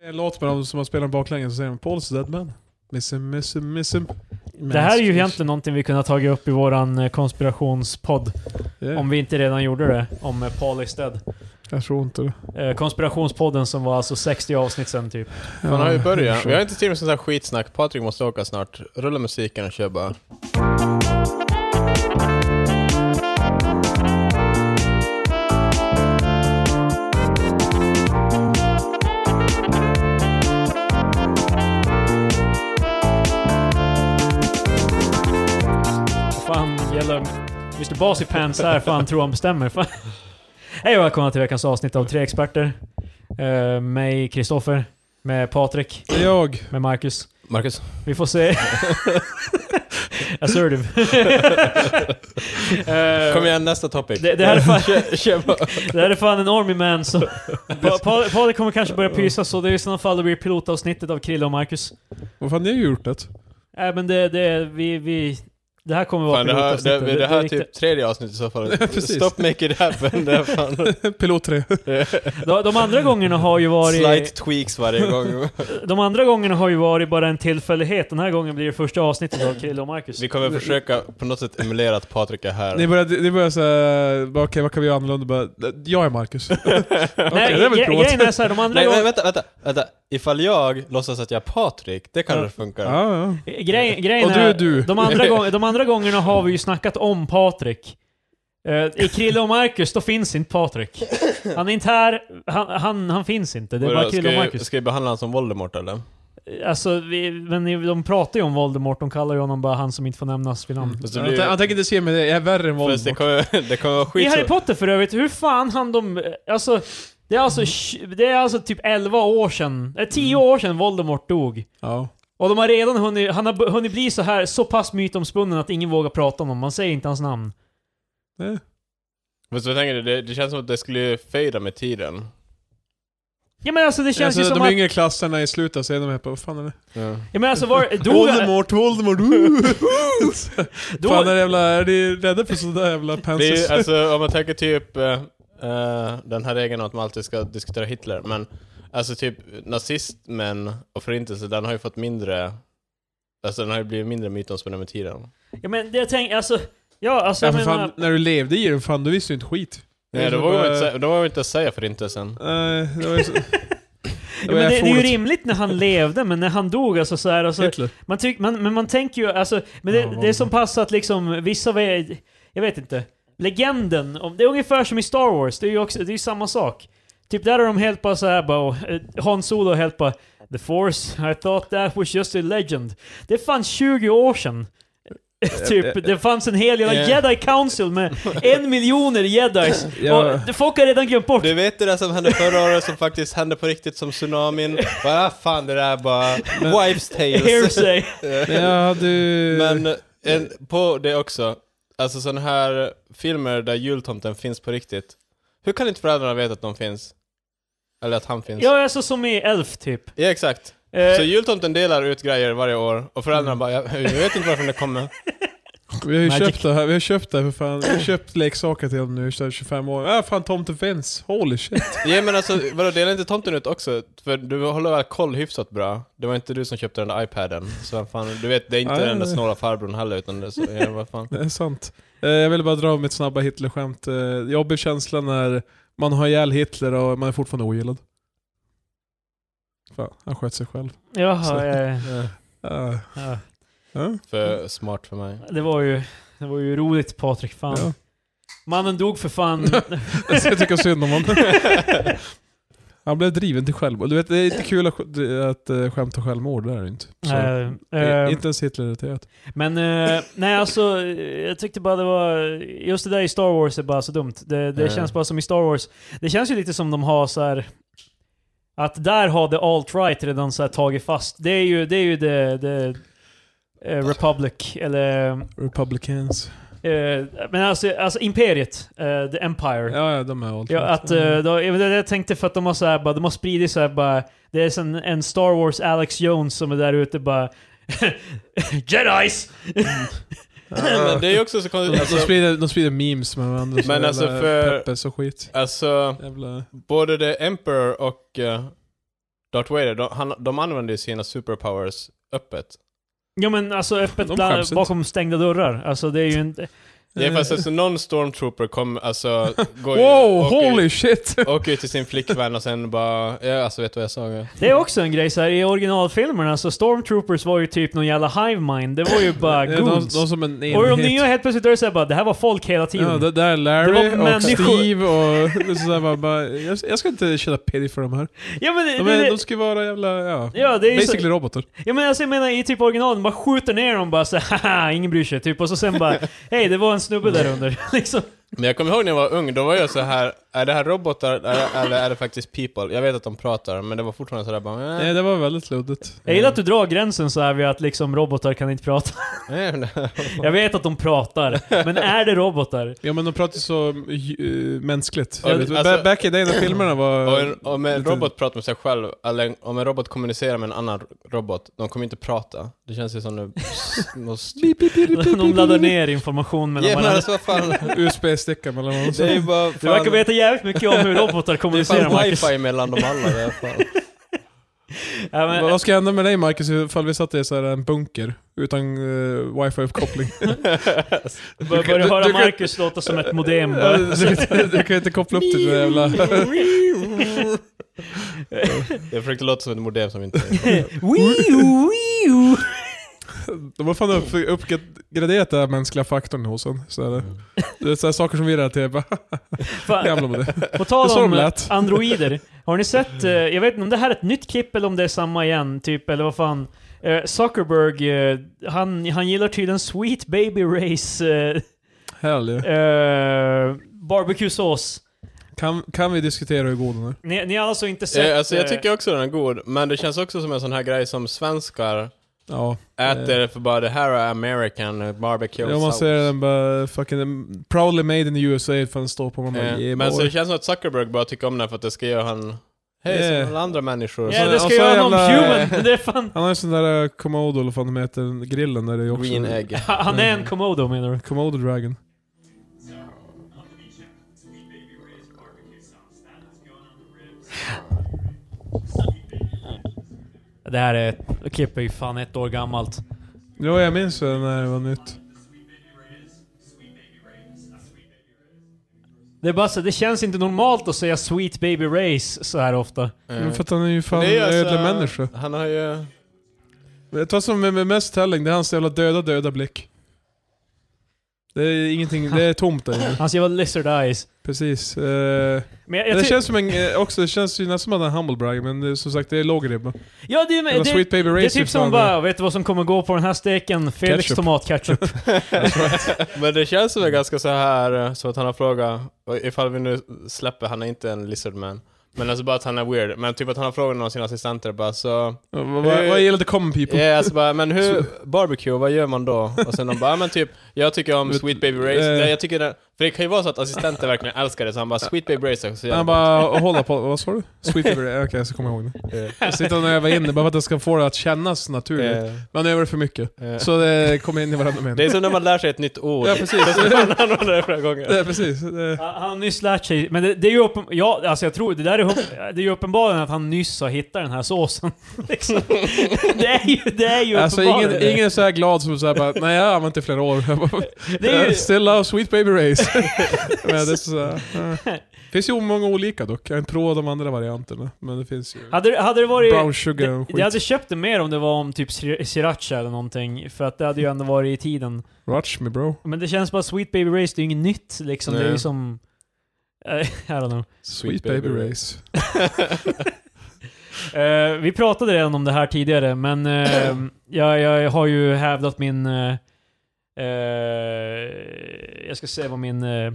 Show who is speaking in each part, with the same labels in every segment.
Speaker 1: En låt med dem som har spelat baklänges, så säger de Paul's Dead Man. Miss him, miss him, miss him.
Speaker 2: Det här är ju egentligen någonting vi kunde ha tagit upp i våran eh, konspirationspodd.
Speaker 1: Yeah,
Speaker 2: Om vi inte redan gjorde det. Om eh, Paul is dead.
Speaker 1: Jag tror inte det.
Speaker 2: Eh, Konspirationspodden som var alltså 60 avsnitt sen typ.
Speaker 3: Man har ju börjat. Vi har
Speaker 1: Jag,
Speaker 3: inte tid med sånt här skitsnack. Patrik måste åka snart. Rulla musiken och kör bara.
Speaker 2: Fan, gäller... Mr Bas i pants här, fan tror han bestämmer. Fan. Hej och välkomna till veckans avsnitt av Tre Experter. Eh, mig, Kristoffer. Med Patrik.
Speaker 1: jag
Speaker 2: Med Marcus.
Speaker 3: Marcus?
Speaker 2: Vi får se. Assertive. Eh,
Speaker 3: Kom igen, nästa topic.
Speaker 2: Det, det, här är fan,
Speaker 3: Kör, kör bara.
Speaker 2: det här är fan en army man som... Pa- Pa- Patrik kommer kanske börja pysa så det är i sådana fall det blir pilotavsnittet av Krille och Marcus.
Speaker 1: Vad fan, ni har ju gjort det.
Speaker 2: Nej men det, det, vi, vi... Det här kommer vara
Speaker 3: Fan, det här,
Speaker 2: pilotavsnittet.
Speaker 3: det, det, det här är
Speaker 2: gick-
Speaker 3: typ tredje avsnittet i så fall.
Speaker 1: precis.
Speaker 3: Stop make it happen. Det är fan.
Speaker 1: Pilot 3.
Speaker 2: de, de andra gångerna har ju varit...
Speaker 3: Slight tweaks varje gång.
Speaker 2: De andra gångerna har ju varit bara en tillfällighet. Den här gången blir det första avsnittet av Krille och Marcus.
Speaker 3: Mm. Vi kommer försöka på något sätt emulera att Patrik är
Speaker 1: Ni
Speaker 3: här.
Speaker 1: började, ni började såhär, bara, okej vad kan vi göra annorlunda? Bara, jag är Marcus. Okej,
Speaker 2: Nej,
Speaker 1: det är väl
Speaker 2: gre-
Speaker 1: plåt.
Speaker 2: grejen är såhär, de andra
Speaker 3: Nej, men
Speaker 2: gångerna...
Speaker 3: vänta, vänta, vänta. Ifall jag låtsas att jag är Patrik, det
Speaker 2: Ja.
Speaker 3: kanske funkar.
Speaker 1: Ja,
Speaker 2: Grej, grejen
Speaker 1: Eh, Och du är
Speaker 2: är,
Speaker 1: du.
Speaker 2: De, andra gång, de andra gångerna har vi ju snackat om Patrik. Eh, I Krille och Marcus, då finns inte Patrik. Han är inte här, han, han, han finns inte. Det är bara
Speaker 3: Vadå,
Speaker 2: Krille och
Speaker 3: ska, vi,
Speaker 2: Marcus.
Speaker 3: ska vi behandla honom som Voldemort eller?
Speaker 2: Alltså, vi, men de pratar ju om Voldemort, de kallar ju honom bara han som inte får nämnas vid namn.
Speaker 3: Fast
Speaker 1: ja.
Speaker 3: det
Speaker 1: Han,
Speaker 3: blir,
Speaker 1: tän- han tänker inte se mig, jag är värre än
Speaker 3: fast det,
Speaker 1: Voldemort.
Speaker 3: kommer, det kommer vara
Speaker 2: I
Speaker 3: skit.
Speaker 2: Harry Potter för övrigt, hur fan hann de... Alltså, det är alltså, tj- det är alltså typ 11 år sedan, eh, 10
Speaker 3: Mm.
Speaker 2: år sedan Voldemort dog.
Speaker 1: Ja.
Speaker 2: Och de har redan hunnit, han har b- hunnit bli så här så pass mytomspunnen att ingen vågar prata om honom. Man säger inte hans namn.
Speaker 1: Nej.
Speaker 3: Fast jag tänker, det, det känns som att det skulle fejda med tiden.
Speaker 2: Ja men alltså det känns ju
Speaker 1: Alltså,
Speaker 2: som
Speaker 1: de
Speaker 2: att...
Speaker 1: yngre klasserna i slutet så är de här på, vad fan är det?
Speaker 2: Ja, men alltså var, dog, han-
Speaker 1: Voldemort, Voldemort, woo! Fan är
Speaker 2: dog,
Speaker 1: det jävla, är ni rädda för sådana där jävla
Speaker 3: Det är
Speaker 1: panses?
Speaker 3: ju, alltså om man tänker typ eh, eh, den här regeln att man alltid ska diskutera Hitler, men alltså typ nazismen och förintelsen, den har ju fått mindre, alltså den har ju blivit mindre mytomspunnen med tiden.
Speaker 2: ja men det jag tänker, alltså... Ja alltså
Speaker 1: ja,
Speaker 2: jag
Speaker 1: för
Speaker 2: menar...
Speaker 1: fan, när du levde i den, fan du visste ju inte skit.
Speaker 3: Nej, då
Speaker 1: Det
Speaker 3: vågar
Speaker 1: var-
Speaker 3: man inte, sä- då vågar man inte säga förintelsen.
Speaker 1: Nej, det var ju så...
Speaker 2: ja, men det, det är ju rimligt när han levde, men när han dog alltså så här, alltså,
Speaker 1: Hitler.
Speaker 2: man tyck, man, Men man tänker ju alltså... Men det, det är som passat liksom, vissa av er- Jag vet inte. Legenden, om, det är ungefär som i Star Wars, det är ju också, det är ju samma sak. Typ där har de helt bara såhär bara, och, eh, Han Solo har helt bara The Force, I thought that was just a legend. Det fanns 20 år sedan. typ, det fanns en hel jävla
Speaker 3: Eh.
Speaker 2: Jedi Council med en miljoner jedis.
Speaker 1: Ja.
Speaker 2: Och folk har redan glömt bort.
Speaker 3: Du vet det där som hände förra året som faktiskt hände på riktigt som tsunamin? Bara fan det där bara, wives tales.
Speaker 2: Hearsay.
Speaker 1: Ja, du...
Speaker 3: Men
Speaker 2: Eh,
Speaker 3: en, på det också, alltså sådana här filmer där jultomten finns på riktigt. Hur kan inte föräldrarna veta att de finns? Eller att han finns?
Speaker 2: Ja, alltså som i Elf typ.
Speaker 3: Ja, exakt.
Speaker 2: Eh, Mm.
Speaker 3: Så jultomten delar ut grejer varje år och föräldrarna bara jag, jag vet inte varför det kommer.
Speaker 1: Vi har ju
Speaker 2: Magic.
Speaker 1: köpt det här, vi har köpt det här för fan. Vi har köpt leksaker till honom nu i 25 år. Ja, fan tomten finns. Holy shit.
Speaker 3: Ja men alltså vadå, delar inte tomten ut också? För du håller väl koll hyfsat bra? Det var inte du som köpte den där iPaden. Så vem fan, du vet det är inte
Speaker 1: Nej,
Speaker 3: den där
Speaker 1: nej.
Speaker 3: snåla farbrorn heller utan det är så, ja, vad fan.
Speaker 1: Det är sant. Eh, Jag ville bara dra mitt snabba Hitler-skämt. Eh, Jobbig känsla när man har ihjäl Hitler och man är fortfarande ogillad. Fan, han sköt sig själv.
Speaker 2: Jaha, eh,
Speaker 1: Ja.
Speaker 2: ja.
Speaker 1: Ja.
Speaker 3: För smart för mig.
Speaker 2: det var ju... Det var ju roligt Patrik, fan.
Speaker 1: Ja.
Speaker 2: Mannen dog för fan.
Speaker 1: Så Alltså, jag tycker synd om honom. Han blev driven till självmord. Du vet, det är inte kul att, sk- att eh, skämta om självmord, det är det inte. Så,
Speaker 2: Eh,
Speaker 1: det är
Speaker 2: eh,
Speaker 1: inte ens Hitler-relaterat.
Speaker 2: men eh, nej alltså, eh, jag tyckte bara det var... Just det där i Star Wars är bara så dumt. Det, det
Speaker 3: Ja.
Speaker 2: känns bara som i Star Wars. Det känns ju lite som de har så här. Att där har det alt-right redan så här tagit fast. Det är ju det, är ju det, det eh, Republic, eller...
Speaker 1: Republicans.
Speaker 2: eh, men alltså, alltså Imperiet, eh, The Empire.
Speaker 1: Ja, ja, de är allt
Speaker 2: Ja, att, eh, då, jag vet inte, jag tänkte för att de har, så här, bara, de har spridit så här, bara, det är en, en Star Wars Alex Jones som är där ute bara Jedis! Ah.
Speaker 3: Men det är ju också så
Speaker 1: De,
Speaker 3: konstigt.
Speaker 1: de,
Speaker 3: Alltså,
Speaker 1: sprider, de sprider memes med varandra.
Speaker 3: Men
Speaker 1: jävla
Speaker 3: alltså för-
Speaker 1: Peppes och skit.
Speaker 3: alltså
Speaker 1: Jävla...
Speaker 3: både The Emperor och eh, Darth Vader, de, han, de använder ju sina superpowers öppet.
Speaker 2: Ja men alltså öppet
Speaker 1: De
Speaker 2: bland,
Speaker 1: skäms inte.
Speaker 2: bakom stängda dörrar. Alltså det är ju inte...
Speaker 3: Ja,
Speaker 1: Eh.
Speaker 3: fast alltså någon stormtrooper kom, alltså, går ju-
Speaker 1: Wow,
Speaker 3: åker ju-
Speaker 1: holy shit!
Speaker 3: Åker ju till sin flickvän och sen bara, ja alltså vet du vad jag sa? Ja.
Speaker 2: Det är också en grej så här, i originalfilmerna så Stormtroopers var ju typ någon jävla hive mind. Det var ju bara
Speaker 1: de, de
Speaker 2: goons.
Speaker 1: som en
Speaker 2: Och i de
Speaker 1: enhet.
Speaker 2: nya helt plötsligt är det såhär bara, det här var folk hela tiden.
Speaker 1: Ja, det där är Larry
Speaker 2: Det
Speaker 1: och
Speaker 2: var människor.
Speaker 1: Steve och det är sådär bara, bara jag, jag ska inte känna pity för de här.
Speaker 2: ja men, det,
Speaker 1: De,
Speaker 2: det,
Speaker 1: är, de ska ju vara jävla, ja,
Speaker 2: ja, det är ju så,
Speaker 1: basically robotar.
Speaker 2: ja, men alltså, jag menar i typ originalen, bara skjuter ner dem bara så här, haha, ingen bryr sig. Typ. Och så sen bara, hej det var en snubbe där under. liksom.
Speaker 3: Men jag kommer ihåg när jag var ung, då var jag så här är det här robotar eller, eller är det faktiskt people? Jag vet att de pratar, men det var fortfarande sådär bara,
Speaker 1: Nej,
Speaker 3: eh,
Speaker 1: det var väldigt luddigt.
Speaker 2: Jag gillar att du drar gränsen så här vid att liksom robotar kan inte prata.
Speaker 3: eh, nej.
Speaker 2: Jag vet att de pratar, men är det robotar?
Speaker 1: Ja men de pratar ju så eh, mänskligt.
Speaker 3: Ja,
Speaker 1: Jag vet,
Speaker 3: alltså-
Speaker 1: ba- back i day när filmerna
Speaker 3: Och
Speaker 1: var...
Speaker 3: en, om en
Speaker 1: lite-
Speaker 3: robot pratar med sig själv, eller om en robot kommunicerar med en annan robot, de kommer inte prata. Det känns ju som nu... Måste...
Speaker 1: Beep, beep, beep, beep, beep,
Speaker 2: De
Speaker 1: beep,
Speaker 2: laddar
Speaker 1: beep.
Speaker 2: ner information mellan
Speaker 3: Ja men
Speaker 2: varandra.
Speaker 3: alltså vad fan.
Speaker 1: USB-sticka mellan dem.
Speaker 3: Det är ju bara... Fan,
Speaker 2: Du verkar veta jävligt mycket om hur robotar
Speaker 3: det är
Speaker 2: kommunicerar
Speaker 3: fan
Speaker 2: Marcus.
Speaker 3: wifi mellan dem alla. Det är fan.
Speaker 2: Ja,
Speaker 1: Vad-
Speaker 2: men,
Speaker 1: Vad ska hända med dig Marcus ifall vi satt i så här en bunker utan eh, wifi-uppkoppling?
Speaker 2: bör, börjar
Speaker 1: du-
Speaker 2: höra
Speaker 1: du kan-
Speaker 2: Marcus låta som ett modem
Speaker 1: Ja,
Speaker 2: bara.
Speaker 1: du, kan inte- du kan inte koppla upp till det där jävla...
Speaker 3: Jag försökte låta som ett modem som inte...
Speaker 2: Wiu, wiu.
Speaker 1: De har fan upp, uppgraderat den här mänskliga faktorn hos en. Så är det. det är så här saker som vi relaterar till. Bara,
Speaker 2: Fan,
Speaker 1: Jävla med det.
Speaker 2: På
Speaker 1: Det är
Speaker 2: tal
Speaker 1: så de
Speaker 2: om
Speaker 1: lät.
Speaker 2: androider. Har ni sett, eh, jag vet inte om det här är ett nytt klipp eller om det är samma igen, typ, eller vad fan. Eh, Zuckerberg, eh, han, han gillar tydligen Sweet Baby Race eh,
Speaker 1: Härligt.
Speaker 2: eh, barbecuesås.
Speaker 1: Kan, kan vi diskutera hur god den är?
Speaker 2: Ni, ni har alltså inte sett...
Speaker 3: Eh, alltså jag
Speaker 2: eh,
Speaker 3: tycker också den är god, men det känns också som en sån här grej som svenskar
Speaker 1: Ja.
Speaker 3: äter för bara det här är American eh, barbecue
Speaker 1: Om man
Speaker 3: sauce."
Speaker 1: ser den bara fucking proudly made in the USA för den står på man bara,
Speaker 3: Eh,
Speaker 1: yeah,
Speaker 3: Men så
Speaker 1: boy.
Speaker 3: det känns som att Zuckerberg bara tycker om den för att det ska göra han... Hej,
Speaker 1: Eh.
Speaker 3: som alla andra människor.
Speaker 2: Ja,
Speaker 1: så-
Speaker 2: det
Speaker 1: och
Speaker 2: ska
Speaker 1: så
Speaker 2: göra honom
Speaker 1: Alltså, jävla-
Speaker 2: human, men det är fan...
Speaker 1: Han har ju sån där eh, Komodo eller vad fan de heter, grillen där det är också.
Speaker 3: Green egg.
Speaker 2: Han är
Speaker 1: Mm.
Speaker 2: en komodo menar du?
Speaker 1: Komodo Dragon.
Speaker 2: Det här är... Klipp är ju fan ett år gammalt.
Speaker 1: Ja, jag minns det när det var nytt.
Speaker 2: Det är bara så, det känns inte normalt att säga Sweet Baby Race så här ofta.
Speaker 3: Eh.
Speaker 1: Men för att han är ju fan
Speaker 3: Det är alltså-
Speaker 1: ödlig människa.
Speaker 3: Han har ju...
Speaker 1: Vet du vad som är med mest telling? Det är hans jävla döda, döda blick. Det är ingenting, det är tomt där inne.
Speaker 2: Han ser väl Lizard Eyes.
Speaker 1: Precis. Eh,
Speaker 2: Men jag,
Speaker 1: Men
Speaker 2: jag
Speaker 1: det
Speaker 2: ty-
Speaker 1: känns som en, eh, också, det känns ju nästan som att han är humble brag, men det, är som sagt det är låg ribba.
Speaker 2: ja, det, är-
Speaker 1: Det var
Speaker 2: det,
Speaker 1: Sweet Baby Race
Speaker 2: det är typ som
Speaker 1: fan,
Speaker 2: bara, vet du vad som kommer gå på den här steken? Felix
Speaker 1: Ketchup.
Speaker 2: tomatketchup.
Speaker 3: Men det känns som det är ganska så här eh, som att han har frågat, och ifall vi nu släpper, han är inte en lizardman. Men alltså bara att han är weird. Men typ att han har frågat någon av sina assistenter bara så...
Speaker 1: eh, Vad, vad, vad gillar the common people?
Speaker 3: Ja, alltså bara, men hur, barbecue, vad gör man då? Och sen de bara, ja, men typ, jag tycker om
Speaker 1: Vet-
Speaker 3: Sweet Baby Race.
Speaker 1: eh.
Speaker 3: Nej, jag tycker den, för det kan ju vara så att assistenter verkligen älskar det, så han bara, Sweet Baby Race är så jävla
Speaker 1: Han bara hålla på, vad sa du? Sweet Baby Okej, jag ska komma ihåg det.
Speaker 3: gott." Eh,
Speaker 1: Jag sitter och övar in det bara för att jag ska få det att kännas naturligt.
Speaker 3: eh,
Speaker 1: Man övar för mycket.
Speaker 3: eh.
Speaker 1: Så det kommer in i varandra mening.
Speaker 3: Det är som när man lär sig ett nytt ord.
Speaker 1: Ja, precis.
Speaker 3: Så man använder det flera gånger.
Speaker 1: Ja, precis. Det,
Speaker 2: Ja, han har nyss lärt sig, men det, det är ju uppen, ja, alltså jag tror, det där är, upp- det är ju uppenbarligen att han nyss har hittat den här såsen. liksom. Det är ju, det är ju
Speaker 1: alltså
Speaker 2: uppenbarligen.
Speaker 1: ingen, ingen är så här glad som såhär bara, nej jag har använt det i flera år. Jag bara,
Speaker 2: det är ju,
Speaker 1: Still love Sweet Baby Race. men det är så här, eh. finns ju många olika dock. Jag har inte provat de andra varianterna. Men det finns ju
Speaker 2: hade, det- hade det varit...
Speaker 1: brown sugar och
Speaker 2: Det, jag
Speaker 1: skit.
Speaker 2: hade köpt det mer om det var om typ sri- sriracha eller någonting, för att det hade ju ändå varit i tiden.
Speaker 1: Watch me bro.
Speaker 2: Men det känns bara Sweet Baby Race, det är ju inget nytt liksom. Det är ju
Speaker 3: Nej.
Speaker 2: som... eh, I don't know.
Speaker 1: Sweet Baby Race.
Speaker 2: Eh, vi pratade redan om det här tidigare, men eh, jag, jag har ju hävdat min... eh, eh, jag ska se vad min... eh,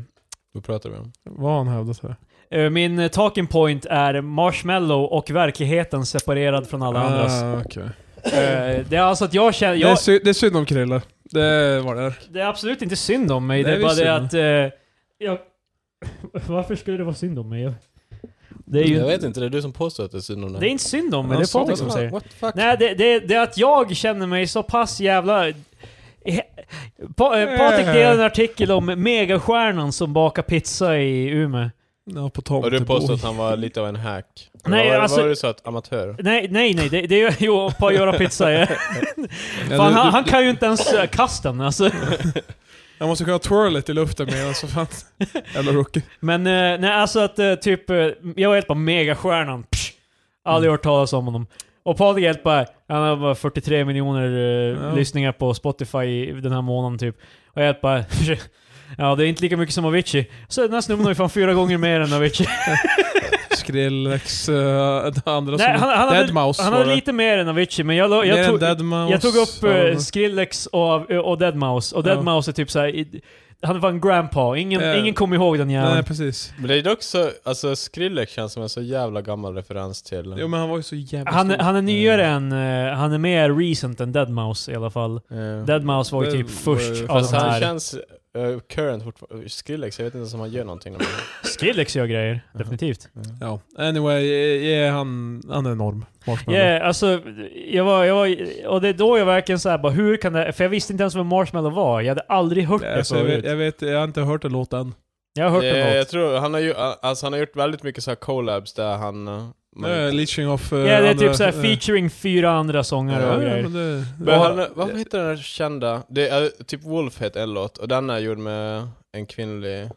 Speaker 3: Vad pratar vi om?
Speaker 1: Vad har han hävdat här?
Speaker 2: eh, min eh, talking point är marshmallow och verkligheten separerad från alla andras.
Speaker 1: Ah, okej.
Speaker 2: Eh, det är alltså att jag känner...
Speaker 1: det, är
Speaker 2: Jag,
Speaker 1: sy- det är synd om Krille. Det var det här.
Speaker 2: Det är absolut inte synd om mig,
Speaker 1: Nej,
Speaker 2: det är bara
Speaker 1: visst
Speaker 2: det
Speaker 1: är
Speaker 2: att... Eh, jag, varför skulle det vara synd om mig? Jag- Det är ju...
Speaker 3: Jag vet inte, det är du som påstår att det är synd om
Speaker 2: Det är inte synd om mig,
Speaker 1: Han
Speaker 2: det liksom
Speaker 1: sa
Speaker 2: är Patrik
Speaker 1: det.
Speaker 2: som säger.
Speaker 3: What the fuck?
Speaker 2: Nej, det, det, det är att jag känner mig så pass jävla... eh,
Speaker 1: Eh.
Speaker 2: Pa, eh, Patrik delade en artikel om megastjärnan som bakar pizza i Umeå.
Speaker 1: Ja, på
Speaker 3: Och du påstår
Speaker 1: tomtebo.
Speaker 3: att han var lite av en hack.
Speaker 2: Nej,
Speaker 3: Nej, vad,
Speaker 2: alltså-
Speaker 3: vad var det så att amatör?
Speaker 2: Nej, nej, nej. Det, det är ju på att göra pizza. Ja.
Speaker 1: Ja,
Speaker 2: Fan,
Speaker 1: du-
Speaker 2: han,
Speaker 1: du-
Speaker 2: han kan ju inte ens eh, kasten alltså.
Speaker 1: Jag måste kunna twirlet i luften med så fan. Jävla rookie.
Speaker 2: Men eh, nej, alltså att eh, typ, eh, jag var helt bara megastjärnan. Psh,
Speaker 1: Mm.
Speaker 2: aldrig hört talas om honom. Och Patrik är helt bara, han har bara 43 miljoner eh,
Speaker 1: Ja.
Speaker 2: lyssningar på Spotify i- den här månaden typ. Och jag är helt bara, ja det är inte lika mycket som Avicii. Så den här snubben har ju fan fyra gånger mer än Avicii.
Speaker 1: Skrillex, eh, det andra
Speaker 2: nej, han,
Speaker 1: som...
Speaker 2: han, hade,
Speaker 1: Deadmau5
Speaker 2: han hade
Speaker 1: var det.
Speaker 2: lite mer än Avicii, men jag, lo- jag,
Speaker 1: Mer än
Speaker 2: tog,
Speaker 1: Deadmau5,
Speaker 2: jag tog upp eh,
Speaker 1: fan.
Speaker 2: Skrillex och, eh, och Deadmau5, och
Speaker 1: Ja.
Speaker 2: Deadmau5 är typ såhär, i- han var en grandpa, ingen,
Speaker 1: Ja.
Speaker 2: ingen kom ihåg den jäveln.
Speaker 1: Nej, precis.
Speaker 3: Men det är dock så, alltså Skrillex känns som en så jävla gammal referens till...
Speaker 1: Jo men han var ju så jävla
Speaker 2: Han,
Speaker 1: stor.
Speaker 2: han är nyare än, eh, han är mer recent än Deadmau5 i alla fall.
Speaker 3: Eh,
Speaker 2: Deadmau5 var ju
Speaker 1: Det
Speaker 2: typ
Speaker 1: var-
Speaker 2: först
Speaker 1: fast
Speaker 2: av de
Speaker 3: Alltså han
Speaker 2: här.
Speaker 3: känns eh, current fortfarande. Skrillex, jag vet inte ens om han gör någonting. Men,
Speaker 2: Skrillex gör grejer, definitivt.
Speaker 1: Ja. Anyway, eh, yeah, han, han är enorm. Marshmallow.
Speaker 2: Yeah, alltså, jag var, jag var, och det är då jag verkligen såhär bara, hur kan det, för jag visste inte ens vad Marshmallow var, jag hade aldrig hört
Speaker 1: Ja,
Speaker 2: det
Speaker 1: alltså, jag,
Speaker 2: förut.
Speaker 1: vet,
Speaker 2: Jag,
Speaker 1: jag vet, jag har inte hört den låten.
Speaker 2: har hört
Speaker 3: Eh,
Speaker 2: den låt.
Speaker 3: jag tror han har, ju, alltså, han har gjort väldigt mycket så här collabs där han... eh, man-
Speaker 1: Uh, leaching off... eh,
Speaker 2: Ja, det är
Speaker 1: andra-
Speaker 2: typ såhär
Speaker 1: eh,
Speaker 2: featuring fyra andra sångare
Speaker 1: Ja,
Speaker 2: och
Speaker 1: men
Speaker 2: grejer.
Speaker 1: det,
Speaker 3: Men han,
Speaker 1: ja,
Speaker 3: vad heter den här kända? Det är eh, typ Wolf heter en låt och den är gjord med en kvinnlig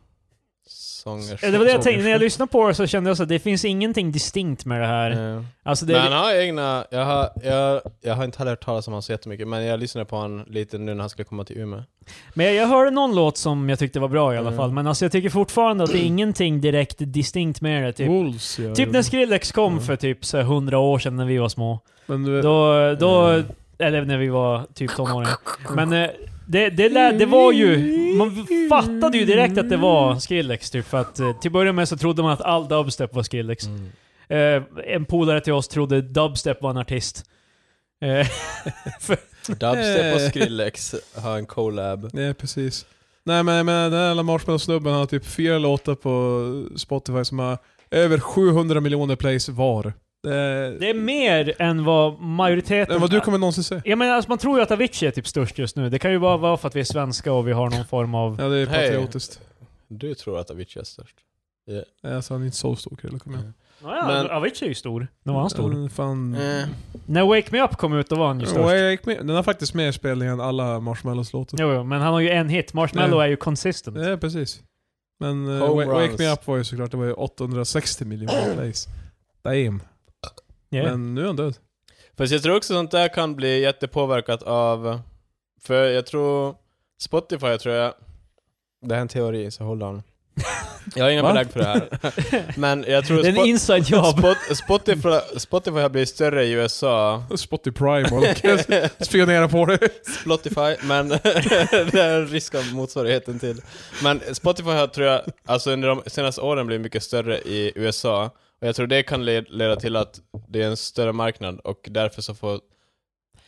Speaker 3: sångerska.
Speaker 2: Ja, Eh, Det var det jag tänkte, när jag lyssnade på det så kände jag så att det finns ingenting distinkt med det här.
Speaker 3: Eh,
Speaker 2: Alltså det
Speaker 3: Men
Speaker 2: är,
Speaker 3: han har egna, jag har, jag, jag har inte heller hört talas om honom så jättemycket, men jag lyssnade på honom lite nu när han skulle komma till Umeå.
Speaker 2: Men jag, jag hörde någon låt som jag tyckte var bra i alla
Speaker 3: Mm.
Speaker 2: fall, men alltså jag tycker fortfarande att det är
Speaker 1: Mm.
Speaker 2: ingenting direkt distinkt med det. Typ,
Speaker 1: Wolves ja.
Speaker 2: typ när Skrillex kom
Speaker 1: Oh. Mm. Eh,
Speaker 2: för typ så här 100 år sedan när vi var små.
Speaker 1: Men du vet,
Speaker 2: Då, då
Speaker 1: mm.
Speaker 2: eller när vi var typ tonåringar. Men eh, det, det, lät, det var ju, man fattade ju direkt att det var Skrillex typ, för att eh, till början med så trodde man att all dubstep var Skrillex.
Speaker 1: Mm.
Speaker 2: Eh, en polare till oss trodde dubstep var en artist. Eh,
Speaker 3: Dubstep och Skrillex har en collab.
Speaker 1: nej precis. Nej men, men den jävla Marshmallow-snubben har typ fyra låtar på Spotify som har över 700 miljoner plays var. Det är,
Speaker 2: det är mer än vad majoriteten...
Speaker 1: än vad du kommer någonsin se.
Speaker 2: Ja men alltså, man tror ju att Avicii är typ störst just nu. Det kan ju bara vara för att vi är svenska och vi har någon form av...
Speaker 1: Ja det är
Speaker 3: Hej.
Speaker 1: patriotiskt.
Speaker 3: Du tror att Avicii är störst.
Speaker 1: Nej, Alltså han är inte så stor kille, kom igen.
Speaker 2: Naja,
Speaker 3: Men-
Speaker 2: Avicii är ju stor. Nu var han stor.
Speaker 1: Ja, Fan.
Speaker 2: Mm.
Speaker 3: Eh,
Speaker 2: När Wake Me Up kom ut då var han ju störst.
Speaker 1: Oh, jag gick med. Den har faktiskt mer spelning än alla Marshmallows låtar.
Speaker 2: Jo, jo, men han har ju en hit. Marshmallow
Speaker 1: Ja.
Speaker 2: är ju consistent.
Speaker 1: Ja, precis. Men eh,
Speaker 3: Home
Speaker 1: Wa- Wake
Speaker 3: runs.
Speaker 1: Me Up var ju såklart, det var ju 860 miljoner plays. Damn.
Speaker 2: Yeah.
Speaker 1: Men nu är han död.
Speaker 3: Fast jag tror också sånt där kan bli jättepåverkat av, för jag tror Spotify tror jag, det här är en teori så håll on. Jag har inga
Speaker 1: Va?
Speaker 3: belägg för det här. Men jag tror
Speaker 2: det är en
Speaker 3: Spot-
Speaker 2: inside job.
Speaker 3: Spot- Spotify, Spotify har blivit större i USA.
Speaker 1: Spotty Prime och spionera på det.
Speaker 3: Spotify, men det är en risk av motsvarigheten till. Men Spotify har, tror jag, alltså under de senaste åren blivit mycket större i USA. Och jag tror det kan le- leda till att det är en större marknad och därför så får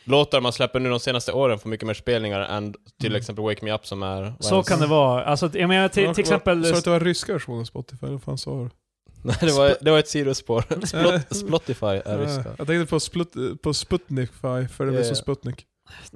Speaker 3: låtar man släpper nu de senaste åren få mycket mer spelningar än till
Speaker 1: Mm.
Speaker 3: exempel Wake Me Up som är... vad
Speaker 2: Så
Speaker 3: ens-
Speaker 2: kan det vara. Alltså, jag menar till, till exempel...
Speaker 1: Sa att det var ryska versioner av Spotify? Vad fan sa du?
Speaker 3: Nej, det var, det var ett sidospår. Splot,
Speaker 1: Eh,
Speaker 3: Spotify är
Speaker 1: eh,
Speaker 3: ryska.
Speaker 1: Jag tänkte på, splut, på Sputnik, för det blir
Speaker 3: Ja,
Speaker 1: som
Speaker 3: ja.
Speaker 1: Sputnik.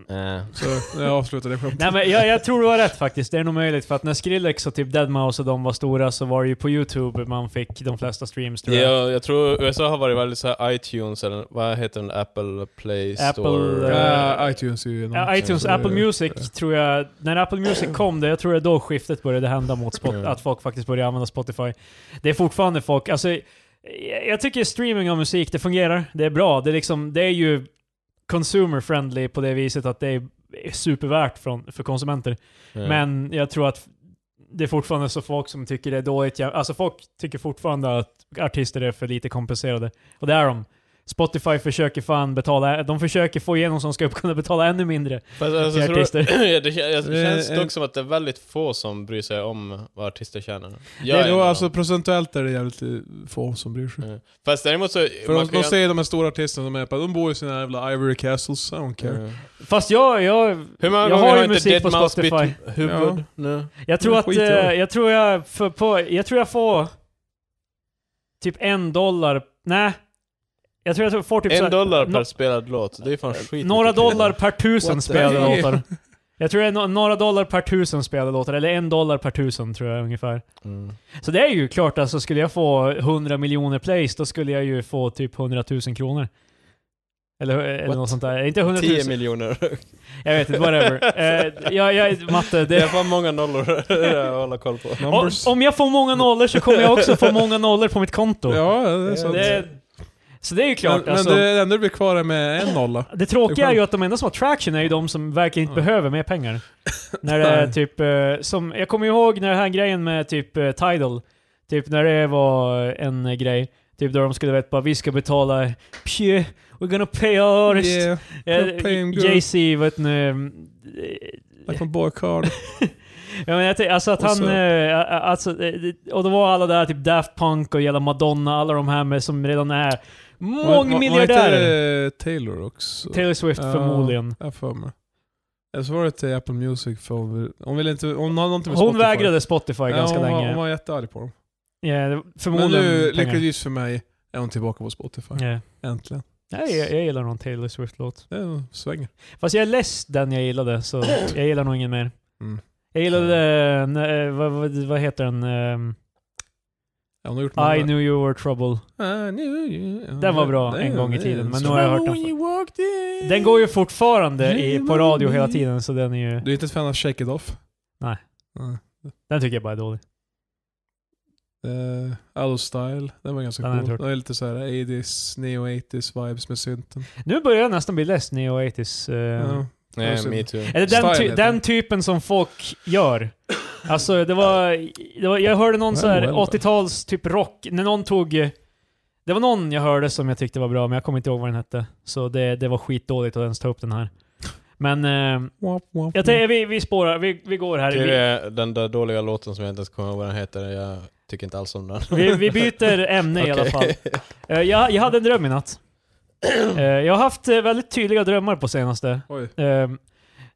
Speaker 3: Eh.
Speaker 1: Så jag avslutar det skämtet.
Speaker 2: Nej men jag, jag tror du har rätt faktiskt. Det är nog möjligt för att när Skrillex och typ Deadmau5 och de var stora så var det ju på YouTube man fick de flesta streams tror jag.
Speaker 3: Ja, jag tror USA har varit väldigt så här iTunes, eller vad heter den? Apple Play
Speaker 2: Apple,
Speaker 3: Store?
Speaker 1: Eh, iTunes är ju en
Speaker 2: Ja,
Speaker 1: annan.
Speaker 2: iTunes,
Speaker 1: Så det-
Speaker 2: Apple Music tror jag, när Apple Music kom det, jag tror det är då skiftet började hända mot spot,
Speaker 3: Ja.
Speaker 2: att folk faktiskt började använda Spotify. Det är fortfarande folk, alltså jag- jag tycker streaming av musik, det fungerar, det är bra, det är liksom, det är ju consumer friendly på det viset att det är supervärt från, för konsumenter.
Speaker 3: Ja.
Speaker 2: Men jag tror att det är fortfarande så folk som tycker det är dåligt. Ja, Alltså folk tycker fortfarande att artister är för lite kompenserade. Och det är de. Spotify försöker fan betala, de försöker få igenom som ska kunna betala ännu mindre.
Speaker 3: Fast alltså,
Speaker 2: till
Speaker 3: tror,
Speaker 2: artister. Eh,
Speaker 3: det, det, kän- alltså,
Speaker 1: Det
Speaker 3: det
Speaker 1: är
Speaker 3: känns
Speaker 1: en-
Speaker 3: dock som att det är väldigt få som bryr sig om vad artister tjänar. Jag
Speaker 1: Det är
Speaker 3: en
Speaker 1: då,
Speaker 3: av
Speaker 1: alltså
Speaker 3: dem.
Speaker 1: procentuellt är det jävligt eh, få som bryr sig.
Speaker 3: Mm. Fast däremot så...
Speaker 1: För
Speaker 3: man
Speaker 1: de,
Speaker 3: kan
Speaker 1: de
Speaker 3: ju-
Speaker 1: säger de här stora artisterna, de, är, på- de bor i sina jävla Ivory Castles, I don't care.
Speaker 3: Mm.
Speaker 2: Fast jag, jag,
Speaker 3: Hur många
Speaker 2: Jag
Speaker 3: gånger
Speaker 2: har
Speaker 3: har
Speaker 2: ju
Speaker 3: inte
Speaker 2: musik på
Speaker 3: Deadmau5
Speaker 2: Spotify.
Speaker 3: bytt huvud? nu?
Speaker 2: jag tror
Speaker 1: Det
Speaker 2: att, eh,
Speaker 1: skiter jag i.
Speaker 2: jag tror jag, för, på, jag tror jag får typ en dollar, nej. Jag tror jag får typ så
Speaker 3: En
Speaker 2: här-
Speaker 3: dollar per
Speaker 2: no-
Speaker 3: spelad låt, det är fan skit.
Speaker 2: några
Speaker 3: mycket pengar.
Speaker 2: dollar per tusen
Speaker 3: What the
Speaker 2: spelade
Speaker 1: hell?
Speaker 2: låtar. Jag tror det är no- några dollar per tusen spelade låtar, eller en dollar per tusen tror jag ungefär.
Speaker 3: Mm.
Speaker 2: Så det är ju klart, alltså skulle jag få 100 miljoner plays, då skulle jag ju få typ 100 000 kronor. Eller, eller
Speaker 3: What?
Speaker 2: något sånt där. Inte 100 000,
Speaker 3: 10 miljoner.
Speaker 2: jag vet inte, whatever. eh, jag, jag, matte,
Speaker 3: Det är
Speaker 2: det,
Speaker 3: fan många nollor att hålla koll på.
Speaker 2: om,
Speaker 1: Numbers.
Speaker 2: om jag får många nollor så kommer jag också få många nollor på mitt konto.
Speaker 1: ja, det är sant.
Speaker 2: det, så det är ju klart
Speaker 1: men,
Speaker 2: alltså.
Speaker 1: men det enda du blir kvar är med en nolla.
Speaker 2: Det
Speaker 1: Det är
Speaker 2: tråkiga
Speaker 1: skönt.
Speaker 2: är ju att de enda som har traction är ju de som verkligen inte
Speaker 1: Ja.
Speaker 2: behöver mer pengar. när det är
Speaker 1: Nej.
Speaker 2: typ, eh, som, jag kommer ihåg när den här grejen med typ eh, Tidal, typ när det var en eh, grej, typ då de skulle veta bara vi ska betala, pjö, we're gonna pay our artist.
Speaker 1: Yeah,
Speaker 2: Eh,
Speaker 1: pay him good.
Speaker 2: Jay-Z, vet ni, eh,
Speaker 1: like my boy Carl.
Speaker 2: Ja, men jag tänkte, alltså att
Speaker 1: Och
Speaker 2: han...
Speaker 1: så-
Speaker 2: eh, alltså, eh, det- och då var alla där, typ Daft Punk och jävla Madonna, alla de här med, som redan är mångmiljardärer.
Speaker 1: Var inte eh, Taylor också?
Speaker 2: Taylor Swift
Speaker 1: Ja.
Speaker 2: förmodligen.
Speaker 1: Jag har för mig. Eller så var det till Apple Music för hon, vill- hon ville inte... Hon hade någonting med
Speaker 2: Hon
Speaker 1: Spotify.
Speaker 2: vägrade Spotify
Speaker 1: Ja,
Speaker 2: ganska
Speaker 1: hon var,
Speaker 2: länge.
Speaker 1: Hon var jättearg på dem.
Speaker 2: Ja, det var
Speaker 1: Men
Speaker 2: förmodligen
Speaker 1: nu,
Speaker 2: pengar.
Speaker 1: lyckligtvis för mig, är hon tillbaka på Spotify.
Speaker 2: Ja.
Speaker 1: Äntligen.
Speaker 2: Nej, jag, jag gillar någon Taylor Swift-låt.
Speaker 1: Det svänger.
Speaker 2: Fast jag är less den jag gillade, så jag gillar nog ingen mer.
Speaker 1: Mm.
Speaker 2: Jag gillade, eh, när- eh, vad, vad, vad heter den? Ehm,
Speaker 1: Ja, hon har gjort
Speaker 2: I
Speaker 1: många-
Speaker 2: knew you were trouble.
Speaker 1: I knew you-
Speaker 2: Den var bra
Speaker 1: Det är-
Speaker 2: en gång i
Speaker 1: det är-
Speaker 2: tiden, men
Speaker 1: så-
Speaker 2: nu har jag hört den
Speaker 3: When you walked in.
Speaker 2: Den går ju fortfarande i, på radio hela tiden, så den är ju...
Speaker 1: Du är inte ett fan av Shake It Off?
Speaker 2: Nej.
Speaker 1: Nej.
Speaker 2: Den tycker jag bara är dålig.
Speaker 1: Uh, Allo Style, den var ganska
Speaker 2: Den har jag
Speaker 1: cool.
Speaker 2: inte hört.
Speaker 1: Den var lite såhär 80s, neo 80s vibes med synten.
Speaker 2: Nu börjar jag nästan bli less neo 80s.
Speaker 1: Ja.
Speaker 3: Nej, me too.
Speaker 2: Eller den,
Speaker 1: Style
Speaker 2: ty-
Speaker 1: heter den.
Speaker 2: den typen som folk gör. Alltså det var, det var jag hörde någon
Speaker 1: Well,
Speaker 2: så här
Speaker 1: well, well.
Speaker 2: 80-tals typ rock, när någon tog, eh, det var någon jag hörde som jag tyckte var bra men jag kommer inte ihåg vad den hette. Så det, det var skitdåligt att ens ta upp den här. Men eh,
Speaker 1: Womp, womp,
Speaker 2: jag tänker, vi, vi spårar, vi, vi går här.
Speaker 3: Det
Speaker 2: Vi,
Speaker 3: är den där dåliga låten som jag inte ens kommer ihåg vad den heter. Jag tycker inte alls om den.
Speaker 2: vi, vi byter ämne i alla fall. Eh, jag, jag hade en dröm i natt. Eh, jag har haft eh, väldigt tydliga drömmar på senaste.
Speaker 1: Oj.
Speaker 2: Eh, eh,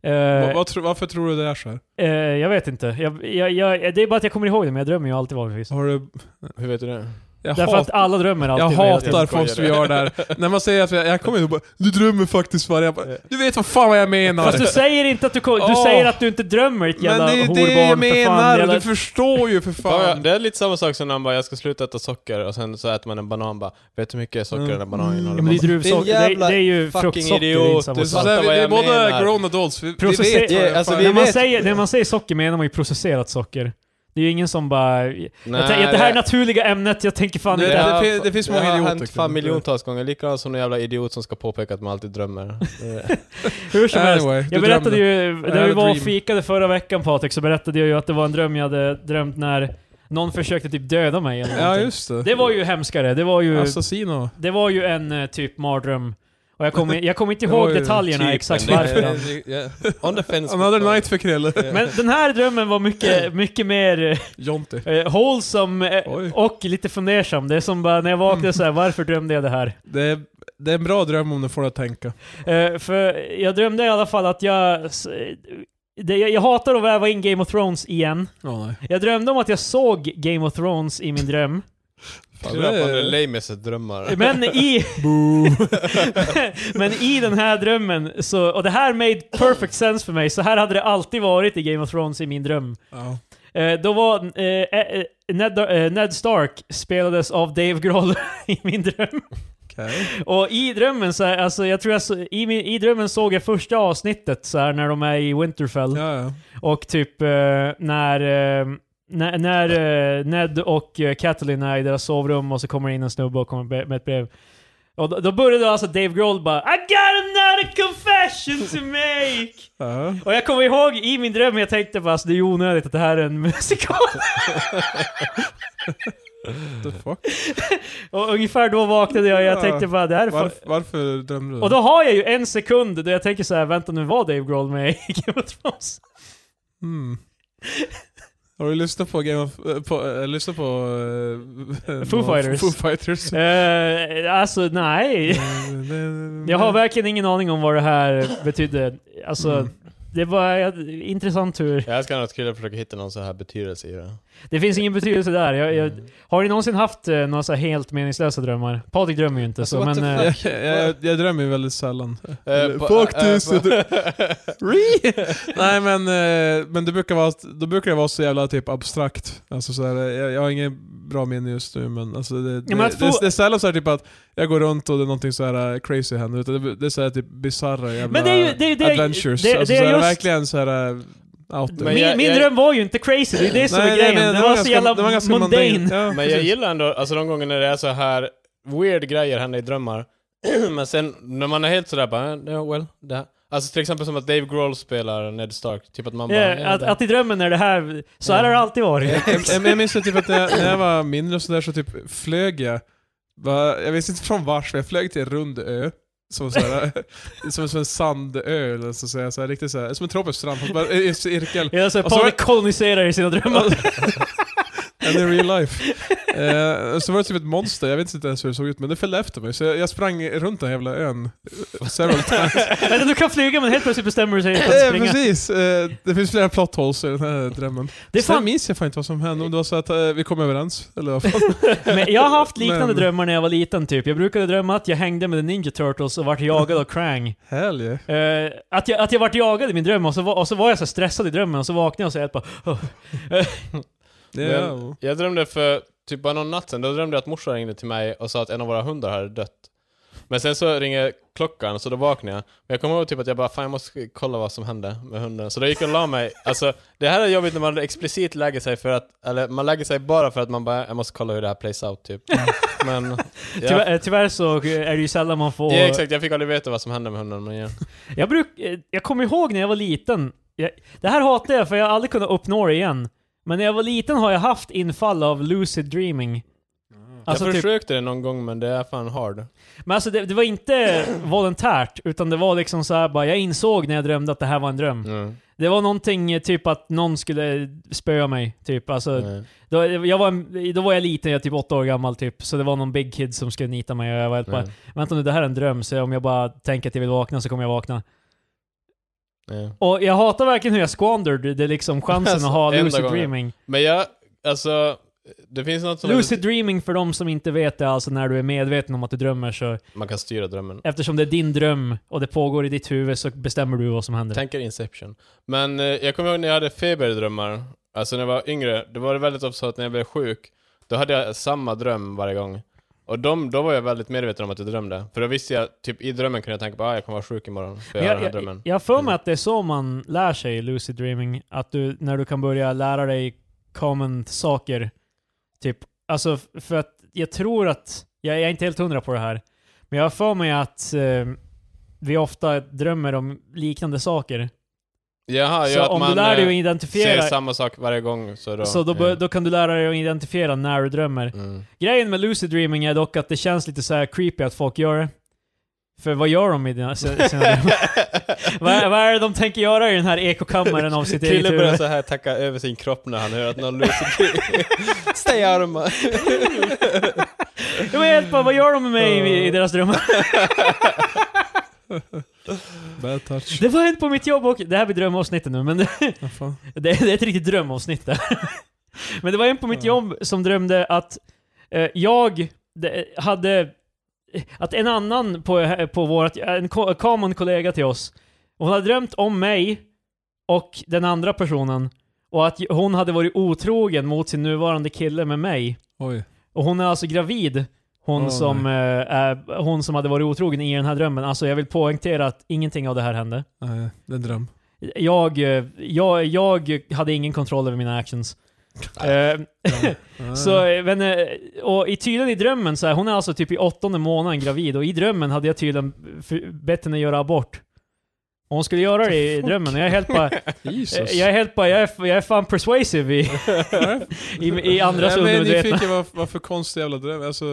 Speaker 1: Vad- vad tro- varför tror du det är så här?
Speaker 2: eh, jag vet inte. Jag, jag, jag, det är bara att jag kommer ihåg det, men jag drömmer ju alltid vanligtvis.
Speaker 1: Har du...
Speaker 3: Hur vet du det?
Speaker 1: Jag,
Speaker 2: Därför
Speaker 1: hat,
Speaker 2: att alla drömmer alltid.
Speaker 1: jag
Speaker 2: vad jag
Speaker 1: hatar
Speaker 3: skojar.
Speaker 1: folk som gör det här. När man säger att jag, jag kommer ihåg bara, du drömmer faktiskt varje... Jag bara, Du vet vad fan vad jag menar!
Speaker 2: Fast du säger inte att du kom, Du
Speaker 1: Åh.
Speaker 2: säger att du inte drömmer ett
Speaker 1: Men
Speaker 2: jävla
Speaker 1: det är ju
Speaker 2: horbarn
Speaker 1: det jag
Speaker 2: för fan.
Speaker 1: menar!
Speaker 2: Jävla...
Speaker 1: Du förstår ju för fan!
Speaker 3: Det är lite samma sak som när man bara, jag ska sluta äta socker och sen så äter man en banan bara, vet du hur mycket socker
Speaker 1: Mm.
Speaker 3: den där bananen innehåller?
Speaker 2: Men det är druvsocker.
Speaker 3: Din
Speaker 2: Det,
Speaker 3: jävla
Speaker 2: det är ju
Speaker 3: fucking
Speaker 2: fruktsocker.
Speaker 3: idiot.
Speaker 2: det är
Speaker 1: Det är
Speaker 2: inte samma
Speaker 3: Du
Speaker 1: så
Speaker 2: sak.
Speaker 1: här,
Speaker 3: fattar
Speaker 1: vi,
Speaker 3: vad
Speaker 1: vi är
Speaker 3: jag
Speaker 1: båda
Speaker 3: menar.
Speaker 1: grown adults, vi, vi
Speaker 2: Processer-
Speaker 1: vet vad
Speaker 3: Ja, alltså,
Speaker 1: fan-
Speaker 3: vi
Speaker 2: När man,
Speaker 3: vet-
Speaker 2: säger, när man säger socker menar man ju processerat socker. Det är ju ingen som bara... Nej, jag
Speaker 3: Nej,
Speaker 2: tänker, det här är naturliga ämnet, jag tänker fan
Speaker 1: Det-
Speaker 2: inte...
Speaker 1: det-
Speaker 3: har-
Speaker 1: fin- det finns många
Speaker 3: Det
Speaker 1: idioter,
Speaker 3: har hänt
Speaker 1: kan
Speaker 3: fan
Speaker 1: du-
Speaker 3: miljontals gånger, likadant som en jävla idiot som ska påpeka att man alltid drömmer.
Speaker 2: Hur som helst.
Speaker 1: Anyway,
Speaker 2: Jag
Speaker 1: du
Speaker 2: berättade
Speaker 1: drömde.
Speaker 2: ju, när
Speaker 1: had
Speaker 2: vi
Speaker 1: a
Speaker 2: var och
Speaker 1: dream.
Speaker 2: fikade förra veckan Patrik, så berättade jag ju att det var en dröm jag hade drömt när någon försökte typ döda mig eller
Speaker 1: Ja,
Speaker 2: någonting.
Speaker 1: just det. Alltså,
Speaker 2: Det var ju hemskare, det var ju...
Speaker 1: Assassino.
Speaker 2: Det var ju en eh, typ mardröm. Och jag kommer jag kommer inte
Speaker 1: Det var
Speaker 2: ihåg
Speaker 1: ju
Speaker 2: detaljerna
Speaker 3: typ
Speaker 2: exakt
Speaker 3: en-
Speaker 2: varför. den-
Speaker 3: On the fence.
Speaker 1: Another night för Krille.
Speaker 2: Men den här drömmen var mycket, mycket mer
Speaker 1: Jonte.
Speaker 2: eh, wholesome eh,
Speaker 1: Oj. Mm.
Speaker 2: och lite fundersam. Det är som bara när jag vaknade så här, varför drömde jag det här?
Speaker 1: Det är, det är en bra dröm om du får det att tänka.
Speaker 2: Eh, för jag drömde i alla fall att jag... s- eh, Det, jag, jag hatar att väva in Game of Thrones igen.
Speaker 1: Ja, nej.
Speaker 2: Jag drömde om att jag såg Game of Thrones i min dröm.
Speaker 1: Fan,
Speaker 3: Tror jag
Speaker 1: det
Speaker 3: på
Speaker 1: är-
Speaker 3: nu, lameset drömmar.
Speaker 2: Men i... men i den här drömmen, så, och det här made perfect sense för mig, så här hade det alltid varit i Game of Thrones i min dröm.
Speaker 1: Ja.
Speaker 2: Eh, då var eh, eh, Ned, eh, Ned Stark spelades av Dave Grohl i min dröm.
Speaker 1: Okej.
Speaker 2: Och i drömmen så här, alltså jag tror jag så, i, min, i drömmen såg jag första avsnittet så här när de är i Winterfell.
Speaker 1: Ja, ja.
Speaker 2: Och typ eh, när, eh, när, när eh, Ned och eh, Catelyn är i deras sovrum och så kommer det in en snubbe och kommer be- med ett brev. Och då, då började alltså Dave Grohl bara I got another confession to make!
Speaker 1: ja.
Speaker 2: Och jag kommer ihåg i min dröm, jag tänkte bara alltså, det är onödigt att det här är en musikal.
Speaker 1: What the fuck?
Speaker 2: Och ungefär då vaknade jag och jag
Speaker 1: Ja.
Speaker 2: tänkte bara det här är fan...
Speaker 1: Varför, varför drömde du det?
Speaker 2: Och då har jag ju en sekund där jag tänker så här, vänta nu var Dave Grohl med i Game of Thrones?
Speaker 1: Mm. Har du lyssnat på Game of... eh, På, äh, lyssnat på... eh,
Speaker 2: Foo
Speaker 1: någon-
Speaker 2: Fighters.
Speaker 1: Foo Fighters. Eh,
Speaker 2: Eh, alltså nej. Jag har verkligen ingen aning om vad det här betydde. Alltså,
Speaker 1: Mm.
Speaker 2: det var eh, intressant hur...
Speaker 3: Jag älskar när Krille försöker hitta någon så här betydelse i det.
Speaker 2: Det finns ingen betydelse där. Jag, jag, har ni någonsin haft eh, några så här helt meningslösa drömmar? Patrik drömmer ju inte så,
Speaker 3: Alltså, What
Speaker 2: men...
Speaker 3: the
Speaker 2: eh,
Speaker 1: Jag, jag, jag drömmer ju väldigt sällan.
Speaker 3: Eh, på-
Speaker 1: Faktiskt,
Speaker 3: eh,
Speaker 1: jag
Speaker 3: på-
Speaker 1: Re? Nej men, eh, men det brukar vara, då brukar det vara så jävla typ abstrakt. Alltså så här, eh, jag, jag har inget bra minne just nu men alltså det, det,
Speaker 2: men att få-
Speaker 1: det, det är sällan så här typ att jag går runt och det är någonting så här eh, crazy händer. Utan det, det är så här typ bisarra jävla
Speaker 2: Men det är ju- det är- det är-
Speaker 1: adventures.
Speaker 2: det-
Speaker 1: alltså
Speaker 2: det är
Speaker 1: så här,
Speaker 2: just-
Speaker 1: verkligen så här eh, out there.
Speaker 3: Men
Speaker 2: min
Speaker 3: jag-
Speaker 2: min
Speaker 3: jag-
Speaker 2: dröm var ju inte crazy, det är det som är grejen.
Speaker 1: nej,
Speaker 2: den var, så jävla
Speaker 1: den var ganska
Speaker 2: mundane.
Speaker 1: Ja,
Speaker 3: Men jag
Speaker 1: precis.
Speaker 3: gillar ändå, alltså de gånger när det är så här weird grejer händer i drömmar. Men sen när man är helt sådär bara, eh, yeah, well, det här. Alltså till exempel som att Dave Grohl spelar Ned Stark, typ att man bara...
Speaker 2: Ja,
Speaker 3: "Ja,
Speaker 2: att,
Speaker 3: det-
Speaker 2: att i drömmen är det här, så här har det alltid varit.
Speaker 1: Jag- jag- Jag minns ju typ att när jag, när jag var mindre och sådär så typ flög jag. Va- Jag visste inte från vars, men jag flög till en rund ö. Som, såhär, som, som en sandö, eller så att säga. Såhär, riktigt såhär, som en tropisk strand, fast bara i cirkel.
Speaker 2: Jag är så här,
Speaker 1: Och så var
Speaker 2: Patrik koloniserar i sina drömmar.
Speaker 1: And in real life. Eh, så var det typ ett monster, jag vet inte ens hur det såg ut, men det följde efter mig. Så jag, jag sprang runt den jävla ön. eh, Several times.
Speaker 2: Vänta, du kan flyga men helt plötsligt bestämmer du dig för att
Speaker 1: Eh,
Speaker 2: springa.
Speaker 1: precis! Eh, det finns flera plot holes i den här drömmen.
Speaker 2: Det är
Speaker 1: Sen
Speaker 2: fan,
Speaker 1: minns jag fan inte vad som hände, om det var så att eh, vi kom överens, eller vad fan.
Speaker 2: men jag har haft liknande
Speaker 1: Men-
Speaker 2: drömmar när jag var liten typ. Jag brukade drömma att jag hängde med The Ninja Turtles och vart jagad av Krang.
Speaker 1: Hell yeah.
Speaker 2: Eh, att, jag, att jag vart jagad i min dröm och så, var- och så var jag så här stressad i drömmen och så vaknade jag och så är jag bara
Speaker 1: Det
Speaker 3: Men-
Speaker 1: är jag.
Speaker 3: Jag drömde för typ bara någon natt sen, då drömde jag att morsan ringde till mig och sa att en av våra hundar hade dött. Men sen så ringer klockan, så då vaknade jag. Men jag kommer ihåg typ att jag bara, fan jag måste kolla vad som hände med hunden. Så då gick jag och la mig. Alltså, det här är jobbigt när man explicit lägger sig för att, eller man lägger sig bara för att man bara, jag måste kolla hur det här plays out typ. Men, ja.
Speaker 2: Mm. tyvärr, eh, tyvärr så är det ju sällan man får...
Speaker 3: ja exakt, jag fick aldrig veta vad som hände med hunden, men ja.
Speaker 2: Jag, bruk, eh, jag kommer ihåg när jag var liten, jag, det här hatar jag för jag har aldrig kunnat uppnå det igen. Men när jag var liten har jag haft infall av lucid dreaming. Alltså
Speaker 3: Mm. jag
Speaker 2: typ,
Speaker 3: försökte det någon gång men det är fan hard.
Speaker 2: men alltså det, det var inte volontärt, utan det var liksom så här bara, jag insåg när jag drömde att det här var en dröm.
Speaker 3: Mm.
Speaker 2: Det var någonting eh, typ att någon skulle spöa mig, typ. Alltså,
Speaker 3: Nej.
Speaker 2: Då, jag var, en- då var jag liten, jag var typ åtta år gammal typ, så det var någon big kid som skulle nita mig och jag var helt bara
Speaker 3: Nej.
Speaker 2: Vänta nu, det här är en dröm, så om jag bara tänker att jag vill vakna så kommer jag vakna.
Speaker 3: Nej.
Speaker 2: Och jag hatar verkligen hur jag squandered det är liksom chansen att ha
Speaker 3: Alltså, Enda
Speaker 2: lucid
Speaker 3: gången.
Speaker 2: dreaming.
Speaker 3: Men jag, alltså, det finns något som...
Speaker 2: Lucid dreaming för de som inte vet det, alltså när du är medveten om att du drömmer så,
Speaker 3: Man kan styra drömmen.
Speaker 2: eftersom det är din dröm och det pågår i ditt huvud så bestämmer du vad som händer.
Speaker 3: Tänker Inception. Men eh, jag kommer ihåg när jag hade feberdrömmar, alltså när jag var yngre, då var det väldigt ofta så att när jag blev sjuk, då hade jag samma dröm varje gång. Och de, då var jag väldigt medveten om att jag drömde. För då visste jag, typ i drömmen kunde jag tänka på ah, jag kommer vara sjuk imorgon, för jag Mm.
Speaker 2: Men
Speaker 3: har den här
Speaker 2: jag, jag,
Speaker 3: drömmen.
Speaker 2: jag har för mig att det är så man lär sig lucid dreaming, att du, när du kan börja lära dig common saker. Typ, alltså f- för att jag tror att, jag, jag är inte helt hundra på det här, men jag har för mig att eh, vi ofta drömmer om liknande saker.
Speaker 3: Jaha,
Speaker 2: så
Speaker 3: ja, att
Speaker 2: om du
Speaker 3: man
Speaker 2: lär dig att
Speaker 3: eh, ser
Speaker 2: identifiera,
Speaker 3: samma sak varje gång, så då...
Speaker 2: så då, bör, då kan du lära dig att identifiera när du drömmer.
Speaker 3: Mm.
Speaker 2: Grejen med lucid dreaming är dock att det känns lite så här creepy att folk gör det. För vad gör de i dina, sina sina drömmar? Vad är, vad är det de tänker göra i den här ekokammaren av sitt eget
Speaker 3: Krille börjar
Speaker 2: huvud?
Speaker 3: så här tacka över sin kropp när han hör att någon lyser Stay out of my...
Speaker 2: Jag vet bara, vad gör de med mig i, i deras drömmar?
Speaker 1: Bad touch.
Speaker 2: Det var en på mitt jobb och... Det här blir drömavsnittet nu, men det,
Speaker 1: Ja, fan.
Speaker 2: det är ett riktigt drömavsnitt där. Men det var en på mitt
Speaker 1: Ja.
Speaker 2: jobb som drömde att eh, jag det, hade... Att en annan på, på vårt... En ko- common kollega till oss, hon hade drömt om mig och den andra personen. Och att hon hade varit otrogen mot sin nuvarande kille med mig.
Speaker 1: Oj.
Speaker 2: Och hon är alltså gravid, hon,
Speaker 1: Åh,
Speaker 2: som, eh, är, hon som hade varit otrogen i den här drömmen. Alltså jag vill poängtera att ingenting av det här hände.
Speaker 1: Nej, det är en dröm.
Speaker 2: Jag, eh, jag, jag hade ingen kontroll över mina actions. Eh,
Speaker 1: Nej.
Speaker 2: så, eh, men, eh, och i tydligen i drömmen, så här, hon är alltså typ i åttonde månaden gravid och i drömmen hade jag tydligen f- bett henne göra abort. Och Hon skulle göra det i drömmen och jag är helt bara, eh,
Speaker 1: Jesus.
Speaker 2: jag är helt bara, jag är, f- jag är fan persuasive i, i, i andras
Speaker 1: Nej, men jag är
Speaker 2: undermedvetna.
Speaker 1: nyfiken vad, vad för konstig jävla dröm. Alltså,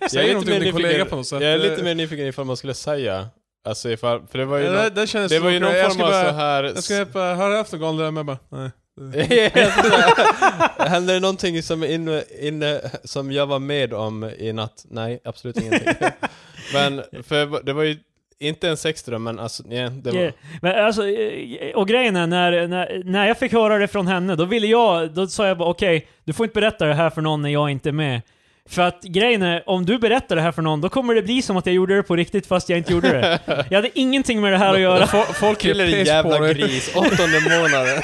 Speaker 3: Jag
Speaker 1: säg
Speaker 3: är,
Speaker 1: någonting om
Speaker 3: lite mer
Speaker 1: din kollega
Speaker 3: nyfiken,
Speaker 1: på något sätt. Eh,
Speaker 3: jag är lite mer nyfiken ifall man skulle säga, alltså ifall, för det var ju,
Speaker 1: det,
Speaker 3: någon,
Speaker 1: det, det känns
Speaker 3: det var ju
Speaker 1: som-
Speaker 3: någon
Speaker 1: jag
Speaker 3: form
Speaker 1: ska
Speaker 3: av
Speaker 1: bara,
Speaker 3: så här...
Speaker 1: Jag ska bara, har du haft någon galen dröm? Jag bara, nej.
Speaker 3: Händer det någonting som, in, in, som jag var med om i natt? Nej, absolut ingenting. Men för det var ju inte en sexdröm, men alltså, nej, det var...
Speaker 2: Ja, Men alltså, eh, och grejen är, när, när, när jag fick höra det från henne, då ville jag, då sa jag bara okej, du får inte berätta det här för någon när jag inte är med. För att grejen är, om du berättar det här för någon, då kommer det bli som att jag gjorde det på riktigt fast jag inte gjorde det. Jag hade ingenting med det här att göra.
Speaker 1: Fo- Folk är
Speaker 3: Killen din
Speaker 1: piss på
Speaker 3: jävla
Speaker 1: dig.
Speaker 3: gris, åttonde månaden.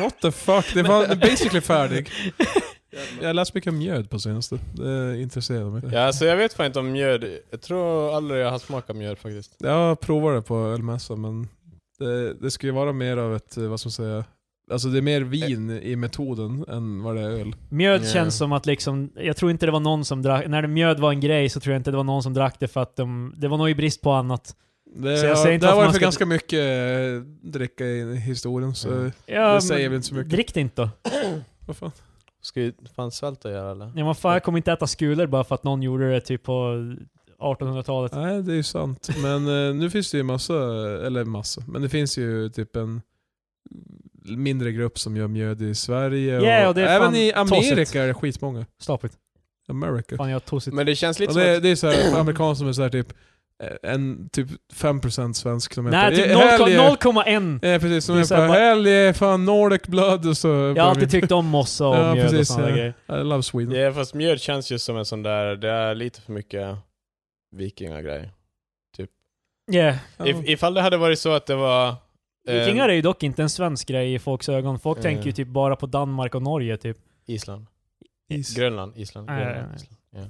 Speaker 1: What the fuck? Det var basically färdig. Jag har läst mycket om mjöd på senaste. Det intresserar mig.
Speaker 3: ja, alltså jag vet fan inte om mjöd. Jag tror aldrig jag har smakat mjöd faktiskt.
Speaker 1: Jag provade det på ölmässa men det, det skulle ju vara mer av ett, eh, vad ska man säga, alltså det är mer vin i metoden än vad det är öl.
Speaker 2: Mjöd
Speaker 3: Ja.
Speaker 2: känns som att liksom, jag tror inte det var någon som drack, när det mjöd var en grej så tror jag inte det var någon som drack det för att de, det var nog i brist på annat.
Speaker 1: Det,
Speaker 2: Så jag
Speaker 1: har-
Speaker 2: säger inte
Speaker 1: det har
Speaker 2: varför
Speaker 1: varit
Speaker 2: man
Speaker 1: för
Speaker 2: ska-
Speaker 1: ganska mycket eh, dricka i historien så
Speaker 3: Mm.
Speaker 2: Ja,
Speaker 1: Det säger
Speaker 2: men
Speaker 1: väl inte så mycket.
Speaker 2: Drick det inte då.
Speaker 1: vad fan.
Speaker 3: Ska ju fan svälta göra eller?
Speaker 2: Ja, men fan, jag kommer inte äta skulor bara för att någon gjorde det typ på 1800-talet.
Speaker 1: Nej det är ju sant. Men eh, nu finns det ju massa, eller massa, men det finns ju typ en mindre grupp som gör mjöd i Sverige
Speaker 2: Ja, och
Speaker 1: och
Speaker 2: det är
Speaker 1: även
Speaker 2: fan
Speaker 1: i Amerika
Speaker 2: tossigt.
Speaker 1: är det skitmånga.
Speaker 2: Stapigt.
Speaker 1: America.
Speaker 2: Fan jag har tosit.
Speaker 3: Men det känns lite
Speaker 1: Och
Speaker 3: som
Speaker 1: det,
Speaker 3: att...
Speaker 1: det är så här, amerikaner som är så här typ eh, en typ 5% svensk som
Speaker 2: Nej,
Speaker 1: heter
Speaker 2: typ
Speaker 1: "Eh, helg är-
Speaker 2: 0,1.
Speaker 1: Ja precis, som
Speaker 2: Det är
Speaker 1: är
Speaker 2: så här
Speaker 1: på
Speaker 2: bara-
Speaker 1: helg är fan Nordic blood och så...
Speaker 2: Jag har alltid tyckt om mossa och
Speaker 1: Ja,
Speaker 2: mjöd
Speaker 1: precis,
Speaker 2: och sådana
Speaker 1: ja.
Speaker 2: grejer.
Speaker 1: I love Sweden.
Speaker 3: Ja, fast mjöd känns ju som en sån där, det är lite för mycket vikingagrej.
Speaker 2: Yeah.
Speaker 1: Ja.
Speaker 3: If, eh, ifall det hade varit så att det var... eh,
Speaker 2: Vikingar är ju dock inte en svensk grej i folks ögon. Folk
Speaker 3: Eh.
Speaker 2: tänker ju typ bara på Danmark och Norge typ.
Speaker 3: Island.
Speaker 1: Is.
Speaker 3: Grönland, Island,
Speaker 2: Nej,
Speaker 3: Grönland,
Speaker 2: nej, nej.
Speaker 3: Island. Ah, Ja.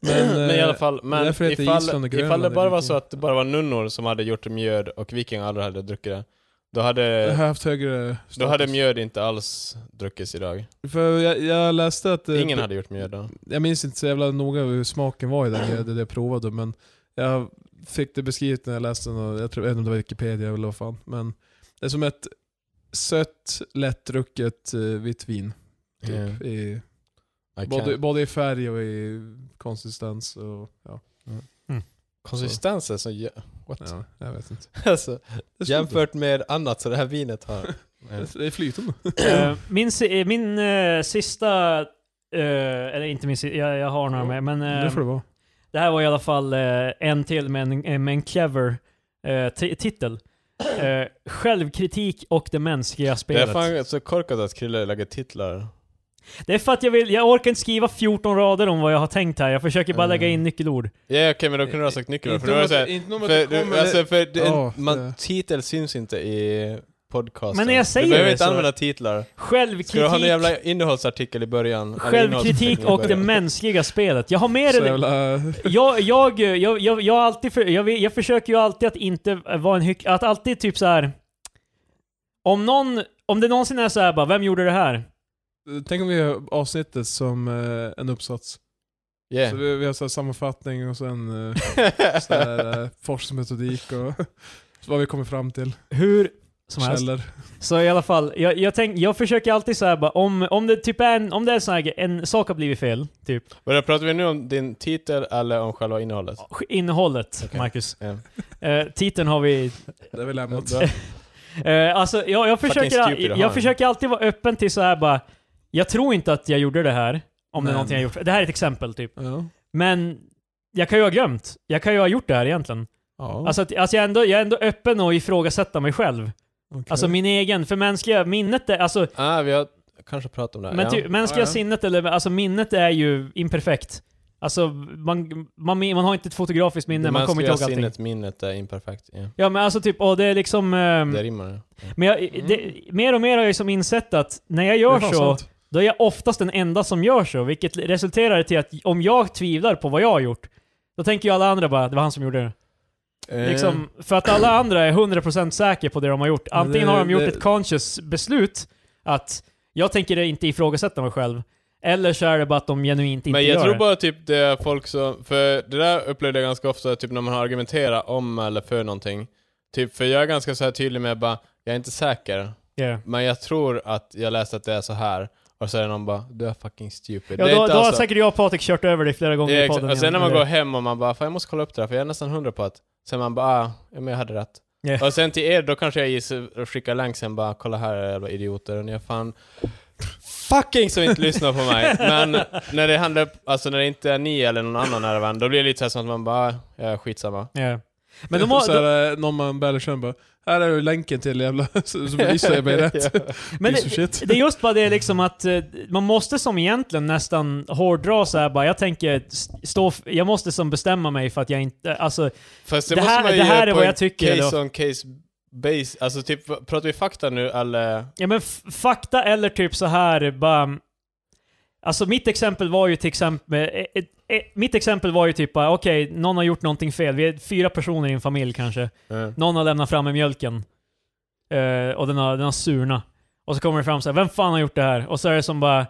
Speaker 1: Men,
Speaker 3: Men,
Speaker 1: eh,
Speaker 3: i alla fall, men
Speaker 1: därför heter
Speaker 3: ifall,
Speaker 1: Island och Grönland
Speaker 3: ifall det bara var
Speaker 1: vikingar.
Speaker 3: så att det bara var nunnor som hade gjort mjöd och vikingar aldrig hade druckit det, då hade,
Speaker 1: Jag har haft högre status.
Speaker 3: då hade mjöd inte alls druckits idag.
Speaker 1: För jag, jag läste att... eh,
Speaker 3: Ingen hade gjort mjöd då.
Speaker 1: Jag minns inte så jävla noga hur smaken var i den jag, det jag provade, men jag fick det beskrivet när jag läste den, och jag tror jag vet inte om det var Wikipedia eller vad fan. Men det är som ett sött, lättdrucket eh, vitt vin. Typ,
Speaker 3: Yeah.
Speaker 1: i,
Speaker 3: I
Speaker 1: både,
Speaker 3: can't.
Speaker 1: både i färg och i konsistens och ja.
Speaker 3: Konsistensen så... jä- What?
Speaker 1: ja jag vet inte.
Speaker 3: alltså,
Speaker 1: Det är
Speaker 3: jämfört med annat så det här vinet har...
Speaker 1: slut. Det är flytande.
Speaker 2: Eh, min si- eh, min eh, sista... eh, eller inte min sista, jag, jag har några med. Men eh,
Speaker 1: det får det vara.
Speaker 2: det här var i alla fall eh, en till med en, eh, med en clever eh, ti- titel. Eh, självkritik och det mänskliga
Speaker 3: det är
Speaker 2: spelet.
Speaker 3: fan så korkat att Krille lägger titlar.
Speaker 2: Det är för att jag vill, jag orkar inte skriva 14 rader om vad jag har tänkt här. Jag försöker bara
Speaker 3: Mm.
Speaker 2: lägga in nyckelord.
Speaker 3: Ja okej men då kunde du ha sagt nyckelord, för då var det såhär...
Speaker 1: inte om att
Speaker 3: För, du, alltså, för det,
Speaker 1: Ja,
Speaker 3: man,
Speaker 1: det-
Speaker 3: titel syns inte i podcasten.
Speaker 2: Men när jag säger
Speaker 3: du behöver
Speaker 2: det
Speaker 3: inte
Speaker 2: så-
Speaker 3: använda titlar. Ska du ha en
Speaker 2: Självkritik,
Speaker 3: jävla innehållsartikel i början? eller
Speaker 2: självkritik
Speaker 3: innehållsartikel i
Speaker 2: och det
Speaker 3: början?
Speaker 2: mänskliga spelet. Jag har med
Speaker 1: så
Speaker 2: det.
Speaker 1: jävla...
Speaker 2: Jag, jag, jag, jag, jag, har alltid för, jag, vill- jag försöker ju alltid att inte vara en hyck... Att alltid typ så här. Om någon... Om det någonsin är så här bara, vem gjorde det här?
Speaker 1: Tänk om vi gör avsnittet som eh, en uppsats. Så vi, vi har så här sammanfattning och sen eh, så
Speaker 3: Yeah.
Speaker 1: här, eh, forskningsmetodik och så vad vi kommer fram till.
Speaker 2: Hur som helst.
Speaker 1: Källor.
Speaker 2: Så i alla fall, jag, jag, tänk, jag försöker alltid så här bara, om, om det typ är en, om det är en sån här grej, en sak har blivit fel, typ.
Speaker 3: Vadå, pratar vi nu om din titel eller om själva innehållet?
Speaker 2: Innehållet,
Speaker 3: Okej.
Speaker 2: Marcus.
Speaker 3: Ja.
Speaker 2: Eh, titeln har vi
Speaker 1: Det har vi lämnat.
Speaker 3: Bra.
Speaker 2: Eh, alltså, jag, jag, försöker,
Speaker 3: stupid att
Speaker 2: jag,
Speaker 3: ha en.
Speaker 2: jag försöker alltid vara öppen till så här bara, jag tror inte att jag gjorde det här, om
Speaker 1: Men-
Speaker 2: det är någonting jag gjort. Det här är ett exempel typ.
Speaker 1: Ja.
Speaker 2: Men jag kan ju ha glömt. Jag kan ju ha gjort det här egentligen.
Speaker 1: ja
Speaker 2: Alltså, att, alltså jag, är ändå, jag är ändå öppen och ifrågasätta mig själv.
Speaker 1: Oh. okej.
Speaker 2: Alltså min egen, för mänskliga minnet är, alltså,
Speaker 3: Ah, vi har kanske pratat om det här.
Speaker 2: men typ ty,
Speaker 3: ja.
Speaker 2: mänskliga
Speaker 1: Ja, ja.
Speaker 2: sinnet eller, alltså minnet är ju imperfekt. Alltså man, man, min- man har inte ett fotografiskt minne, man kommer inte ihåg
Speaker 3: mänskliga
Speaker 2: allting.
Speaker 3: sinnet, minnet är imperfekt. Ja.
Speaker 2: Ja men alltså typ, och det är liksom... ehm,
Speaker 3: Det rimmar ju.
Speaker 2: men jag, det, mer och mer har jag ju som insett att när jag gör
Speaker 1: Det är fan
Speaker 2: så,
Speaker 1: sant.
Speaker 2: Då är jag oftast den enda som gör så, vilket resulterar i till att om jag tvivlar på vad jag har gjort, då tänker ju alla andra bara det var han som gjorde det.
Speaker 3: Eh,
Speaker 2: Liksom, för att alla andra är 100% säkra på det de har gjort.
Speaker 1: Men
Speaker 2: Antingen
Speaker 1: det-
Speaker 2: har de gjort
Speaker 1: det-
Speaker 2: ett conscious beslut att jag tänker inte ifrågasätta mig själv, eller så är det bara att de genuint inte
Speaker 3: Men jag
Speaker 2: gör
Speaker 3: tror
Speaker 2: det.
Speaker 3: bara typ det är folk som, för det där upplevde jag ganska ofta typ när man har argumenterat om eller för någonting. Typ för jag är ganska så här tydlig med bara, jag är inte säker,
Speaker 2: Yeah.
Speaker 3: men jag tror att jag läste att det är så här. Och så är det någon bara, du är fucking stupid.
Speaker 2: Ja,
Speaker 3: det är
Speaker 2: då,
Speaker 3: inte
Speaker 2: då har
Speaker 3: alls så-
Speaker 2: säkert jag och Patrik kört över dig flera gånger
Speaker 3: Ja,
Speaker 2: i
Speaker 3: exakt.
Speaker 2: podden.
Speaker 3: Och sen när
Speaker 2: igen,
Speaker 3: man
Speaker 2: eller-
Speaker 3: går hem och man bara, fan jag måste kolla upp det här för jag är nästan hundra på att, sen man bara, ah, ja, men jag hade rätt.
Speaker 2: Ja.
Speaker 3: Och sen till er, då kanske jag gissar och skickar länk sen bara, kolla här era jävla idioter, och ni har fan fucking som inte lyssnar på mig. Men när det handlar, alltså när det inte är ni eller någon annan nära vän, då blir det lite så här som att man bara, ah, ja skitsamma.
Speaker 2: Ja. Men de har...
Speaker 1: så här, eh, någon man Berlersen bara Här är ju länken till jävla... Så så belyser jag mig rätt.
Speaker 2: Men
Speaker 1: Piece of
Speaker 2: det,
Speaker 1: shit.
Speaker 2: det är just bara det liksom att eh, man måste som egentligen nästan hårdra så här bara, jag tänker stå, f- jag måste som bestämma mig för att jag inte, alltså,
Speaker 3: Fast det,
Speaker 2: Det
Speaker 3: måste
Speaker 2: här-
Speaker 3: man ju
Speaker 2: det här
Speaker 3: göra
Speaker 2: är
Speaker 3: på
Speaker 2: vad
Speaker 3: en
Speaker 2: jag tycker
Speaker 3: Case
Speaker 2: då.
Speaker 3: on case base. Alltså typ, v- pratar vi fakta nu eller?
Speaker 2: ja men f- fakta eller typ så här bara, alltså mitt exempel var ju till exempel, eh, eh, eh, mitt exempel var ju typ bara, okej, någon har gjort någonting fel, vi är fyra personer i en familj kanske, någon har lämnat fram en mjölken eh, och den har, den har surna. Och så kommer det fram så här, vem fan har gjort det här? Och så är det som bara, eh,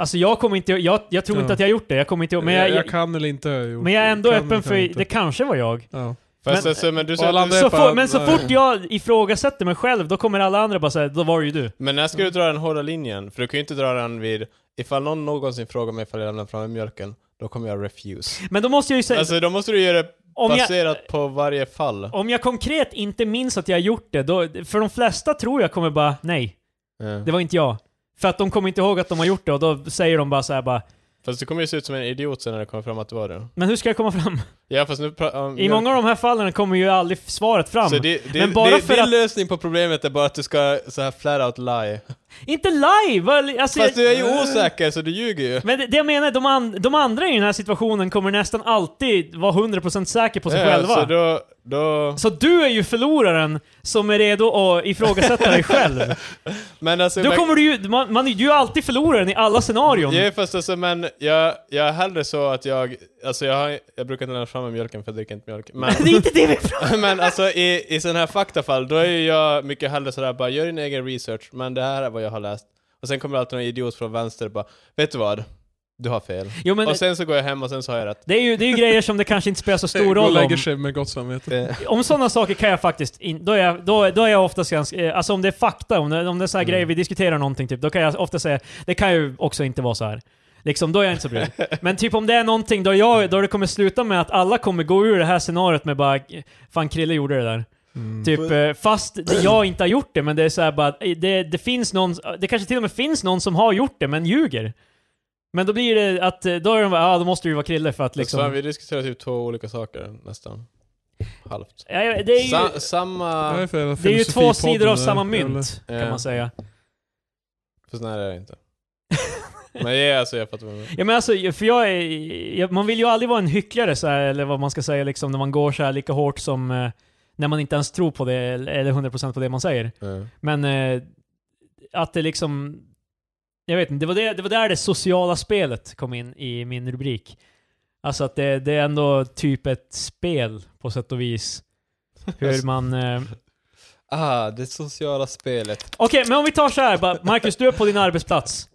Speaker 2: alltså jag kommer inte, jag, jag tror
Speaker 1: Ja.
Speaker 2: inte att jag har gjort det, jag kommer inte ihåg, men jag, jag,
Speaker 1: kan eller inte ha gjort
Speaker 2: Men jag är ändå
Speaker 1: Kan eller kan
Speaker 2: öppen för,
Speaker 1: inte.
Speaker 2: det kanske var jag.
Speaker 1: Ja.
Speaker 3: Fast
Speaker 2: Men-
Speaker 3: alltså, men du
Speaker 1: Och
Speaker 3: säger
Speaker 1: alla
Speaker 3: att du,
Speaker 1: andra-
Speaker 2: Så
Speaker 1: är fan-
Speaker 2: fo- men så
Speaker 1: nej.
Speaker 2: fort jag ifrågasätter mig själv, då kommer alla andra bara säga då var det ju du.
Speaker 3: Men när ska
Speaker 2: Mm.
Speaker 3: du dra den hårda linjen? För du kan ju inte dra den vid, ifall någon någonsin frågar mig ifall jag lämnar fram mjölken, då kommer jag refuse.
Speaker 2: Men då måste jag ju säga,
Speaker 3: Alltså då måste du göra det
Speaker 2: om, jag,
Speaker 3: baserat på varje fall.
Speaker 2: om jag konkret inte minns att jag har gjort det, då, för de flesta tror jag kommer bara nej,
Speaker 3: Ja.
Speaker 2: det var inte jag. För att de kommer inte ihåg att de har gjort det och då säger de bara så här bara,
Speaker 3: Fast du kommer ju se ut som en idiot sen när det kommer fram att det var du.
Speaker 2: men hur ska jag komma fram?
Speaker 3: Ja fast nu pratar om
Speaker 2: I många av de här fallen kommer ju aldrig svaret fram.
Speaker 3: Så det, det,
Speaker 2: Men bara
Speaker 3: det,
Speaker 2: för
Speaker 3: din
Speaker 2: att-
Speaker 3: lösning på problemet är bara att du ska så här flat out lie.
Speaker 2: Inte live! vad- Alltså, jag,
Speaker 3: Fast du är ju osäker så du ljuger ju.
Speaker 2: Men det, det jag menar, de, an, de andra i den här situationen kommer nästan alltid vara 100% säker på sig
Speaker 3: Ja,
Speaker 2: själva.
Speaker 3: Så då, då...
Speaker 2: Så du är ju förloraren som är redo att ifrågasätta dig själv.
Speaker 3: Men alltså...
Speaker 2: Då
Speaker 3: men-
Speaker 2: kommer du ju, man, man är ju alltid förloraren i alla scenarion.
Speaker 3: Ja fast alltså men jag, jag är hellre så att jag, alltså jag, har, jag brukar inte lämna fram mjölken för jag dricker inte mjölk. Men,
Speaker 2: Det är inte det vi pratar
Speaker 3: men alltså i, i sådana här faktafall, då är ju jag mycket hellre sådär bara gör din egen research, men det här är vad jag har läst. Och sen kommer alltid någon idiot från vänster och bara vet du vad? Du har fel.
Speaker 2: Jo men
Speaker 3: och sen så går jag hem och sen så har jag rätt.
Speaker 2: det är, ju, det är ju grejer som det kanske inte spelar så stor
Speaker 1: Gå och
Speaker 2: roll om.
Speaker 1: lägger sig med gott samvete.
Speaker 3: Alltså,
Speaker 2: Om sådana saker kan jag faktiskt in, då, är jag, då, då är jag oftast ganska... eh, Alltså om det är fakta, om det, om det är sådana
Speaker 3: Mm.
Speaker 2: grejer vi diskuterar någonting typ, då kan jag ofta säga det kan ju också inte vara så här. Liksom, då är jag inte så brydd. Men typ om det är någonting då, jag, då det kommer sluta med att alla kommer gå ur det här scenariot med bara Fan Krille gjorde det
Speaker 3: Mm.
Speaker 2: där.
Speaker 1: Mm.
Speaker 2: Typ, eh, fast jag inte har gjort det, men det är så här bara, att, eh, det, det finns någon, det kanske till och med finns någon som har gjort det, men ljuger. Men då blir det att, eh, då är de bara, ja ah, då måste det ju vara Krille för att
Speaker 3: Liksom. Så
Speaker 2: liksom...
Speaker 3: vi diskuterar typ två olika saker nästan. Halvt.
Speaker 2: Ja, ja, det är ju,
Speaker 3: Sa, samma...
Speaker 1: Vad för jävla
Speaker 2: det är ju två
Speaker 1: filosofipodden
Speaker 2: sidor av
Speaker 1: där?
Speaker 2: samma
Speaker 1: Jävla-
Speaker 2: mynt, kan
Speaker 3: Ja.
Speaker 2: man säga.
Speaker 3: Fast nej det är det inte. men ja, alltså jag fattar vad du menar.
Speaker 2: Ja, men alltså, för jag är, jag, man vill ju aldrig vara en hycklare så här, eller vad man ska säga, liksom, när man går så här lika hårt som eh, när man inte ens tror på det, eller eller 100% på det man säger.
Speaker 3: Ja.
Speaker 2: Men eh, att det liksom... Jag vet inte, det var, det, det var där det sociala spelet kom in i min rubrik. Alltså att det, det är ändå typ ett spel på sätt och vis. Hur man... Eh,
Speaker 3: Alltså, Ah, det sociala spelet.
Speaker 2: Okej, men om vi tar så här, bara, Marcus, du är på din arbetsplats.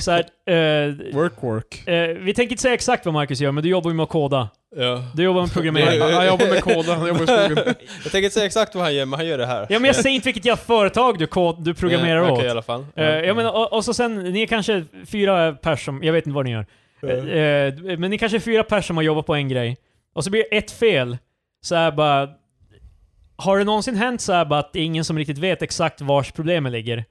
Speaker 2: Så här, eh,
Speaker 1: Work work.
Speaker 2: eh, vi tänker inte säga exakt vad Marcus gör, men du jobbar ju med att koda.
Speaker 3: Ja.
Speaker 2: Du jobbar med
Speaker 1: Han,
Speaker 2: programmering.
Speaker 1: han jobbar med koden, han jobbar i skogen.
Speaker 3: Jag tänker inte säga exakt vad han gör, men han gör det här.
Speaker 2: Ja, men jag säger inte vilket jävla företag du, kod, du programmerar
Speaker 3: Okej, Mm.
Speaker 2: åt.
Speaker 3: i alla fall.
Speaker 2: Eh, ja, men, och, och så sen, ni är kanske fyra pers som, jag vet inte vad ni gör. Eh, eh, men ni kanske är fyra pers som har jobbat på en grej. Och så blir det ett fel. Så här bara... Har det någonsin hänt så här bara att det är ingen som riktigt vet exakt vars problemen ligger?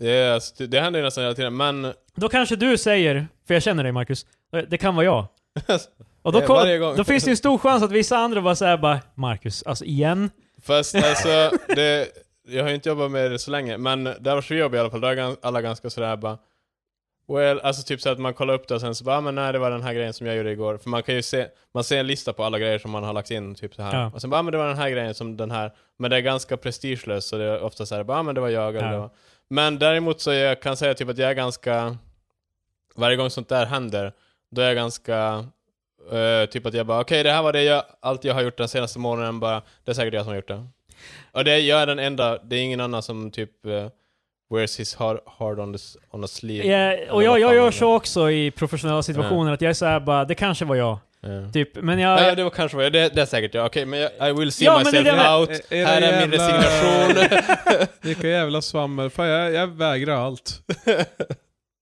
Speaker 3: Ja, alltså, det- det händer ju nästan hela tiden, men...
Speaker 2: Då kanske du säger, för jag känner dig Marcus, eh, det kan vara jag. Och då,
Speaker 3: Eh,
Speaker 2: kom-
Speaker 3: varje gång.
Speaker 2: då finns det ju en stor chans att vissa andra bara säger bara Marcus, alltså igen?
Speaker 3: Fast alltså, det, jag har ju inte jobbat med det så länge, men där var så jobb i alla fall, där är gan- alla ganska sådär bara... Well, alltså typ så att man kollar upp det och sen så bara, ah, men nej det var den här grejen som jag gjorde igår. För man kan ju se, man ser en lista på alla grejer som man har lagt in, typ så här.
Speaker 2: Ja.
Speaker 3: Och sen bara, ah, men det var den här grejen som den här. Men det är ganska prestigelöst så det är ofta så här, bara, ah, men det var jag eller
Speaker 2: Ja.
Speaker 3: det var. Men däremot så jag kan säga typ att jag är ganska, varje gång sånt där händer, då är jag ganska, eh, typ att jag bara, okej det här var det jag, allt jag har gjort den senaste månaden bara, det är säkert jag som har gjort det. Och det, jag är den enda, det är ingen annan som typ eh, wears his heart, heart on, the, s- on a sleeve.
Speaker 2: Eh, och jag, jag gör så också i professionella situationer, att jag är så här bara, det kanske var jag.
Speaker 3: Eh. Ja.
Speaker 2: Typ, men jag...
Speaker 3: Nej, det var kanske vad jag, det, det är säkert jag. Okej, men jag, I will see
Speaker 2: Ja, men det är
Speaker 3: myself
Speaker 2: det med-
Speaker 3: out.
Speaker 1: Eh, era
Speaker 3: Här är min
Speaker 1: jävla-
Speaker 3: resignation.
Speaker 1: Vilka jävla svammel. Fan jag, jag vägrar allt.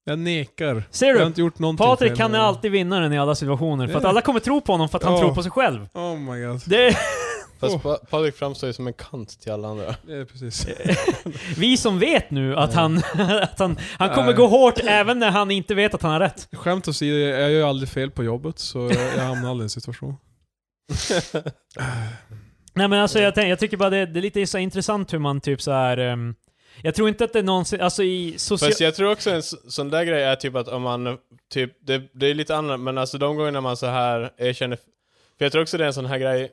Speaker 1: Jag nekar.
Speaker 2: Ser
Speaker 1: Jag
Speaker 2: du?
Speaker 1: har inte gjort någonting
Speaker 2: Patrik
Speaker 1: fel.
Speaker 2: kan alltid vinna den i alla situationer, för att
Speaker 1: Ja.
Speaker 2: alla kommer tro på honom för att han
Speaker 1: Ja.
Speaker 2: tror på sig själv.
Speaker 1: Oh my god.
Speaker 2: Det är
Speaker 3: Fast pa- Patrik framstår ju som en kant till alla andra.
Speaker 1: Det är precis.
Speaker 2: Eh. vi som vet nu att han, att han, han kommer
Speaker 1: Nej.
Speaker 2: gå hårt även när han inte vet att han har rätt.
Speaker 1: Skämt åsido, jag gör ju aldrig fel på jobbet så jag, jag hamnar aldrig i en situation.
Speaker 2: Nej men alltså jag, tänk, jag tycker bara det, det är lite så här intressant hur man typ så här. ehm, jag tror inte att det någonsin, alltså i social...
Speaker 3: Fast jag tror också en s- sån där grej är typ att om man, typ, det, det är lite annat, men alltså de gångerna man så här erkänner, för jag tror också det är en sån här grej,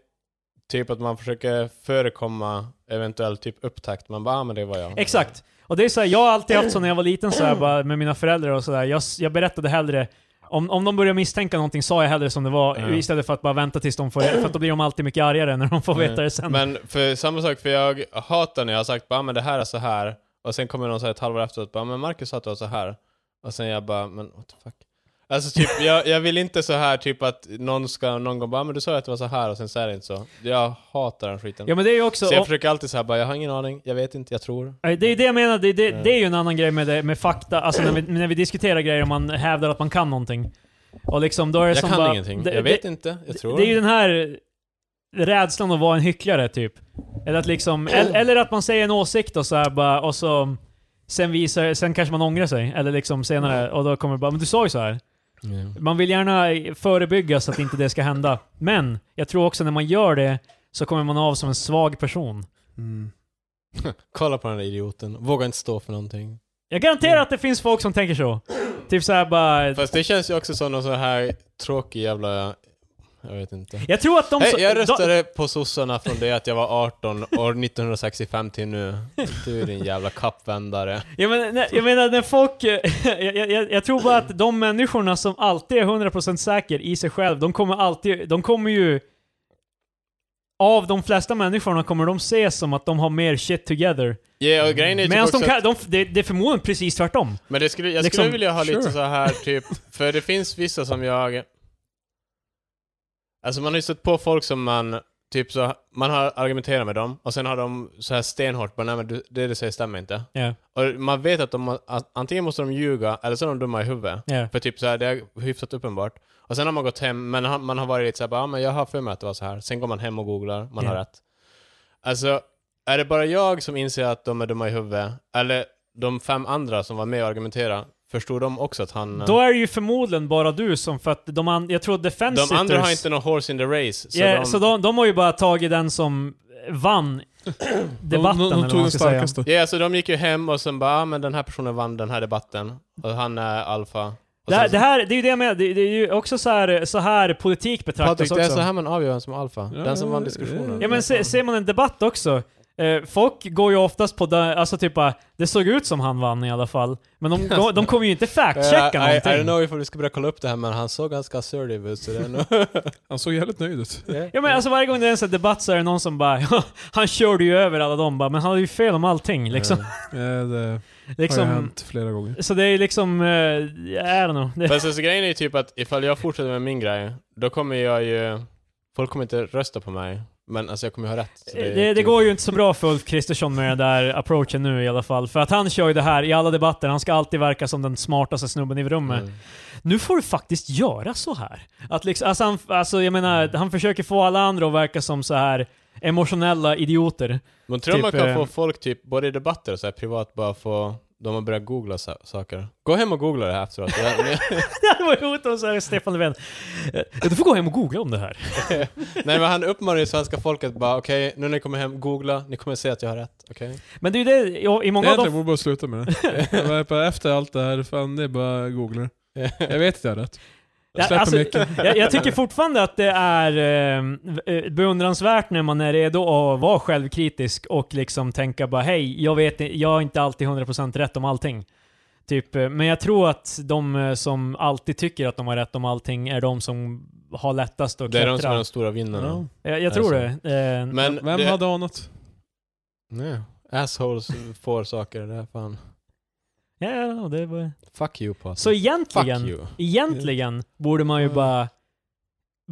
Speaker 3: typ att man försöker förekomma eventuell typ upptakt, man bara ah, men det var jag.
Speaker 2: Exakt. Och det är så här, jag har alltid haft så när jag var liten så här, bara med mina föräldrar och sådär. Jag, jag berättade hellre, om, om de började misstänka någonting sa jag hellre som det var
Speaker 3: Ja.
Speaker 2: istället för att bara vänta tills de får För att då blir de alltid mycket argare när de får veta det sen.
Speaker 3: Men för samma sak, för jag hatar när jag har sagt bara ah, men det här är så här och sen kommer någon säga ett halvår efteråt bara "Ah, men Marcus sa att det var så här och sen jag bara men what the fuck. Alltså typ, jag, jag vill inte så här typ att någon ska någon gång bara ah, men du sa ju att det var så här och sen så är det inte så. Jag hatar den skiten.
Speaker 2: ja men det är ju också...
Speaker 3: Så jag försöker alltid säga bara, jag har ingen aning, jag vet inte, jag tror.
Speaker 2: Nej, Det är ju det jag menar, det, det, det är ju en annan grej med, det, med fakta, alltså när vi, när vi diskuterar grejer och man hävdar att man kan någonting. Och liksom, då är det
Speaker 3: Jag
Speaker 2: som
Speaker 3: kan
Speaker 2: bara,
Speaker 3: ingenting,
Speaker 2: det-
Speaker 3: jag
Speaker 2: det-
Speaker 3: vet inte, jag tror.
Speaker 2: Det är ju den här rädslan att vara en hycklare typ. Eller att liksom, eller, eller att man säger en åsikt och så här bara, och så sen visar, sen kanske man ångrar sig. Eller liksom senare, och då kommer det bara 'Men du sa ju så här.
Speaker 3: Mm.
Speaker 2: Man vill gärna förebygga så att inte det ska hända. Men, jag tror också när man gör det så kommer man av som en svag person.
Speaker 1: Mm.
Speaker 3: Kolla på den där idioten, vågar inte stå för någonting.
Speaker 2: Jag garanterar att det finns folk som tänker så. Typ såhär bara...
Speaker 3: Fast det känns ju också som någon sån här tråkig jävla, jag vet inte.
Speaker 2: Jag tror att de...
Speaker 3: Nej,
Speaker 2: så-
Speaker 3: jag
Speaker 2: de-
Speaker 3: röstade på sossarna från det att jag var 18 år 1965 till nu. Du är din jävla kappvändare.
Speaker 2: Jag menar, nej, jag menar när folk... eh, jag, jag- jag, jag tror bara att de människorna som alltid är 100% säker i sig själv, de kommer alltid... De kommer ju... Av de flesta människorna kommer de se som att de har mer shit together.
Speaker 3: Ja, och grejen är typ
Speaker 2: Medan
Speaker 3: också
Speaker 2: de kan... De, det, det är förmodligen precis tvärtom.
Speaker 3: Men det skulle, jag skulle
Speaker 2: Liksom,
Speaker 3: vilja ha lite
Speaker 1: sure.
Speaker 3: så här typ, för det finns vissa som jag... Alltså man har ju stött på folk som man, typ så, man har argumenterat med dem och sen har de så här stenhårt bara nej men du, det du säger stämmer inte.
Speaker 2: Ja,
Speaker 3: Och man vet att de, att antingen måste de ljuga eller så är de dumma i huvudet.
Speaker 2: ja.
Speaker 3: För typ så här, det är hyfsat uppenbart. Och sen har man gått hem, men ha- man har varit lite såhär bara, ah, men jag har för mig att det var så här. Sen går man hem och googlar, man har
Speaker 2: Ja.
Speaker 3: rätt. Alltså, är det bara jag som inser att de är dumma i huvudet? Eller de fem andra som var med och argumenterade, förstod de också att han...
Speaker 2: Då är det ju förmodligen bara du som... För att de an, Jag tror defense
Speaker 3: de andra har
Speaker 2: sitters-
Speaker 3: inte någon horse in the race. Så
Speaker 2: Ja,
Speaker 3: de,
Speaker 2: så de, de har ju bara tagit den som vann debatten,
Speaker 1: de, de, de
Speaker 2: eller vad
Speaker 1: tog
Speaker 2: man
Speaker 1: den
Speaker 2: ska säga.
Speaker 1: starkaste.
Speaker 3: Ja, så de gick ju hem och sen bara, ah, men den här personen vann den här debatten. Och han är alfa. Och
Speaker 2: Det, här-
Speaker 3: sen-
Speaker 2: det här, det är ju det jag menar, det, det är ju också så här, så här politik betraktas
Speaker 3: Patrik,
Speaker 2: också.
Speaker 3: det är så här man avgör vem som är alfa.
Speaker 1: Ja,
Speaker 3: den som vann
Speaker 1: ja,
Speaker 3: diskussionen.
Speaker 2: Ja men se, ser man en debatt också, eh, folk går ju oftast på det, alltså typ bara, det såg ut som han vann i alla fall. Men de, de, de kommer ju inte fact-checka
Speaker 3: Eh, I, I
Speaker 2: någonting.
Speaker 3: don't know if du ska börja kolla upp det här men han såg ganska assertive ut så det är nog...
Speaker 1: Han såg jävligt nöjd ut.
Speaker 2: Ja men alltså varje gång det är en sån här debatt så är det någon som bara "Ja, han körde ju över alla dem bara, men han hade ju fel om allting liksom.
Speaker 1: Eh, Det har ju
Speaker 2: liksom
Speaker 1: hänt flera gånger.
Speaker 2: så det är ju liksom, eh, I don't know. Det,
Speaker 3: Fast alltså, grejen är ju typ att ifall jag fortsätter med min grej, då kommer jag ju... Folk kommer inte rösta på mig. Men alltså jag kommer ju ha rätt. så är
Speaker 2: Eh, det, det
Speaker 3: typ-
Speaker 2: går ju inte så bra för Ulf Kristersson med den där approachen nu i alla fall. För att han kör ju det här i alla debatter, han ska alltid verka som den smartaste snubben i rummet.
Speaker 3: Mm.
Speaker 2: nu får du faktiskt göra så här. Att liksom, alltså, han, alltså jag menar, han försöker få alla andra att verka som så här emotionella idioter.
Speaker 3: Men tror du man
Speaker 2: Typ,
Speaker 3: kan
Speaker 2: eh,
Speaker 3: få folk typ, både i debatter och så här privat, bara få de att börja googla sa- saker? Gå hem och googla det här efteråt. Jag,
Speaker 2: det var roligt om så här Stefan Löfven. eh, Du får gå hem och googla om det här.
Speaker 3: nej men han uppmanar ju svenska folket bara okej, nu när ni kommer hem, googla, ni kommer se att jag har rätt. Okej?
Speaker 2: Men det är ju det, ja, i
Speaker 1: Det
Speaker 2: många
Speaker 1: är
Speaker 2: av
Speaker 1: egentligen
Speaker 2: de...
Speaker 1: borde bara sluta med det. Jag var bara, Efter allt det här, fan det är bara att googla. Jag vet att jag har rätt. Jag släpper
Speaker 2: alltså,
Speaker 1: mycket.
Speaker 2: jag, jag tycker fortfarande att det är eh, eh, beundransvärt när man är redo att vara självkritisk och liksom tänka bara hej, jag vet i- jag har inte alltid 100% rätt om allting. Typ, eh, men jag tror att de eh, som alltid tycker att de har rätt om allting är de som har lättast att
Speaker 3: Det är de som
Speaker 2: klättra.
Speaker 3: är de stora vinnarna.
Speaker 1: Ja.
Speaker 2: jag, jag tror det. Eh,
Speaker 3: Men
Speaker 1: Vem
Speaker 3: det,
Speaker 1: hade anat?
Speaker 3: Nej. Assholes får saker, det är fan...
Speaker 2: ja, ja, ja, det är bara...
Speaker 3: Fuck you Patrik.
Speaker 2: Så
Speaker 3: Alltså. Fuck
Speaker 2: egentligen,
Speaker 3: you.
Speaker 2: egentligen borde man ju
Speaker 1: Mm.
Speaker 2: bara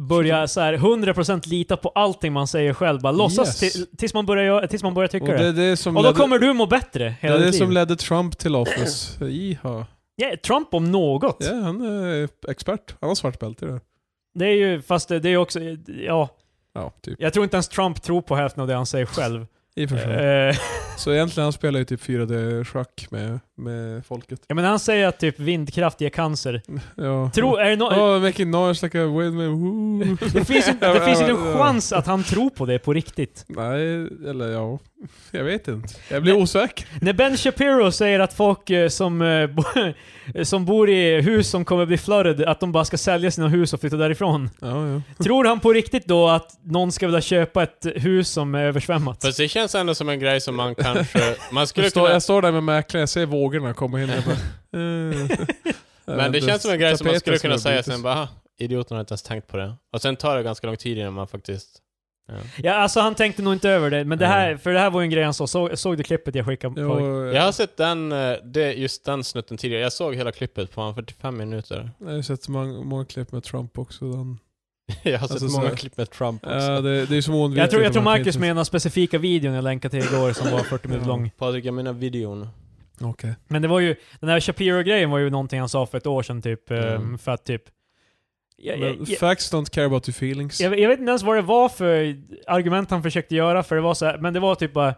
Speaker 2: börja så här 100% lita på allting man säger själv. Bara låtsas
Speaker 1: Yes.
Speaker 2: till, tills, man börjar, göra- tills man börjar tycka
Speaker 1: Och
Speaker 2: det.
Speaker 1: det är det som
Speaker 2: Och då
Speaker 1: ledde,
Speaker 2: kommer du må bättre
Speaker 1: det, är
Speaker 2: hela
Speaker 1: det
Speaker 2: ditt
Speaker 1: som
Speaker 2: liv.
Speaker 1: ledde Trump till office. Jaha.
Speaker 2: Ja, Trump om något.
Speaker 1: Ja, han är expert. Han har svart bälte i det här.
Speaker 2: Det är ju, fast det det är ju också, ja,
Speaker 1: Ja, typ.
Speaker 2: jag tror inte ens Trump tror på hälften av det han säger själv.
Speaker 1: I och för sig.
Speaker 2: Eh,
Speaker 1: Så egentligen han spelar ju typ 4D-schack med, med folket.
Speaker 2: ja, men han säger att typ vindkraft ger cancer.
Speaker 1: Ja.
Speaker 2: Tro, är det, no-
Speaker 1: Oh, making noise like a windmill. woo.
Speaker 2: det finns, ju- det
Speaker 1: Ja,
Speaker 2: finns ju
Speaker 1: ja,
Speaker 2: en
Speaker 1: ja.
Speaker 2: chans att han tror på det på riktigt.
Speaker 1: Nej, eller ja. Jag vet inte. Jag blir
Speaker 2: Nej.
Speaker 1: osäker.
Speaker 2: När Ben Shapiro säger att folk eh, som, eh, bo, som bor i hus som kommer bli flooded, att de bara ska sälja sina hus och flytta därifrån.
Speaker 1: Ja, ja.
Speaker 2: Tror han på riktigt då att någon ska vilja köpa ett hus som är översvämmat?
Speaker 3: Fast det känns ändå som en grej som man kanske... Man skulle
Speaker 1: Jag, står,
Speaker 3: kunna,
Speaker 1: jag står där med mäklaren, jag ser vågorna komma in. Jag bara, eh. Jag
Speaker 3: men det
Speaker 1: vet
Speaker 3: känns som en grej som man
Speaker 1: Tapeten
Speaker 3: skulle kunna
Speaker 1: har
Speaker 3: säga
Speaker 1: brutit.
Speaker 3: sen bara "Ah, idioterna har inte ens tänkt på det. Och sen tar det ganska lång tid innan man faktiskt...
Speaker 2: Ja, alltså han tänkte nog inte över det, men det här, för det här var ju en grej han sa. Så, såg du klippet jag skickade?
Speaker 1: Jo,
Speaker 2: på?
Speaker 3: Jag har sett den, eh, det, just den snutten tidigare. Jag såg hela klippet på han 45 minuter.
Speaker 1: jag har sett många, många klipp med Trump också. Den.
Speaker 3: Jag har sett
Speaker 1: Alltså, så-
Speaker 3: många klipp med Trump också.
Speaker 1: Ja, det, det är som oundvikligt.
Speaker 2: Jag tror, jag
Speaker 1: att
Speaker 2: tror
Speaker 1: man kan
Speaker 2: Marcus
Speaker 1: inte-
Speaker 2: menar specifika videon jag länkade till igår som var 40 minuter
Speaker 1: Ja.
Speaker 2: lång.
Speaker 3: Patrik, jag menar videon.
Speaker 1: Okej.
Speaker 2: Men det var ju, den här Shapiro-grejen var ju någonting han sa för ett år sedan typ, ehm,
Speaker 3: Mm.
Speaker 2: för att typ... Jag,
Speaker 1: Men
Speaker 2: jag, jag,
Speaker 1: Facts don't care about your feelings.
Speaker 2: jag, jag vet inte ens vad det var för argument han försökte göra, för det var så här, men det var typ bara...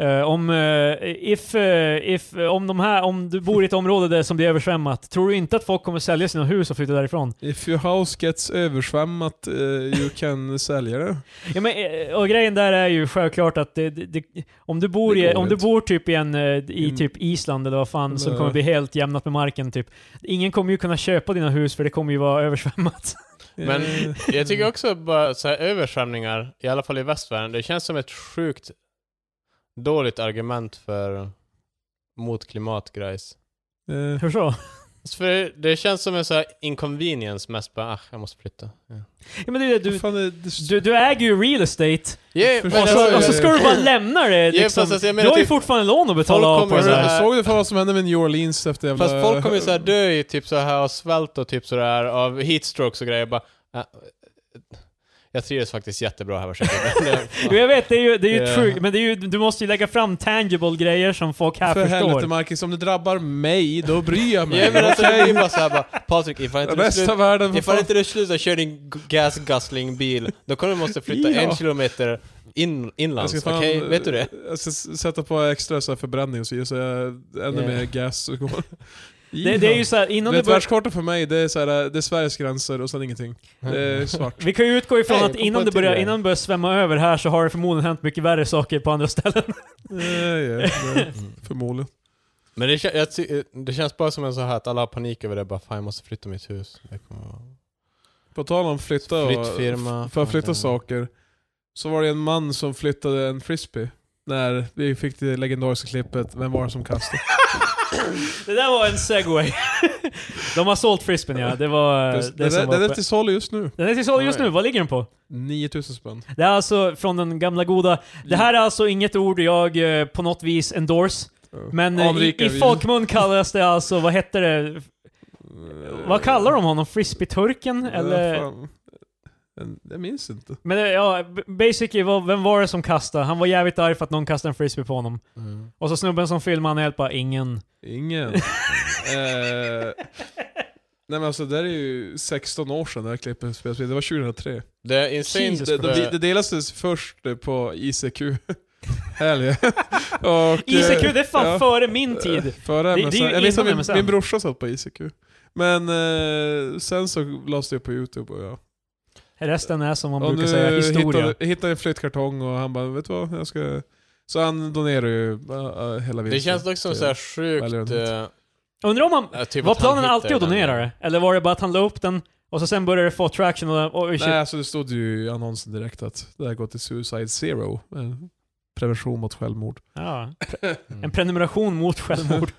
Speaker 2: eh, om, eh, if, eh, if, eh, om, de här, om du bor i ett område där som blir översvämmat, tror du inte att folk kommer sälja sina hus och flytta därifrån?
Speaker 1: If your house gets översvämmat, eh, you can sälja det.
Speaker 2: Ja, men, eh, och grejen där är ju självklart att det, det, det, om, du bor
Speaker 1: Det
Speaker 2: i,
Speaker 1: går
Speaker 2: om du
Speaker 1: inte.
Speaker 2: bor typ i, en, eh, i
Speaker 1: Mm.
Speaker 2: typ Island eller vad fan som
Speaker 1: Eller-
Speaker 2: kommer bli helt jämnat med marken typ. Ingen kommer ju kunna köpa dina hus för det kommer ju vara översvämmat.
Speaker 3: Men
Speaker 1: Eh,
Speaker 3: jag tycker också bara så här översvämningar, i alla fall i västvärlden, det känns som ett sjukt dåligt argument för mot klimatgrejs.
Speaker 1: eh,
Speaker 2: Hur så?
Speaker 3: Alltså, För det känns som en så här inconvenience mest bara, ah, jag måste flytta. Ja.
Speaker 2: Ja, men det, är det,
Speaker 1: vad
Speaker 2: du,
Speaker 1: fan är det,
Speaker 2: du, du äger ju real estate
Speaker 3: Yeah,
Speaker 1: men
Speaker 2: och
Speaker 1: alltså,
Speaker 2: så, och så
Speaker 1: eh,
Speaker 2: ska du bara lämna det liksom.
Speaker 3: fast alltså, jag
Speaker 2: Du
Speaker 3: menar
Speaker 2: har ju
Speaker 3: typ-
Speaker 2: fortfarande lån att betala
Speaker 3: Folk
Speaker 2: av på.
Speaker 3: kommer
Speaker 2: det
Speaker 1: Såg
Speaker 3: ju
Speaker 2: där.
Speaker 3: så här-
Speaker 1: du- Såg du för vad som hände med New Orleans efter jävla...
Speaker 3: Fast folk kommer ju såhär dö i typ så här av svält och typ sådär av heatstrokes och grejer. Bara, ah, jag trivs faktiskt jättebra här, varsågod.
Speaker 2: Jo, jag vet, det är ju, det är ju
Speaker 3: Det-
Speaker 2: true, men det är ju, du måste ju lägga fram tangible grejer som folk här
Speaker 1: För helvete
Speaker 2: förstår.
Speaker 1: Marcus, om det drabbar mig, då bryr jag mig.
Speaker 3: Ja men alltså det blir bara såhär bara, Patrik ifall inte du,
Speaker 1: Resten
Speaker 3: slu-
Speaker 1: av världen, för
Speaker 3: ifall
Speaker 1: fan.
Speaker 3: Typ, inte du slutar köra din g- gas-guzzling-bil, då kommer du måste flytta
Speaker 1: Ja.
Speaker 3: en kilometer in,
Speaker 1: Jag
Speaker 3: inlands,
Speaker 1: ska
Speaker 3: okej?
Speaker 1: fan,
Speaker 3: Vet du det?
Speaker 1: Jag ska s- sätta på extra så här förbränning och så ger så jag ännu
Speaker 3: Ja.
Speaker 1: mer gas och går.
Speaker 2: Det, det är ju så här,
Speaker 1: Du
Speaker 2: innan du
Speaker 1: vet,
Speaker 2: börjar...
Speaker 1: världskartan för mig, det är, så här, eh, det är Sveriges gränser och sen ingenting.
Speaker 2: Mm.
Speaker 1: Det är svart.
Speaker 2: Vi kan ju utgå ifrån
Speaker 3: Nej, jag
Speaker 2: att
Speaker 3: kom på
Speaker 2: innan
Speaker 3: en
Speaker 2: det,
Speaker 3: till
Speaker 2: börjar,
Speaker 3: grej.
Speaker 2: innan det börjar svämma över här så har det förmodligen hänt mycket värre saker på andra ställen.
Speaker 1: Eh, ja, det-
Speaker 2: Mm.
Speaker 1: Förmodligen.
Speaker 3: Men det, kän- jag, ty- det känns bara som en så här att alla har panik över det, bara fan jag måste flytta mitt hus. Det kommer vara-
Speaker 1: På tal om flytta och...
Speaker 3: Flyttfirma.
Speaker 1: För att
Speaker 2: Mm.
Speaker 1: flytta saker. Så var det en man som flyttade en frisbee. När vi fick det legendariska klippet, vem var det som kastade?
Speaker 2: Det där var en segway. De har sålt frisbeen ja, det var det,
Speaker 1: Det, det,
Speaker 2: som
Speaker 1: det,
Speaker 2: var
Speaker 1: det är
Speaker 2: uppe.
Speaker 1: till salu just nu.
Speaker 2: Den är till salu just nu, vad ligger den på?
Speaker 1: 9000 spänn.
Speaker 2: Det är alltså från den gamla goda... Det här är alltså inget ord jag eh, på något vis endorse, men eh, i,
Speaker 1: Anrikar
Speaker 2: i
Speaker 1: vi.
Speaker 2: folkmun kallas det alltså, vad hette det?
Speaker 1: Eh,
Speaker 2: Vad kallar de honom? Frisbee-turken?
Speaker 1: ja,
Speaker 2: Eller?
Speaker 1: fan. En- Jag minns inte.
Speaker 2: Men eh, ja, b- basically, vad- vem var det som kastade? Han var jävligt arg för att någon kastade en frisbee på honom.
Speaker 3: Mm.
Speaker 2: Och så snubben som filmade, han är helt bara ingen.
Speaker 1: Ingen. eh, nej men alltså det där är ju 16 år sedan det här klippet spelades in. Det var 2003.
Speaker 3: Det är insane.
Speaker 2: Jesus
Speaker 1: Det, det, det delades först på ICQ. Helge. Och,
Speaker 2: ICQ, det är fan
Speaker 1: ja.
Speaker 2: före min tid.
Speaker 1: eh, Före
Speaker 2: Det- det är
Speaker 1: MSN.
Speaker 2: ju
Speaker 1: Jag vet
Speaker 2: innan
Speaker 1: att min,
Speaker 2: MSN.
Speaker 1: min brorsa satt på ICQ. Men eh, sen så lades det upp på youtube och ja.
Speaker 2: Resten är som man
Speaker 1: och
Speaker 2: brukar säga, historia.
Speaker 1: hittade, hittade en flyttkartong och han bara, vet du vad? Jag ska... Så han donerar ju eh, eh, hela
Speaker 3: Det
Speaker 1: vinsten.
Speaker 3: känns dock som såhär sjukt...
Speaker 1: Välgörenhet.
Speaker 2: Undrar om han...
Speaker 3: eh, typ
Speaker 2: var
Speaker 3: att han
Speaker 2: planen alltid
Speaker 3: hittar
Speaker 2: att donera
Speaker 3: den.
Speaker 2: det? Eller var det bara att han la upp den och så sen började det få traction och... Oj, shit.
Speaker 1: Nej, alltså det stod ju i annonsen direkt att det här går till Suicide Zero. eh, Prevention mot självmord.
Speaker 2: Ja. En prenumeration mot självmord.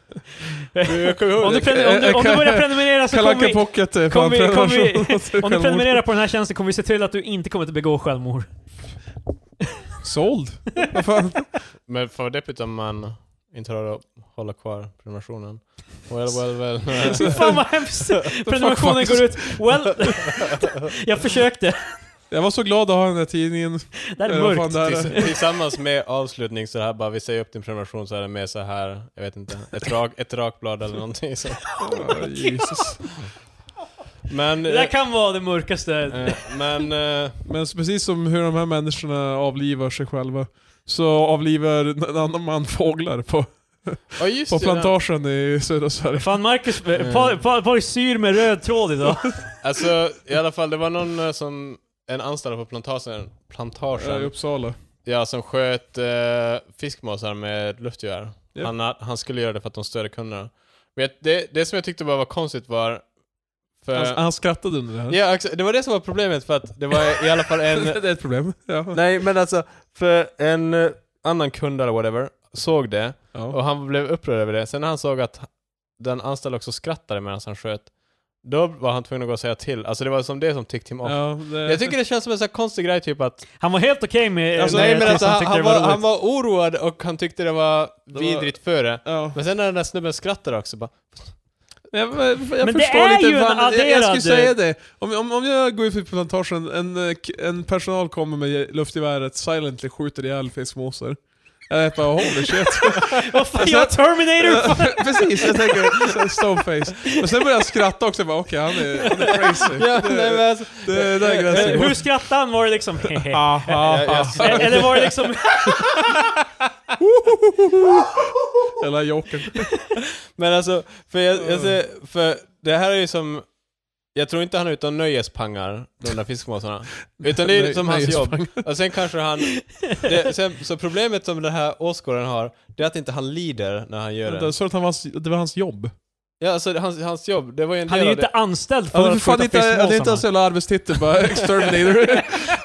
Speaker 3: Mm. Jag kommer ihåg
Speaker 2: om, du
Speaker 3: det.
Speaker 2: prenum- om, du, om du börjar prenumerera så kommer
Speaker 1: Kalanka
Speaker 2: vi...
Speaker 1: Pocket är
Speaker 2: kom
Speaker 1: fan
Speaker 2: vi- kom vi-
Speaker 1: prevention mot
Speaker 2: Om du
Speaker 1: självmord.
Speaker 2: prenumererar på den här tjänsten kommer vi se till att du inte kommer att begå självmord.
Speaker 1: Såld! Vad fan?
Speaker 3: Men för vad deppigt om man inte har att hålla kvar prenumerationen. Well, well, well.
Speaker 2: Fan vad hemskt! Prenumerationen går ut. Well... jag försökte.
Speaker 1: Jag var så glad att ha den där tidningen.
Speaker 2: Det här är
Speaker 1: Eh, vad fan
Speaker 2: mörkt.
Speaker 1: det här är.
Speaker 3: Tills, tillsammans med avslutning så här bara, vi säger upp din prenumeration så är det med så här, jag vet inte, ett, rak, ett rakblad eller någonting så.
Speaker 1: Ja, Jesus.
Speaker 3: Men,
Speaker 2: Det där
Speaker 3: eh,
Speaker 2: kan vara det mörkaste.
Speaker 3: eh, men eh,
Speaker 1: Men så precis som hur de här människorna avlivar sig själva, så avlivar en annan man fåglar på,
Speaker 3: ja, just
Speaker 1: på
Speaker 3: det, den-
Speaker 1: plantagen i södra Sverige.
Speaker 2: Fan Marcus, eh,
Speaker 3: Mm.
Speaker 2: Patrik pa, pa, syr med röd tråd idag.
Speaker 3: Alltså i alla fall, det var någon eh, som, en anställd på plantagen,
Speaker 1: Eh, I
Speaker 3: plantagen
Speaker 1: Uppsala.
Speaker 3: ja, som sköt eh, fiskmåsar med luftgevär.
Speaker 1: Japp.
Speaker 3: Han, ha- han skulle göra det för att de störde kunderna. Vet, det, det som jag tyckte bara var konstigt var... För,
Speaker 1: Han, han skrattade under det här.
Speaker 3: ja, exa- det var det som var problemet för att det var i alla fall en...
Speaker 1: det är ett problem. Ja.
Speaker 3: nej men alltså, för en eh, annan kund eller whatever såg det
Speaker 1: Ja.
Speaker 3: och han blev upprörd över det. Sen när han såg att den anställda också skrattade medan han sköt, då var han tvungen att gå och säga till. Alltså det var som det som ticked him off.
Speaker 1: Ja, det,
Speaker 3: Jag tycker det känns som en sån här konstig grej typ att...
Speaker 2: Han var helt okej med...
Speaker 1: Alltså,
Speaker 2: med
Speaker 3: nej men
Speaker 2: tills
Speaker 3: alltså, han,
Speaker 2: tyckte
Speaker 3: han,
Speaker 2: det
Speaker 3: var,
Speaker 2: roligt.
Speaker 3: han var oroad och han tyckte det var
Speaker 1: var-
Speaker 3: vidrigt före.
Speaker 1: ja.
Speaker 3: Men sen när den där snubben skrattade också bara...
Speaker 1: Jag, jag
Speaker 2: Men det
Speaker 1: förstår
Speaker 2: är
Speaker 1: inte
Speaker 2: ju en
Speaker 1: fan- jag, jag skulle
Speaker 2: adderad-
Speaker 1: säga det. Om, om, om jag går ut på plantagen, en, eh, k- en personal kommer med luftgeväret, silently skjuter ihjäl fiskmåsar. Jag vet bara holy shit.
Speaker 2: Vad fan,
Speaker 1: Alltså-
Speaker 2: jag är Terminator!
Speaker 1: Precis, jag tänker så här stoneface. Och sen börjar jag skratta också, jag bara okej han, är, han är crazy.
Speaker 3: Ja, nej, men alltså,
Speaker 1: Det, det där är
Speaker 2: Eh,
Speaker 1: gränsen.
Speaker 2: Hur skrattade han? Var det liksom hehe?
Speaker 1: Ah, ah, ah.
Speaker 2: Eh, Eller var det liksom...
Speaker 1: Eller jokern.
Speaker 3: men alltså, för jag, jag ser, för det här är ju som... Jag tror inte han är ute och nöjespangar, de där fiskmåsarna. Utan det är ju
Speaker 1: Nej,
Speaker 3: som
Speaker 1: nej,
Speaker 3: hans
Speaker 1: just
Speaker 3: jobb.
Speaker 1: fan.
Speaker 3: Och sen kanske han... Det, sen, så problemet som den här åskådaren har, det är att inte han lider när han gör
Speaker 1: Vänta,
Speaker 3: det.
Speaker 1: Sa du att han var, det var hans jobb?
Speaker 3: Ja, alltså hans, hans jobb, det var ju en
Speaker 2: Han är
Speaker 3: del
Speaker 2: ju
Speaker 3: av det.
Speaker 2: inte anställd
Speaker 1: Ja,
Speaker 2: för
Speaker 1: för
Speaker 2: att
Speaker 1: fan
Speaker 2: skjuta
Speaker 1: inte, det är inte hans
Speaker 2: fiskmåsarna.
Speaker 1: jävla arbetstitel bara, exterminator.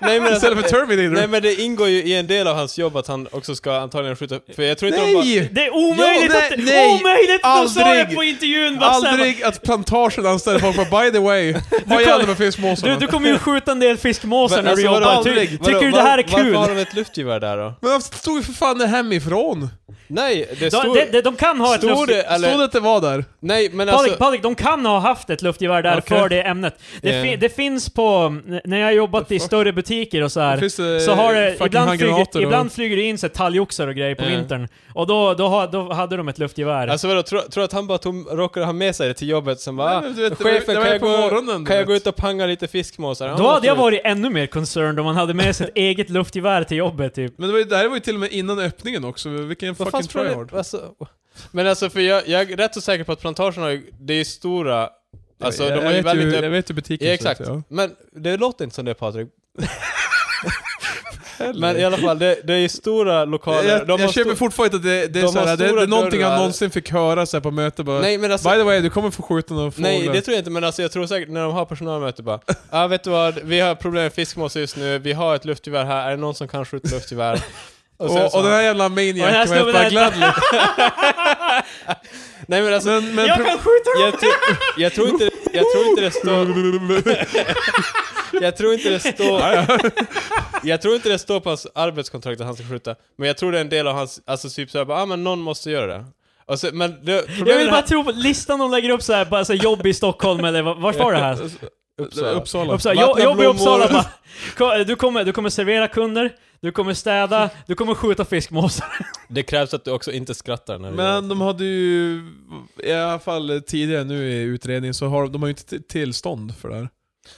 Speaker 3: Nej men alltså,
Speaker 1: Istället för terminator.
Speaker 3: Nej men det ingår ju i en del av hans jobb att han också ska antagligen skjuta... För jag tror inte de bara...
Speaker 1: Nej!
Speaker 2: Det är omöjligt
Speaker 1: Jo,
Speaker 2: att...
Speaker 1: nej, nej,
Speaker 2: omöjligt att de sa det
Speaker 1: aldrig.
Speaker 2: på intervjun! Bara så här,
Speaker 1: Aldrig att plantagen anställer folk bara by the way, vad gäller med fiskmåsarna?
Speaker 2: Du, du kommer ju skjuta en del fiskmåsar
Speaker 3: Men
Speaker 2: när du
Speaker 3: alltså, vadå,
Speaker 2: jobbar. Ty,
Speaker 3: aldrig?
Speaker 2: tycker
Speaker 3: Vadå,
Speaker 2: du det här är
Speaker 3: var- Varför har
Speaker 2: kul?
Speaker 3: de ett luftgevär där då?
Speaker 1: Men varför stod ju för fan det hemifrån?
Speaker 3: Nej, det
Speaker 2: De,
Speaker 3: stod...
Speaker 2: de, de, de kan ha ett
Speaker 3: stod
Speaker 2: luft...
Speaker 3: det, eller,
Speaker 1: Stod det att det var där?
Speaker 3: Nej men
Speaker 2: Patrik,
Speaker 3: alltså...
Speaker 2: Patrik, de kan ha haft ett luftgevär där
Speaker 1: Okej.
Speaker 2: för det ämnet. Det,
Speaker 3: Eh.
Speaker 2: fi, det finns på... När jag har jobbat i
Speaker 1: fuck?
Speaker 2: större butiker och så här.
Speaker 1: Finns det
Speaker 2: Så har det,
Speaker 1: fucking
Speaker 2: ibland,
Speaker 1: handgranater
Speaker 2: flyger,
Speaker 1: och-
Speaker 2: ibland flyger det in sig talgoxar och grejer på
Speaker 3: Eh.
Speaker 2: vintern. Och då, då, ha- då hade de ett luftgevär.
Speaker 3: Alltså vadå, tror tror du att han bara tog, råkade ha med sig det till jobbet som bara...
Speaker 1: Nej, men du vet, det var-
Speaker 3: Chefen,
Speaker 1: det var
Speaker 3: kan,
Speaker 1: ju
Speaker 3: jag
Speaker 1: på
Speaker 3: gå,
Speaker 1: morgonen, du
Speaker 3: kan jag
Speaker 1: vet."
Speaker 3: gå ut och panga lite fiskmåsar? Ja,
Speaker 2: då hade jag
Speaker 3: absolut.
Speaker 2: varit ännu mer concerned om man hade med sig ett eget luftgevär till jobbet typ.
Speaker 1: Men det, var ju, det här var ju till och med innan öppningen också, vilken
Speaker 3: Vad
Speaker 1: fucking
Speaker 3: fan tror du-
Speaker 1: tryhard.
Speaker 3: Alltså, men alltså för jag, jag är rätt så säker på att plantagen har ju... Det är ju stora... Alltså
Speaker 1: jag,
Speaker 3: de har ju
Speaker 1: jag, vet
Speaker 3: väldigt...
Speaker 1: ju,
Speaker 3: öpp-
Speaker 1: jag vet ju butiken
Speaker 3: Ja,
Speaker 1: ser ut,
Speaker 3: exakt.
Speaker 1: ja.
Speaker 3: Men det låter inte som det Patrik. Men i alla fall, det, det är ju stora lokaler.
Speaker 1: Jag,
Speaker 3: de
Speaker 1: jag
Speaker 3: har
Speaker 1: köper
Speaker 3: stor-
Speaker 1: fortfarande inte att det, det är
Speaker 3: de
Speaker 1: såhär,
Speaker 3: har
Speaker 1: det, det
Speaker 3: stora
Speaker 1: är någonting han
Speaker 3: dörrar.
Speaker 1: någonsin fick höra så här på möte bara
Speaker 3: Nej men alltså,
Speaker 1: By the way, du kommer få skjuta någon fågel.
Speaker 3: nej det tror jag inte, men alltså jag tror säkert när de har personalmöte bara Ja ah, vet du vad, vi har problem med fiskmås just nu, vi har ett luftgevär här, är det någon som kan skjuta luftgevär? Och sen
Speaker 1: och,
Speaker 3: så-
Speaker 1: och den här jävla
Speaker 2: Och den här
Speaker 1: maniac var helt
Speaker 2: snubben
Speaker 1: bara
Speaker 2: där-
Speaker 1: gladly.
Speaker 3: Nej men alltså,
Speaker 1: Men, men
Speaker 2: jag
Speaker 1: pro-
Speaker 2: kan skjuta dem!
Speaker 3: jag, tror- jag, tror inte, jag tror inte det står... Jag tror inte det står... Jag tror inte det står på hans arbetskontrakt att han ska skjuta, men jag tror det är en del av hans, alltså typ såhär bara, ah men någon måste göra det. Och så, men det,
Speaker 2: Jag
Speaker 3: problemet
Speaker 2: vill
Speaker 3: är-
Speaker 2: bara tro på listan de lägger upp så här, bara så här, jobb i Stockholm eller va- vart var det här?
Speaker 1: Uppsala. Uppsala.
Speaker 2: Uppsala, jobb,
Speaker 3: Vattna
Speaker 2: jobb i
Speaker 3: blommor.
Speaker 2: Uppsala bara. Ko- Du kommer, du kommer servera kunder, du kommer städa, du kommer skjuta fiskmåsar.
Speaker 3: Det krävs att du också inte skrattar när du gör det.
Speaker 1: Men de hade ju, i alla fall tidigare nu i utredningen, så har de- de har ju inte t- tillstånd för det här.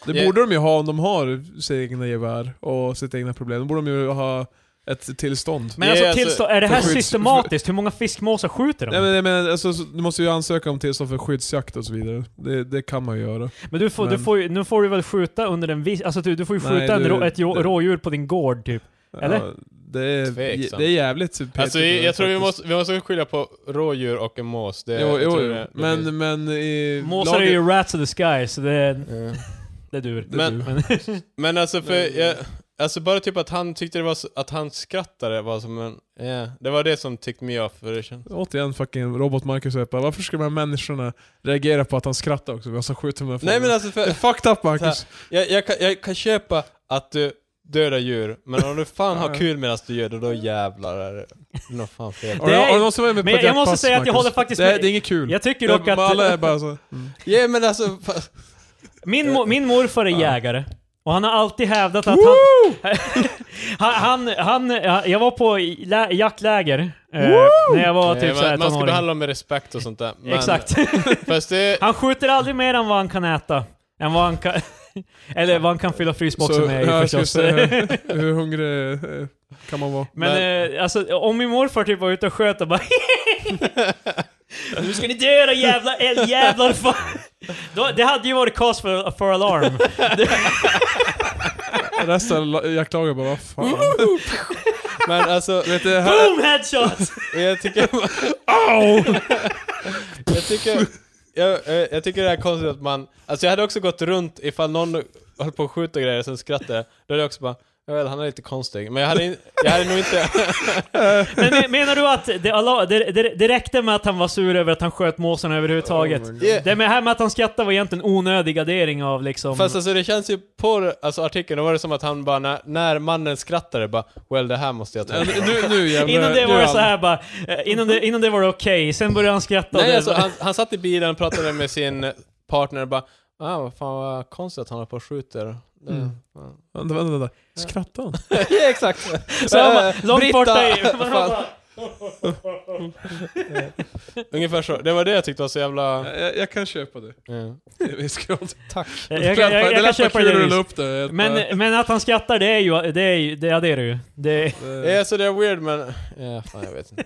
Speaker 1: Det
Speaker 3: Ja.
Speaker 1: borde de ju ha om de har sina egna gevär och sitt egna problem. Då borde de ju ha ett tillstånd.
Speaker 2: Men
Speaker 3: Det
Speaker 2: alltså,
Speaker 3: är alltså-
Speaker 2: tillstå- är det här
Speaker 1: för skydds-
Speaker 2: systematiskt? Hur många fiskmåsar skjuter
Speaker 1: Nej
Speaker 2: de?
Speaker 1: men jag menar, alltså, så- du måste ju ansöka om tillstånd för skyddsjakt och så vidare. Det, det kan man ju göra.
Speaker 2: Men du får, du
Speaker 1: men-
Speaker 2: får, ju- nu får du väl skjuta under en viss... Alltså du, du får ju
Speaker 1: Nej,
Speaker 2: skjuta en
Speaker 1: du-
Speaker 2: rå, ett jo-
Speaker 1: det-
Speaker 2: rådjur på din gård typ. Eller?
Speaker 1: Ja, det, är,
Speaker 3: Tveksamt.
Speaker 1: det är jävligt petigt
Speaker 3: Alltså jag, jag tror vi
Speaker 1: faktiskt.
Speaker 3: måste, vi måste skilja på rådjur och en mås. Det,
Speaker 1: Jo,
Speaker 3: jag
Speaker 1: jo,
Speaker 3: tror
Speaker 1: jo.
Speaker 3: det- det finns-
Speaker 1: Men, men i
Speaker 2: Måsar är
Speaker 1: lagen-
Speaker 2: ju rats of the sky, så det, det dur.
Speaker 1: Det
Speaker 3: Men-
Speaker 1: du.
Speaker 3: Men alltså för,
Speaker 1: Nej.
Speaker 3: jag, alltså bara typ att han tyckte det var, så- att han skrattade var som en, ja, det var det som ticked me off för det känns.
Speaker 1: Återigen fucking robot-Marcus och bara, varför ska de här människorna reagera på att han skrattar också medan han skjuter med
Speaker 3: Nej men alltså för,
Speaker 1: Fucked up Marcus!
Speaker 3: jag, jag, kan, jag kan köpa att du dödar djur, men om du fan har kul medan du gör det, då jävlar är det något fan fel.
Speaker 1: Har du-
Speaker 2: Det är-
Speaker 1: har du någonsin varit med på
Speaker 2: men
Speaker 1: ett
Speaker 2: jag måste
Speaker 1: jaktpass,
Speaker 2: säga att jag
Speaker 1: Marcus?
Speaker 2: håller faktiskt
Speaker 1: det, är-
Speaker 2: med-
Speaker 1: det är inget kul.
Speaker 2: Jag tycker
Speaker 1: Det-
Speaker 2: dock att...
Speaker 1: Alla är bara så...
Speaker 3: Ja men alltså, fa-
Speaker 2: Min, mo- min morfar är jägare. Och han har alltid hävdat att han... han, han, han... Jag var på i- lä- jaktläger eh, när jag var
Speaker 3: eh,
Speaker 2: typ såhär
Speaker 3: man, man ska
Speaker 2: tonåring.
Speaker 3: behandla dem med respekt och sånt där. Men,
Speaker 2: Exakt.
Speaker 3: Fast det,
Speaker 2: Han skjuter aldrig mer än vad han kan äta. än vad han kan... eller vad han kan fylla frysboxen
Speaker 1: Så,
Speaker 2: med
Speaker 1: ja, jag
Speaker 2: förstås.
Speaker 1: skulle säga- Hur hungrig eh, kan man vara?
Speaker 2: Men, eh, alltså, om min morfar typ var ute och sköt och bara Nu ska ni dö då jävla älgjävlar! fan." Då- Det hade ju varit cause for, for alarm.
Speaker 1: Resten, la- jag klagar bara, vad fan. Oh
Speaker 3: Men alltså, vet du, här,
Speaker 2: Boom headshot!
Speaker 3: jag tycker... jag tycker... Jag, eh, jag tycker det här är konstigt att man... Alltså jag hade också gått runt ifall någon höll på att skjuta grejer och sen skrattade. Då hade jag också bara, jag vet, han är lite konstig. Men jag hade, in, jag hade nog inte...
Speaker 2: Men me- menar du att det, alla- det, det, det räckte med att han var sur över att han sköt måsen överhuvudtaget?
Speaker 1: Oh my God.
Speaker 2: det med här med att han skrattade var egentligen onödig addering av liksom...
Speaker 3: Fast alltså det känns ju på det- alltså, artikeln, då var det som att han bara, när, när mannen skrattade bara, well det här måste jag ta.
Speaker 1: Ja, Nu, nu jävlar.
Speaker 2: Innan det
Speaker 1: nu
Speaker 2: var det
Speaker 1: all-
Speaker 2: så här bara, eh, innan det, innan det var det okej, sen började han skratta och
Speaker 3: Nej
Speaker 2: det-
Speaker 3: alltså, han, han satt i bilen och pratade med sin partner och bara, ah vad fan vad konstigt att han har på och skjuter. Det-
Speaker 1: Mm. Vänta, vänta, vänta. Skrattar han?
Speaker 3: ja, exakt.
Speaker 2: Så han bara,
Speaker 3: Eh,
Speaker 2: långt
Speaker 3: Britta.
Speaker 2: borta i... man
Speaker 3: Fan.
Speaker 2: bara-
Speaker 3: Ungefär så. Det var det jag tyckte var så jävla...
Speaker 1: Jag, jag kan köpa det.
Speaker 3: Ja.
Speaker 1: I viss grad.
Speaker 3: Tack.
Speaker 2: Jag, jag, jag, jag,
Speaker 1: det
Speaker 2: kan
Speaker 1: lät bara
Speaker 2: köpa
Speaker 1: kul
Speaker 2: det.
Speaker 1: när du la
Speaker 2: Louise.
Speaker 1: upp det. Bara-
Speaker 2: Men, men att han skrattar, det är ju... Det är ju... Det, ja, det är det ju. Det,
Speaker 3: Ja, så det är weird men... Ja, fan jag vet inte.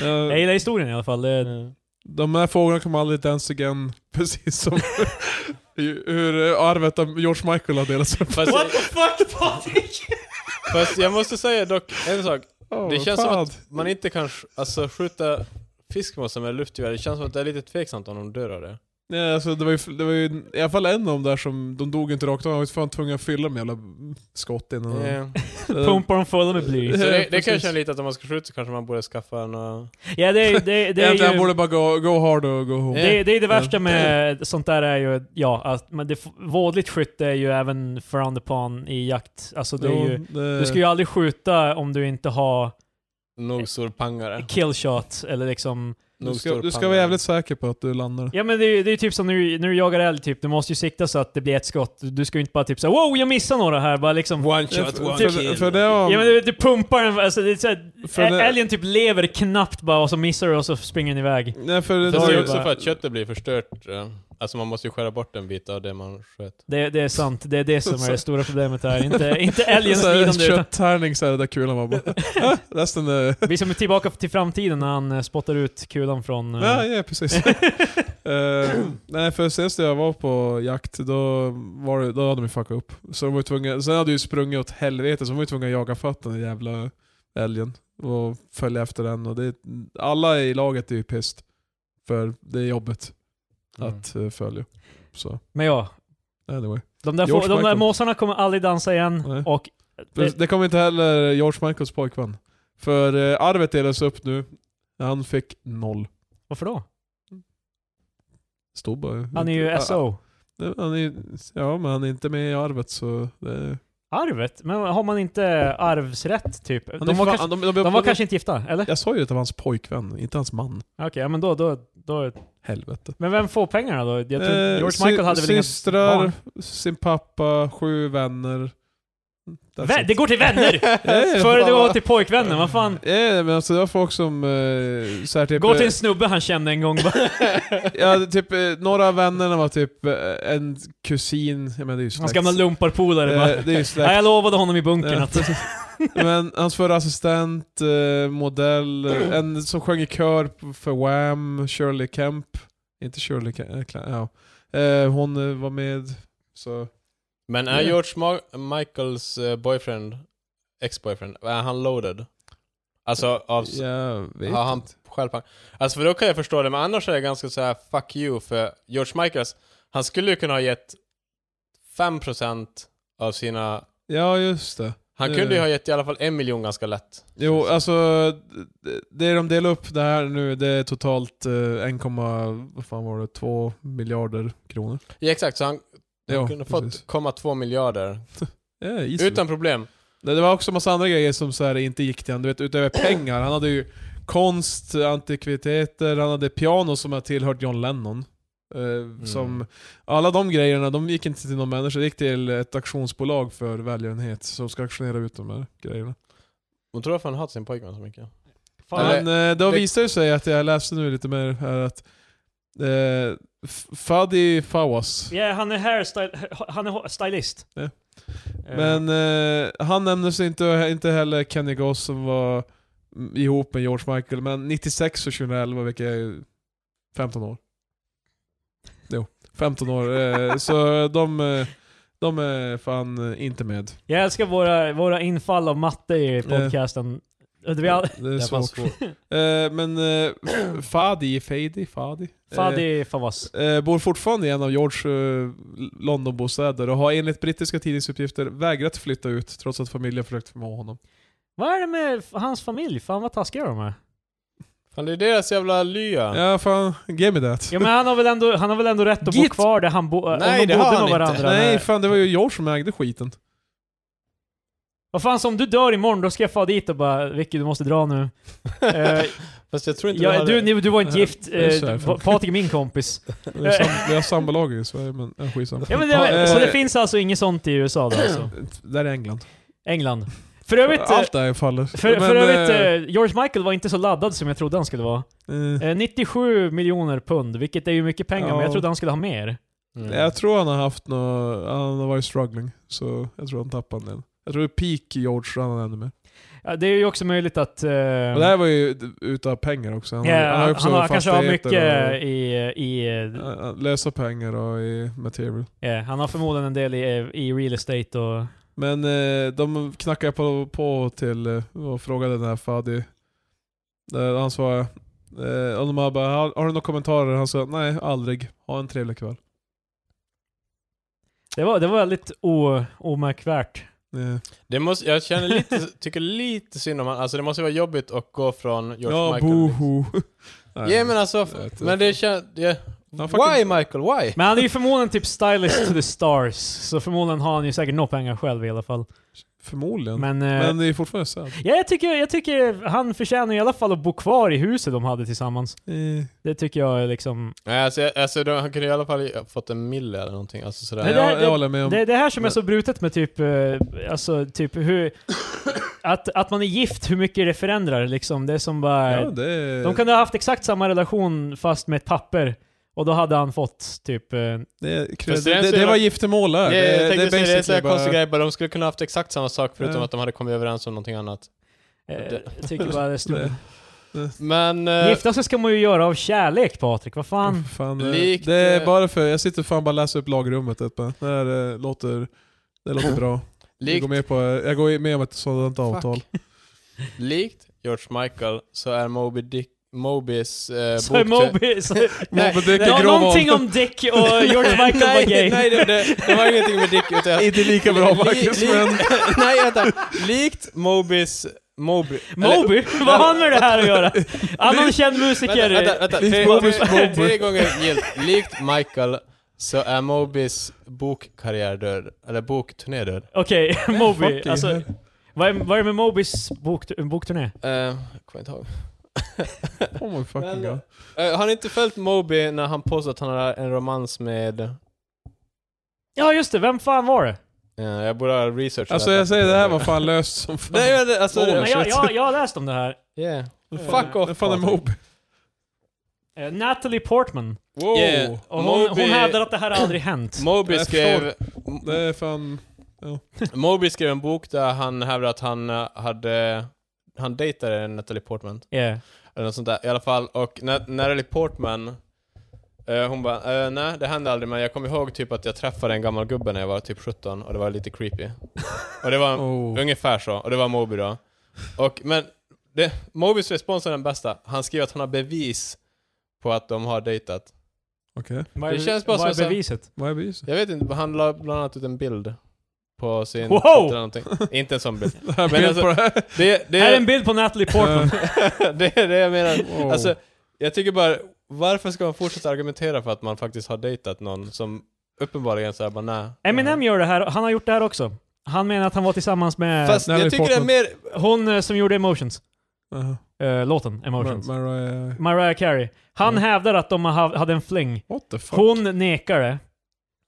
Speaker 1: Eh,
Speaker 2: jag gillar historien i alla fall. Det,
Speaker 3: Ja.
Speaker 1: De här frågorna kommer aldrig dance again, precis som hur hur eh, arvet av George Michael har delats upp.
Speaker 3: Fast,
Speaker 2: What the fuck Patrik?
Speaker 3: fast jag måste säga dock en sak.
Speaker 1: Åh,
Speaker 3: Det känns som
Speaker 1: fan.
Speaker 3: att man inte kan sk- alltså, skjuta fiskmåsar med luftgevär. Det känns som att det är lite tveksamt om de dör av det.
Speaker 1: Nej, alltså, det, var ju, det var ju i alla fall en av dem där som, de dog inte rakt av, de var ju fan tvungna att fylla med jävla skott innan. de-
Speaker 3: Ja.
Speaker 1: Eh,
Speaker 2: Pumpar dem fulla med bly.
Speaker 3: Så det, det
Speaker 1: precis.
Speaker 3: kan jag känna lite att om man ska skjuta så kanske man borde skaffa en... Uh,
Speaker 2: Ja, det, är- det, det är
Speaker 1: Egentligen
Speaker 2: ju...
Speaker 1: borde bara go, go hard och go home.
Speaker 2: Det, det är det
Speaker 1: Ja.
Speaker 2: värsta med sånt där är ju, ja, att men det, f- vådligt skytte är ju även frowned upon i jakt. Alltså det är ju,
Speaker 1: det,
Speaker 2: du ska ju aldrig skjuta om du inte har
Speaker 3: nog stor pangare.
Speaker 2: killshot eller liksom...
Speaker 1: du
Speaker 3: Nog
Speaker 1: ska,
Speaker 3: stor
Speaker 1: du ska
Speaker 3: pangare.
Speaker 1: vara jävligt säker på att du landar.
Speaker 2: Ja men det är ju det är ju typ som när du, när du jagar älg typ, du måste ju sikta så att det blir ett skott. Du ska ju inte bara typ såhär wow jag missar några här, bara liksom...
Speaker 3: One
Speaker 1: Ja,
Speaker 3: shot, one
Speaker 1: för, för,
Speaker 3: kill.
Speaker 1: för det var...
Speaker 2: Ja men du, du pumpar den, alltså det är såhär,
Speaker 1: För det-
Speaker 2: älgen typ lever knappt bara och så missar du och så springer den iväg.
Speaker 1: nej, för det,
Speaker 3: Fast
Speaker 1: var
Speaker 3: det
Speaker 1: ju
Speaker 3: är också
Speaker 2: bara-
Speaker 3: för att köttet blir förstört. eh. Alltså man måste ju skära bort en bit av det man sköt.
Speaker 2: Det, det är sant, det är det som är det stora problemet här. Inte, inte älgens lidande utan
Speaker 1: Kötttärning såhär, där kulan var bara... "Ah, Resten är...
Speaker 2: Vi som är tillbaka till framtiden när han eh, spottar ut kulan från... eh,
Speaker 1: Ja, ja precis. Eh, nej, för senast jag var på jakt, då, var det, då hade de ju fuckat upp. Så de var ju tvungna, sen hade de ju sprungit åt helvete, så de var ju tvungna att jaga fatt den jävla älgen. Och följa efter den. Och det, alla i laget är ju pissed. För det är jobbigt
Speaker 3: Mm.
Speaker 1: att eh, följa. Så,
Speaker 2: Men ja,
Speaker 1: anyway.
Speaker 2: de där, få,
Speaker 1: George
Speaker 2: de där
Speaker 1: Michael.
Speaker 2: måsarna kommer aldrig dansa igen.
Speaker 1: Nej.
Speaker 2: Och eh,
Speaker 1: Det, det kommer inte heller George Michaels pojkvän. För eh, arvet delas upp nu. Han fick noll.
Speaker 2: varför då?
Speaker 1: Stod bara...
Speaker 2: Han är ju SO.
Speaker 1: Han är, ja, men han är inte med i arvet så det...
Speaker 2: Arvet? Men har man inte arvsrätt typ?
Speaker 1: Han
Speaker 2: De
Speaker 1: är fan-
Speaker 2: var, kanske,
Speaker 1: de- de-
Speaker 2: de var
Speaker 1: de-
Speaker 2: kanske inte gifta, eller?
Speaker 1: Jag sa ju att det var hans pojkvän, inte hans man.
Speaker 2: Okej, ja, men då, då, då...
Speaker 1: Helvete.
Speaker 2: Men vem får pengarna då? Jag tror,
Speaker 1: Eh,
Speaker 2: George Michael
Speaker 1: sy-
Speaker 2: hade väl inga
Speaker 1: Systrar,
Speaker 2: barn?
Speaker 1: sin pappa, sju vänner. That's
Speaker 2: Vä-
Speaker 1: it.
Speaker 2: det går till vänner!
Speaker 1: Eh,
Speaker 2: Före
Speaker 1: fan,
Speaker 2: det var typ-
Speaker 1: vad-
Speaker 2: till pojkvännen, vad fan?
Speaker 1: Eh, men alltså det var folk som... Eh, så här, typ,
Speaker 2: Gå till en snubbe han kände en gång bara.
Speaker 1: ja, typ, eh, några av vännerna var typ eh, en kusin, jag menar det är ju släkt.
Speaker 2: Hans gamla lumparpolare bara.
Speaker 1: Eh, det är ju
Speaker 2: Ja,
Speaker 1: släkt.
Speaker 2: jag lovade honom i bunkern
Speaker 1: Ja,
Speaker 2: att...
Speaker 1: precis. Men hans förra assistent, eh, modell, eh, en som sjöng i kör p- för Wham, Shirley Kemp. Inte Shirley Kemp, eh, Cla- ja. eh, hon eh, var med. Så.
Speaker 3: Men är
Speaker 1: Ja.
Speaker 3: George Ma- Michaels eh, boyfriend, ex-boyfriend, är han loaded? Alltså av...
Speaker 1: Jag vet
Speaker 3: Har han
Speaker 1: inte.
Speaker 3: själv pang- Alltså för då kan jag förstå det, men annars är jag ganska så här fuck you för George Michaels, han skulle ju kunna ha gett 5% av sina...
Speaker 1: Ja, just det.
Speaker 3: Han
Speaker 1: Det-
Speaker 3: kunde ju ha gett i alla fall en miljon ganska lätt.
Speaker 1: Jo, alltså det- det de delar upp det här nu, det är totalt eh, 1, vad fan var det, 2 miljarder kronor.
Speaker 3: Ja exakt, så han, han
Speaker 1: Ja,
Speaker 3: kunde
Speaker 1: precis.
Speaker 3: fått komma två miljarder.
Speaker 1: Yeah,
Speaker 3: Utan problem.
Speaker 1: Det, det var också massa andra grejer som så här inte gick till han. Du vet, utöver pengar. Han hade ju konst, antikviteter, han hade piano som har tillhört John Lennon. Eh,
Speaker 3: Mm.
Speaker 1: Som, alla de grejerna, de gick inte till någon människa, det gick till ett auktionsbolag för välgörenhet som ska auktionera ut de här grejerna.
Speaker 3: Hon tror att han hatar sin pojkvän så mycket.
Speaker 2: Fan,
Speaker 1: Men eh, då
Speaker 3: det-
Speaker 1: visar det sig att jag läste nu lite mer här att eh, F- Fadi Fawas.
Speaker 2: Ja, han är hairstyle... Han är stylist.
Speaker 1: Ja.
Speaker 2: Eh,
Speaker 1: Men eh, han nämndes inte, inte heller Kenny Goss som var mm, ihop med George Michael, men 96 och 2011, vilket är 15 år. Jo, 15 år. Eh, så de, eh, de är fan eh, inte med.
Speaker 2: Jag älskar våra, våra infall av matte i podcasten. Och det blir all...
Speaker 1: Det är
Speaker 3: Det
Speaker 1: svårt.
Speaker 3: fanns svårt.
Speaker 1: Eh, men eh, Fadi, Fadi, Fadi. eh,
Speaker 2: Fadi Favas.
Speaker 1: Eh, bor fortfarande i en av Georges eh, Londonbostäder och har enligt brittiska tidningsuppgifter vägrat flytta ut trots att familjen försökt förmå honom.
Speaker 2: Vad är det med f- hans familj? Fan vad taskiga de är.
Speaker 3: Fan det är deras jävla lya.
Speaker 1: Ja, fan. Give me that.
Speaker 2: Ja men han har väl ändå, han har väl ändå rätt att bo
Speaker 1: Git.
Speaker 2: kvar där han bo, om de
Speaker 3: Nej, det har
Speaker 2: bodde
Speaker 3: han
Speaker 2: med
Speaker 3: inte.
Speaker 2: varandra?
Speaker 1: Nej,
Speaker 2: Nej.
Speaker 1: fan det var ju George som ägde skiten.
Speaker 2: Vad fan, så om du dör imorgon då ska jag fara dit och bara Vicky du måste dra nu. Eh,
Speaker 3: Fast jag tror inte
Speaker 2: ja,
Speaker 3: hade-
Speaker 2: du, ni- du var inte gift,
Speaker 1: det är så
Speaker 2: eh,
Speaker 1: här
Speaker 2: Pa- Patrik är min kompis.
Speaker 1: Vi har sam- vi har sambolagar i Sverige, men ja, skitsamma.
Speaker 2: Ja, men det, så det
Speaker 1: Eh,
Speaker 2: finns alltså inget sånt i USA då alltså?
Speaker 1: Där är England.
Speaker 2: England. För övrigt, eh,
Speaker 1: Allt det här faller.
Speaker 2: för, för övrigt eh, George Michael var inte så laddad som jag trodde han skulle vara.
Speaker 1: eh,
Speaker 2: Eh, 97 miljoner pund, vilket är ju mycket pengar,
Speaker 1: Ja.
Speaker 2: men jag trodde han skulle ha mer.
Speaker 3: Mm.
Speaker 1: eh, jag tror han har haft nå han har varit struggling, så jag tror han tappade en del. Jag tror peak George rann han ännu mer.
Speaker 2: Ja, det är ju också möjligt att... eh,
Speaker 1: Och det här var ju d- utav pengar också. Han,
Speaker 2: ja, han,
Speaker 1: ju
Speaker 2: han,
Speaker 1: också
Speaker 2: har, kanske har mycket eh,
Speaker 1: fastigheter och-
Speaker 2: i... i
Speaker 1: Ja, ja, Lösa pengar och i material.
Speaker 2: ja, han har förmodligen en del i, eh, i real estate och...
Speaker 1: Men eh, de knackade på, på till eh, och frågade den här Fadi. Eh, han svarade. Eh, och de här bara, har, har du några kommentarer? Han sa, nej aldrig. Ha en trevlig kväll.
Speaker 2: Det var, det var väldigt o, omärkvärt.
Speaker 1: Eh,
Speaker 3: Det måste, jag känner lite, tycker lite synd om han. Alltså det måste vara jobbigt att gå från George
Speaker 1: ja,
Speaker 3: Michael.
Speaker 1: boho. Nej.
Speaker 3: Ja men alltså,
Speaker 1: Jag vet inte.
Speaker 3: men det känns... det-
Speaker 1: Han
Speaker 3: Why
Speaker 1: fucking-
Speaker 3: Michael, why?
Speaker 2: Men han är ju förmodligen typ stylist to the stars, så förmodligen har han ju säkert några pengar själv i alla fall.
Speaker 1: Förmodligen. Mm. Men,
Speaker 2: Men... eh,
Speaker 1: det är fortfarande sad.
Speaker 2: Ja, jag tycker, jag tycker han förtjänar i alla fall att bo kvar i huset de hade tillsammans.
Speaker 1: Eh,
Speaker 2: Det tycker jag är liksom...
Speaker 3: Nej, alltså, jag- alltså de- han kunde i alla fall fått en mille eller någonting. Alltså sådär.
Speaker 2: Nej, det här-
Speaker 1: jag, jag håller med om.
Speaker 2: Det är det här som är så brutet med typ, eh, alltså typ hur... Att, att man är gift, hur mycket det förändrar liksom. Det är som bara...
Speaker 1: ja, det är,
Speaker 2: De kunde ha haft exakt samma relation fast med ett papper. Och då hade han fått typ... eh,
Speaker 1: det, är, det,
Speaker 3: Fast det är
Speaker 1: det, det
Speaker 3: så
Speaker 1: var
Speaker 3: jävla-
Speaker 1: giftermål där.
Speaker 3: Ja, jag
Speaker 1: det, det
Speaker 3: tänkte
Speaker 1: är
Speaker 3: säga det, är
Speaker 1: basically
Speaker 3: så här
Speaker 1: bara...
Speaker 3: konstig grej, bara de skulle kunna haft exakt samma sak förutom
Speaker 1: Ja.
Speaker 3: att de hade kommit överens om någonting annat.
Speaker 2: eh, jag tycker bara det är stort.
Speaker 1: Nej.
Speaker 3: Men... eh,
Speaker 2: Gifta sig ska man ju göra av kärlek Patrik, vad fan.
Speaker 1: Fan, eh,
Speaker 3: Likt,
Speaker 1: det är
Speaker 3: eh,
Speaker 1: bara för, jag sitter fan bara och läser upp lagrummet. Ett, bara. det här eh, låter, det låter bra. Jag
Speaker 3: likt,
Speaker 1: går, med på, jag går med om ett sådant avtal.
Speaker 3: likt George Michael så är Moby Dick, Mobys eh,
Speaker 2: Så är
Speaker 3: bokte-
Speaker 2: Moby... Så,
Speaker 3: Nej,
Speaker 1: Moby Dick
Speaker 3: nej,
Speaker 1: är
Speaker 2: Nå-
Speaker 1: grov
Speaker 2: någonting om Dick och George Michael var
Speaker 3: nej,
Speaker 2: gay.
Speaker 3: nej, det, det, det var ingenting med Dick utan... jag-
Speaker 1: Inte lika bra Marcus,
Speaker 3: Li- li-
Speaker 1: men...
Speaker 3: Nej, vänta. Likt Mobys... Moby... eller-
Speaker 2: Moby? Vad har han med det här att göra? Annan känd musiker.
Speaker 3: Vänta, vänta, vänta.
Speaker 1: Likt
Speaker 3: Tre,
Speaker 1: Mobys
Speaker 3: tre,
Speaker 1: Moby.
Speaker 3: tre gånger gillt. Likt Michael så är Mobys bokkarriär död. Eller bokturné död.
Speaker 2: Okej, Moby.
Speaker 1: Fuck you.
Speaker 2: Alltså, vad är, vad är med Mobys bok, bokturné?
Speaker 3: Eh, jag kommer inte ihåg.
Speaker 1: Oh my fucking god.
Speaker 3: Eh, har ni inte följt Moby när han påstår att han har en romans med...
Speaker 2: Ja just det, vem fan var det?
Speaker 3: Eh, jag borde ha researchat
Speaker 1: Alltså jag säger det här var fan löst som fan.
Speaker 3: Nej, men det- alltså...
Speaker 1: Åh,
Speaker 3: det-
Speaker 2: Nej, jag, jag, jag har läst om det här.
Speaker 3: yeah.
Speaker 2: fan-
Speaker 3: Fuck
Speaker 1: Vad
Speaker 3: off,
Speaker 1: fan är
Speaker 3: Patrik.
Speaker 1: Mob?
Speaker 2: Eh, Natalie Portman.
Speaker 1: Wow.
Speaker 3: Yeah.
Speaker 2: Och hon,
Speaker 3: Oh. Moby-
Speaker 2: hon hävdar att det här aldrig hänt.
Speaker 3: Moby
Speaker 1: Jag
Speaker 3: skrev,
Speaker 1: Det är fan...
Speaker 3: Moby skrev en bok där han hävdade att han eh, hade... Han dejtade Natalie Portman.
Speaker 2: Yeah.
Speaker 3: Eller något sånt där i alla fall. Och Na- Natalie Portman, eh, hon bara eh, nej det hände aldrig men jag kommer ihåg typ att jag träffade en gammal gubbe när jag var typ 17 och det var lite creepy. Och det var
Speaker 1: Oh.
Speaker 3: ungefär så, och det var Moby då. Och, men det, Mobys respons är den bästa. Han skriver att han har bevis på att de har dejtat.
Speaker 1: Okej.
Speaker 2: Vad
Speaker 3: Det
Speaker 2: är,
Speaker 3: känns bara
Speaker 2: vad är
Speaker 3: som så här-
Speaker 2: beviset?
Speaker 1: Vad är beviset?
Speaker 3: Jag vet inte, han la bland annat ut en bild på sin...
Speaker 2: Wow!
Speaker 3: Twitter eller någonting. Inte en sån bild.
Speaker 1: Det här
Speaker 3: Men
Speaker 1: bild
Speaker 3: alltså-
Speaker 1: på det här.
Speaker 3: Det, det,
Speaker 2: Här är en bild på Natalie Portman.
Speaker 1: Eh,
Speaker 3: det är det jag menar.
Speaker 1: Wow.
Speaker 3: Alltså, jag tycker bara, varför ska man fortsätta argumentera för att man faktiskt har dejtat någon som uppenbarligen såhär bara nej.
Speaker 2: Eminem gör det här, han har gjort det här också. Han menar att han var tillsammans med
Speaker 3: Fast
Speaker 1: Nej,
Speaker 3: jag
Speaker 1: det är
Speaker 3: tycker det är
Speaker 1: Portman.
Speaker 3: mer...
Speaker 2: hon eh, som gjorde Emotions.
Speaker 1: Jaha.
Speaker 2: Eh, låten Emotions.
Speaker 1: Mar- Mariah...
Speaker 2: Mariah Carey. Han
Speaker 1: Mm.
Speaker 2: hävdar att de har- hade en fling.
Speaker 1: What the fuck?
Speaker 2: Hon nekar det.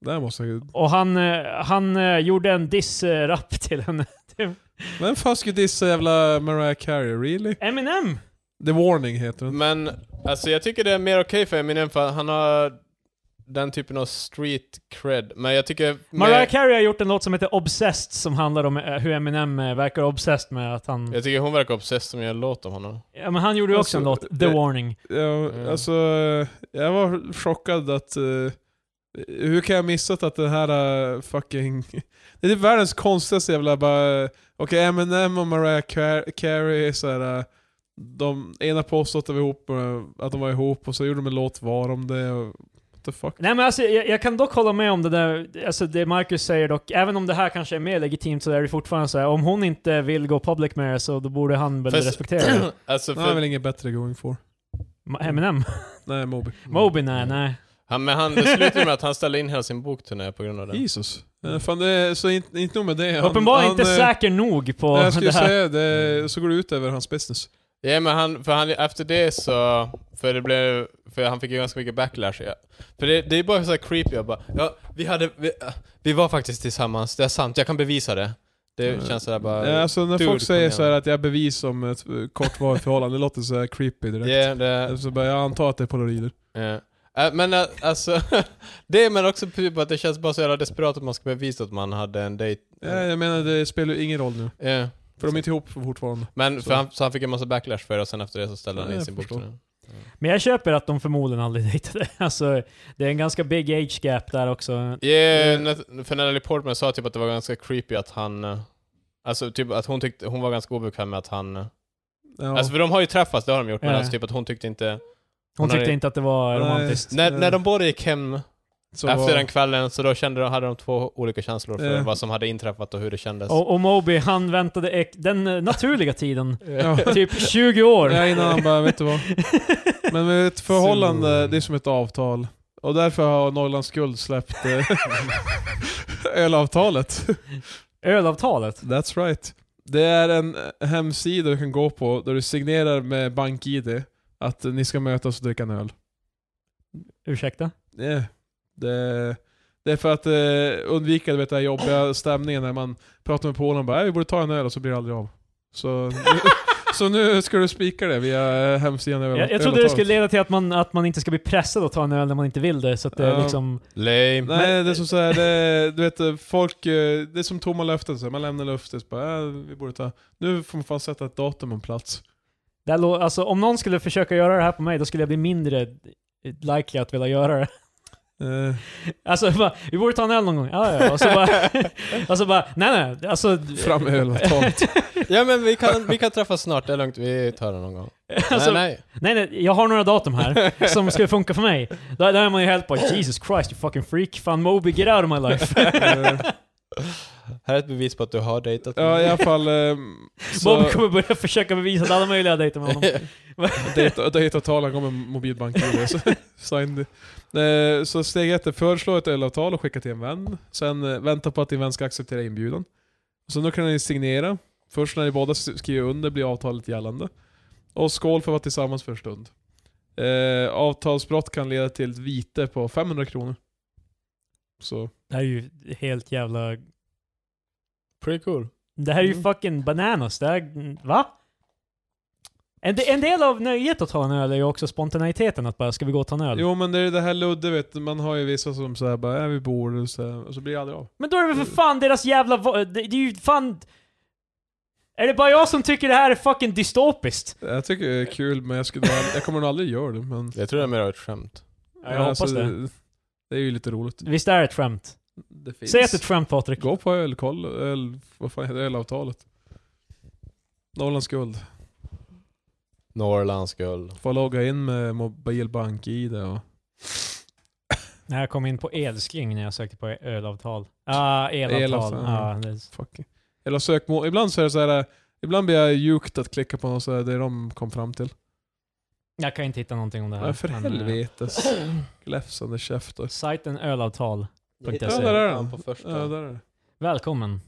Speaker 1: Det här måste jag...
Speaker 2: Och han, eh, han eh, gjorde en diss-rap till henne.
Speaker 1: Vem fan skulle dissa jävla Mariah Carey? Really?
Speaker 2: Eminem!
Speaker 1: The Warning heter den.
Speaker 3: Men, alltså jag tycker det är mer okej för Eminem för han har den typen av street cred. Men jag tycker... med-
Speaker 2: Mariah Carey har gjort en låt som heter Obsessed som handlar om eh, hur Eminem eh, verkar obsessed med att han...
Speaker 3: jag tycker hon verkar obsessed som gör en låt om honom.
Speaker 2: Ja, men han gjorde ju också en
Speaker 1: Alltså,
Speaker 2: låt, The
Speaker 1: eh,
Speaker 2: Warning.
Speaker 1: Ja,
Speaker 3: Mm.
Speaker 1: Alltså, eh, jag var chockad att... eh, hur kan jag missat att den här eh, fucking... Det är typ världens konstigaste jävla bara... eh, Okej, Eminem och Mariah Car- Carey är såhär... eh, De ena påstod att de, var ihop, eh, att de var ihop och så gjorde de en låt var om det och... What the fuck?
Speaker 2: Nej men alltså, jag, jag kan dock hålla med om det där, alltså det Marcus säger dock, även om det här kanske är mer legitimt så är det fortfarande så här, om hon inte vill gå public med det så då borde han väl
Speaker 3: Fast-
Speaker 2: respektera det.
Speaker 3: Alltså
Speaker 1: Han är väl
Speaker 3: för,
Speaker 1: inget bättre going for.
Speaker 2: Ma- Eminem?
Speaker 1: Nej, Moby.
Speaker 2: Moby?
Speaker 1: Mm.
Speaker 2: Nej, nej.
Speaker 3: han, men han, det slutade med att han ställde in hela sin bokturné på grund av det.
Speaker 1: Jesus. Eh, Fan, det är, så inte, inte nog med det. Han-
Speaker 2: Uppenbarligen
Speaker 1: han,
Speaker 2: inte
Speaker 1: eh,
Speaker 2: säker nog på
Speaker 1: Nej, jag skulle
Speaker 2: det här.
Speaker 1: säga det, så går det ut över hans business.
Speaker 3: Ja men han, för han, efter det så, för det blev, för han fick ju ganska mycket backlash. Ja. För det, det är bara så här creepy jag bara, ja vi hade, vi, äh, vi var faktiskt tillsammans, det är sant, jag kan bevisa det. Det
Speaker 1: Mm.
Speaker 3: känns sådär bara...
Speaker 1: Ja, alltså när
Speaker 3: dude,
Speaker 1: folk säger
Speaker 3: kom
Speaker 1: så här
Speaker 3: igen.
Speaker 1: att jag är bevis om ett eh, kortvarigt förhållande, det låter så här creepy direkt.
Speaker 3: Ja, det,
Speaker 1: Så bara, jag antar att det är polaroider.
Speaker 3: ja. Äh, men äh, alltså, det men också typ att det känns bara så jävla desperat att man ska bevisa att man hade en dejt.
Speaker 1: Ja, Eh, jag menar, det spelar ju ingen roll nu.
Speaker 3: Ja.
Speaker 1: För de är inte ihop fortfarande.
Speaker 3: Men
Speaker 1: Så.
Speaker 3: för han, så han fick en massa backlash för det och sen efter det så ställde
Speaker 1: Ja,
Speaker 3: han in
Speaker 1: jag
Speaker 3: sin
Speaker 1: förstår.
Speaker 3: bokturné.
Speaker 2: Men jag köper att de förmodligen aldrig dejtade. Alltså, det är en ganska big age gap där också.
Speaker 3: Yeah,
Speaker 1: Mm.
Speaker 3: när- för Natalie Portman sa typ att det var ganska creepy att han... eh, Alltså typ att hon tyckte, hon var ganska obekväm med att han... eh,
Speaker 1: Ja.
Speaker 3: Alltså för de har ju träffats, det har de gjort, men
Speaker 2: Ja.
Speaker 3: alltså typ att hon tyckte inte...
Speaker 2: Hon
Speaker 3: Hon har
Speaker 2: tyckte
Speaker 3: ju-
Speaker 2: inte att det var
Speaker 1: Nej.
Speaker 2: romantiskt.
Speaker 3: När,
Speaker 1: Ja.
Speaker 3: när de båda gick hem
Speaker 1: eh. så
Speaker 3: efter
Speaker 1: var- Eh.
Speaker 3: den kvällen så då kände de, hade de två olika känslor för
Speaker 1: Ja.
Speaker 3: vad som hade inträffat och hur det kändes.
Speaker 2: Och, och Moby, han väntade ek- den eh, naturliga tiden.
Speaker 1: Ja.
Speaker 2: typ 20 år.
Speaker 1: Ja, innan han bara, vet du vad? Men med ett förhållande,
Speaker 3: Så-
Speaker 1: det är som ett avtal. Och därför har Norrlands Guld släppt eh, ölavtalet.
Speaker 2: Ölavtalet.
Speaker 1: That's right. Det är en eh, hemsida du kan gå på där du signerar med BankID att eh, ni ska mötas och dricka en öl.
Speaker 2: Ursäkta?
Speaker 1: Nej. Det, det är för att eh, undvika du vet, den här jobbiga stämningen när man pratar med Polen och bara "Äh, vi borde ta en öl och så blir det aldrig av. Så nu, så nu ska du spika det via eh, hemsidan. över-
Speaker 2: Jag, jag trodde det
Speaker 1: övertaget.
Speaker 2: skulle leda till att man, att man inte ska bli pressad att ta en öl när man inte vill det, så att det är
Speaker 1: Ja.
Speaker 2: liksom...
Speaker 3: Lame.
Speaker 1: Nej, det är som så här, det, du vet eh, folk, eh, det är som tomma löften. Så här, man lämnar löftet bara äh, vi borde ta. Nu får man fan sätta ett datum och en plats.
Speaker 2: Det här lå- alltså, om någon skulle försöka göra det här på mig, då skulle jag bli mindre likely att vilja göra det.
Speaker 1: Eh,
Speaker 2: Alltså, bara, vi borde ta en öl någon gång. Ja, ja. Och så bara, och så bara nej, nej. Alltså,
Speaker 1: fram med ölavtalet.
Speaker 3: Ja men vi kan, vi kan träffas snart, det är lugnt, vi tar det någon gång.
Speaker 2: Alltså-
Speaker 3: nej nej.
Speaker 2: nej, nej, jag har några datum här som skulle funka för mig. Där, där är man ju helt bara, Jesus Christ, you fucking freak. Fan, Moby, get out of my life.
Speaker 1: Eh,
Speaker 3: Här är ett bevis på att du har dejtat
Speaker 1: ja, i alla fall. Eh, så
Speaker 2: Moby kommer börja försöka bevisa att alla möjliga dejter med honom.
Speaker 1: dejta- dejtavtalen kommer mobilbank-id. Så, signed. Eh, så steg ett är föreslå ett ölavtal och skicka till en vän. Sen eh, vänta på att din vän ska acceptera inbjudan. Så nu kan ni signera. Först när ni båda s- skriver under blir avtalet gällande. Och skål för att vara tillsammans för en stund. Eh, avtalsbrott kan leda till ett vite på 500 kronor. Så,
Speaker 2: Det här är ju helt jävla...
Speaker 3: Pretty cool.
Speaker 2: Det här är ju
Speaker 1: Mm.
Speaker 2: fucking bananas. Det här, va? En, de- en del av nöjet att ta en öl är ju också spontaniteten att bara, ska vi gå och ta en öl?
Speaker 1: jo men det är det här ludde vet du. man har ju vissa som säger bara, är vi bor och så, här, och så blir det aldrig av.
Speaker 2: Men då är det väl för fan deras jävla... va- Det, det är ju fan... Är det bara jag som tycker det här är fucking dystopiskt?
Speaker 1: Jag tycker det är kul men jag, skulle, jag kommer nog aldrig göra det men...
Speaker 3: Jag tror det är mer av ett skämt.
Speaker 2: Ja, jag hoppas det.
Speaker 1: alltså, Det är ju lite roligt.
Speaker 2: Visst är det ett skämt?
Speaker 1: Det finns.
Speaker 2: Säg att det är ett skämt Patrik.
Speaker 1: Gå på ölkoll, öl, vad fan heter det, ölavtalet. Norrlands guld.
Speaker 3: Norrlands guld.
Speaker 1: Får logga in med mobilbank-id och...
Speaker 2: När jag kom in på elskring när jag sökte på ölavtal. Ah, elavtal.
Speaker 1: Elavtal, ja.
Speaker 2: Ah, det,
Speaker 1: Fuck. Eller sökmål. Ibland så är det så här. eh, Ibland blir jag jukt att klicka på något så här, det de kom fram till.
Speaker 2: jag kan inte hitta någonting om det här.
Speaker 1: Men för
Speaker 2: men, eh,
Speaker 1: helvetes. Gläfsande käftar.
Speaker 2: Sajten ölavtal. Tänkte jag
Speaker 1: Ja,
Speaker 2: säga.
Speaker 1: där är
Speaker 3: Han
Speaker 1: den.
Speaker 3: på första.
Speaker 1: Ja, där är den.
Speaker 2: Välkommen.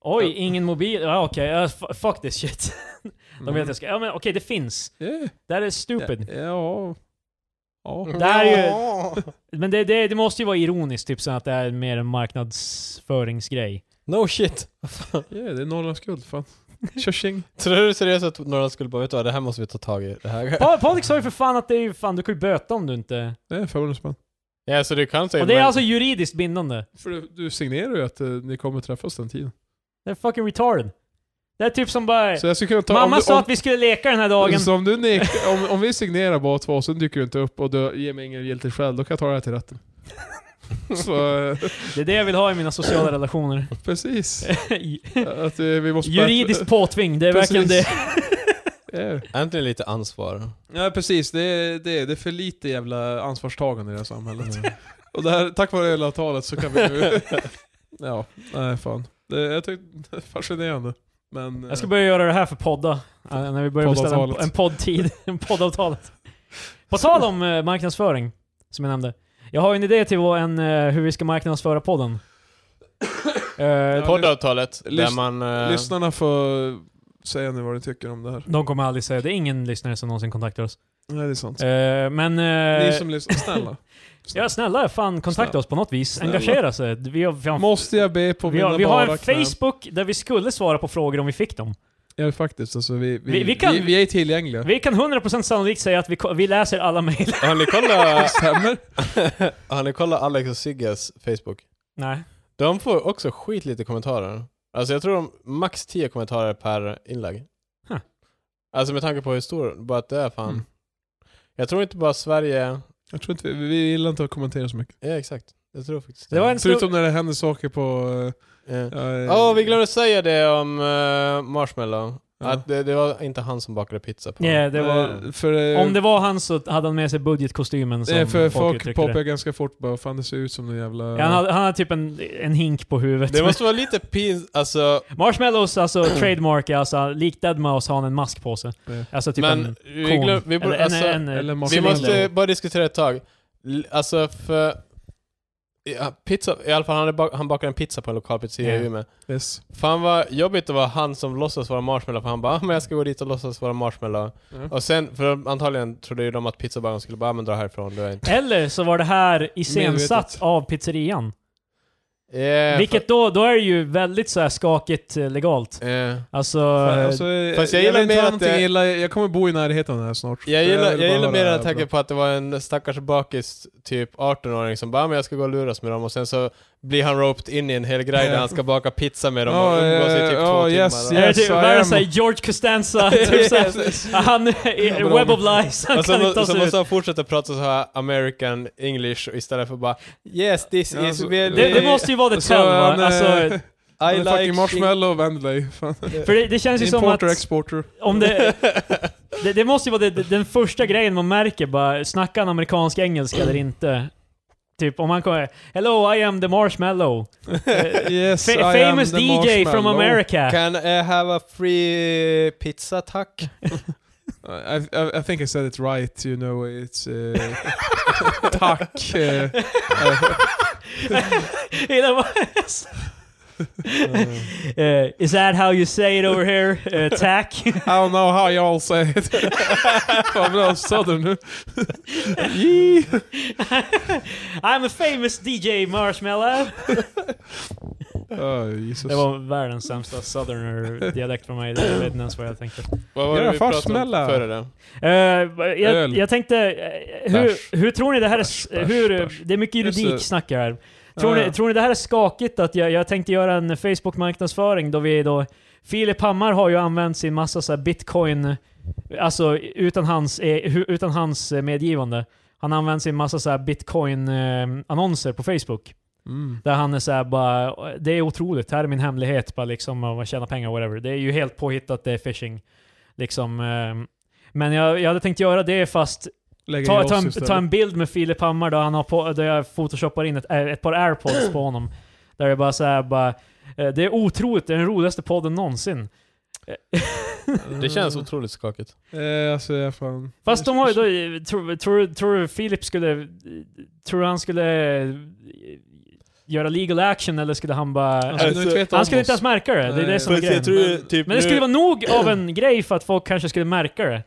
Speaker 2: Oj, ingen mobil. Ja, okej. ja, f- fuck this shit.
Speaker 1: Mm.
Speaker 2: De vet jag ska... Ja, men okej, det finns.
Speaker 1: Yeah.
Speaker 2: Det här är stupid.
Speaker 1: Ja. Ja.
Speaker 2: Det här är ju- Men det, det, det måste ju vara ironiskt, typ så att det är mer en marknadsföringsgrej.
Speaker 3: No shit!
Speaker 1: Yeah, det är Norrlands guld, fan. Tjorsing.
Speaker 3: Tror du seriöst att Norrland skulle bara, vet du vad, det här måste vi ta tag i. Det här.
Speaker 2: Pa- Patrik sa ju för fan att det är ju fan, du kan ju böta om du inte...
Speaker 1: Det är 500 spänn.
Speaker 3: Ja, så du kan säga
Speaker 2: Och det är
Speaker 3: men-
Speaker 2: alltså juridiskt bindande.
Speaker 1: För du, du signerar ju att eh, ni kommer träffas den tiden.
Speaker 2: Det är fucking retarded. Det är typ som bara...
Speaker 1: Så jag skulle kunna ta...
Speaker 2: Mamma
Speaker 1: om du,
Speaker 2: sa
Speaker 1: om,
Speaker 2: att vi skulle leka den här dagen.
Speaker 1: Så om, du nek, om, om vi signerar båda två, sen dyker du inte upp och du ger mig ingen giltig skäl, då kan jag ta det här till rätten. så, eh,
Speaker 2: Det är det jag vill ha i mina sociala relationer.
Speaker 1: precis. Att eh, vi måste...
Speaker 2: Juridiskt påtving, det är
Speaker 1: Precis.
Speaker 2: verkligen det.
Speaker 1: Ja.
Speaker 3: Äntligen lite ansvar.
Speaker 1: Ja precis, det är, det, är, det är för lite jävla ansvarstagande i det här samhället. Och det här, tack vare elavtalet så kan vi nu... ja, nej fan. Det, jag tyckte det är fascinerande. Men...
Speaker 2: Jag ska börja göra det här för podda. eh, När vi börjar beställa en,
Speaker 1: Poddavtalet.
Speaker 2: en poddtid. En poddavtalet. På tal om eh, marknadsföring, som jag nämnde. Jag har ju en idé till vad en, eh, hur vi ska marknadsföra podden. Eh,
Speaker 3: Poddavtalet, där
Speaker 1: lys-
Speaker 3: man...
Speaker 1: eh,
Speaker 3: eh,
Speaker 1: lyssnarna får säga nu vad de tycker om det här.
Speaker 2: de kommer aldrig säga, det är ingen lyssnare som någonsin kontaktar oss.
Speaker 1: Nej det är sant.
Speaker 2: Eh, men... eh,
Speaker 1: Ni som lyssnar, snälla.
Speaker 2: Ja, snälla fan kontakta oss på något vis.
Speaker 1: Snälla.
Speaker 2: Engagera sig. Vi har, vi har,
Speaker 1: Måste jag be på
Speaker 2: vi
Speaker 1: mina
Speaker 2: har, vi har
Speaker 1: bara
Speaker 2: en
Speaker 1: knän?
Speaker 2: Facebook där vi skulle svara på frågor om vi fick dem.
Speaker 1: Ja faktiskt, alltså, vi, vi,
Speaker 2: Vi-
Speaker 1: vi,
Speaker 2: vi
Speaker 1: vi,
Speaker 2: kan-
Speaker 1: vi, är tillgängliga.
Speaker 2: Vi kan 100% sannolikt säga att vi, ko- vi läser alla mejl.
Speaker 3: Har ni kollat,
Speaker 1: Stämmer?
Speaker 3: har ni kollat Alex och Sigges Facebook?
Speaker 2: Nej.
Speaker 3: De får också skit lite kommentarer. Alltså jag tror de max 10 kommentarer per inlägg.
Speaker 2: Huh.
Speaker 3: Alltså med tanke på hur stor, bara att det är fan.
Speaker 1: Mm.
Speaker 3: Jag tror inte bara Sverige,
Speaker 1: Jag tror inte vi, vi gillar inte att kommentera så mycket.
Speaker 3: ja exakt. Jag tror faktiskt
Speaker 2: Det var en stor...
Speaker 1: Förutom när det händer saker på...
Speaker 3: Ja.
Speaker 1: eh, eh,
Speaker 3: Åh, vi glömde säga det om eh, Marshmallow.
Speaker 1: Ja.
Speaker 3: Att det, det var inte han som bakade pizza på.
Speaker 2: Nej, det var...
Speaker 1: eh, För, eh,
Speaker 2: Om det var han så hade han med sig budgetkostymen som
Speaker 1: Nej, för
Speaker 2: folk,
Speaker 1: folk
Speaker 2: uttryckte det.
Speaker 1: poppar ganska fort bara, fan det ser ut som någon jävla...
Speaker 2: Ja, han, hade, han hade typ en, en hink på huvudet.
Speaker 3: Det måste vara lite pinsamt, alltså.
Speaker 2: Marshmallows, alltså trademark, är alltså likt Dead Mouse har han en mask på sig.
Speaker 1: Ja.
Speaker 2: Alltså typ
Speaker 3: men
Speaker 2: en
Speaker 3: vi
Speaker 2: kon.
Speaker 3: glöm, vi borde,
Speaker 2: eller,
Speaker 3: alltså,
Speaker 2: en, en,
Speaker 1: eller
Speaker 2: en
Speaker 1: mask.
Speaker 3: Vi
Speaker 2: cylinder.
Speaker 3: måste bara diskutera ett tag. L- Alltså för... Ja, pizza, i alla fall han, hade bak, han bakade en pizza på en lokal pizzeria
Speaker 2: Ja.
Speaker 3: i Umeå.
Speaker 1: Yes.
Speaker 3: Fan vad jobbigt det var han som låtsas vara marshmallow, för han bara ah, men jag ska gå dit och låtsas vara marshmallow.
Speaker 1: Ja.
Speaker 3: Och sen, för antagligen trodde ju de att pizzabagaren skulle bara ah, men dra härifrån, du är inte...
Speaker 2: Eller så var det här iscensatt
Speaker 1: Medvetet.
Speaker 2: av pizzerian.
Speaker 3: Eh,
Speaker 2: Vilket då, då är det ju väldigt så här skakigt eh, legalt.
Speaker 3: fa- eh,
Speaker 2: Alltså,
Speaker 1: Alltså,
Speaker 3: Fast jag
Speaker 1: jag,
Speaker 3: gillar
Speaker 1: vill inte ha
Speaker 3: mer att
Speaker 1: någonting
Speaker 3: det-
Speaker 1: illa, jag kommer bo i närheten av den här snart.
Speaker 3: jag
Speaker 1: För
Speaker 3: gillar,
Speaker 1: vill
Speaker 3: jag
Speaker 1: bara
Speaker 3: gillar
Speaker 1: höra
Speaker 3: mer
Speaker 1: det
Speaker 3: den
Speaker 1: här
Speaker 3: här tanken på att det var en stackars bakis, typ 18-åring, som bara ah, men jag ska gå och luras med dem och sen så blir han roped in i en hel grej
Speaker 1: Ja.
Speaker 3: där han ska baka pizza med dem
Speaker 1: Ja,
Speaker 3: och umgås i typ
Speaker 1: eh, ja,
Speaker 3: två
Speaker 1: yes,
Speaker 3: timmar.
Speaker 2: är det typ
Speaker 1: Yes, I
Speaker 2: värre
Speaker 1: am.
Speaker 2: såhär George Costanza, typ
Speaker 1: eh,
Speaker 2: såhär, han är
Speaker 1: bra.
Speaker 2: web of lies, han
Speaker 3: Och
Speaker 1: alltså,
Speaker 3: så,
Speaker 2: kan inte ta
Speaker 3: må, så
Speaker 2: sig ut.
Speaker 3: måste han fortsätta prata så här American English istället för bara Yes this
Speaker 1: Ja, alltså,
Speaker 3: is
Speaker 1: så-
Speaker 3: really...
Speaker 2: Det, det måste ju vara the
Speaker 1: Så
Speaker 2: tell va?
Speaker 1: han, eh,
Speaker 2: Alltså,
Speaker 1: Han
Speaker 3: I
Speaker 1: är fucking marshmallow och Wendley. Fan.
Speaker 2: För det, det känns ju som att
Speaker 1: Importer, exporter.
Speaker 2: om det, det, det måste ju vara det, den första grejen man märker bara, snackar han amerikansk engelska eller inte? Typ om han kommer Hello I am the marshmallow.
Speaker 1: Yes, I
Speaker 2: Fa-
Speaker 1: am
Speaker 2: famous
Speaker 1: the
Speaker 2: DJ from
Speaker 1: marshmallow.
Speaker 2: America.
Speaker 3: Can I have a free pizza tack?
Speaker 1: I, I, I think I said it right, you know it's... eh, tack! eh,
Speaker 2: Hela bara- Eh, is that how you say it over here? Eh, tack.
Speaker 1: I don't know how y'all say it. Fan vad southern nu. Yee.
Speaker 2: I'm a famous DJ Marshmallow.
Speaker 1: Oh, Jesus.
Speaker 2: Det var världens sämsta southerner-dialekt för mig. Jag vet inte ens vad jag tänkte.
Speaker 3: Vad var det
Speaker 1: Ja,
Speaker 3: vi pratade om
Speaker 1: marshmallow.
Speaker 3: före det?
Speaker 2: Eh, jag,
Speaker 1: Öl.
Speaker 2: jag tänkte, eh,
Speaker 3: Bärs.
Speaker 2: hur, hur tror ni det här är...
Speaker 1: Bärs, bärs,
Speaker 2: hur,
Speaker 1: bärs.
Speaker 2: Det är mycket
Speaker 1: Just
Speaker 2: juridik
Speaker 1: det.
Speaker 2: snack här. Tror,
Speaker 1: Ja,
Speaker 2: ni,
Speaker 1: ja.
Speaker 2: tror ni det här är skakigt att jag, jag tänkte göra en Facebook-marknadsföring då vi då... Filip Hammar har ju använt sin massa så här bitcoin, alltså utan hans, eh, hu- utan hans eh, medgivande. Han har använt sin massa så här bitcoin-annonser på Facebook.
Speaker 1: Mm.
Speaker 2: Där han är såhär bara, det är otroligt, här är min hemlighet, bara liksom om att tjäna pengar whatever. Det är ju helt påhittat, det är phishing. Liksom, ehm, men jag, jag hade tänkt göra det fast
Speaker 1: Lägger i
Speaker 2: ta,
Speaker 1: oss
Speaker 2: ta, en,
Speaker 1: istället.
Speaker 2: ta en bild med Filip Hammar då han har på, där jag photoshoppar in ett, eh, ett par airpods på honom. Där det bara såhär bara, eh, det är otroligt, det är den roligaste podden någonsin.
Speaker 3: Det känns otroligt skakigt.
Speaker 1: Ah. Eh, alltså jag fan...
Speaker 2: Fast de har ju då, tror, tror, tror du Filip skulle, tror du han skulle eh, göra legal action eller skulle han bara...
Speaker 1: Han skulle
Speaker 3: Alltså,
Speaker 1: inte veta om
Speaker 2: Han skulle inte
Speaker 1: oss.
Speaker 2: ens märka det, det är det
Speaker 1: Nej,
Speaker 2: som är
Speaker 1: fast
Speaker 2: grejen.
Speaker 1: jag tror- Men-
Speaker 3: typ
Speaker 2: Men det skulle vara nog av en grej för att folk kanske skulle märka det.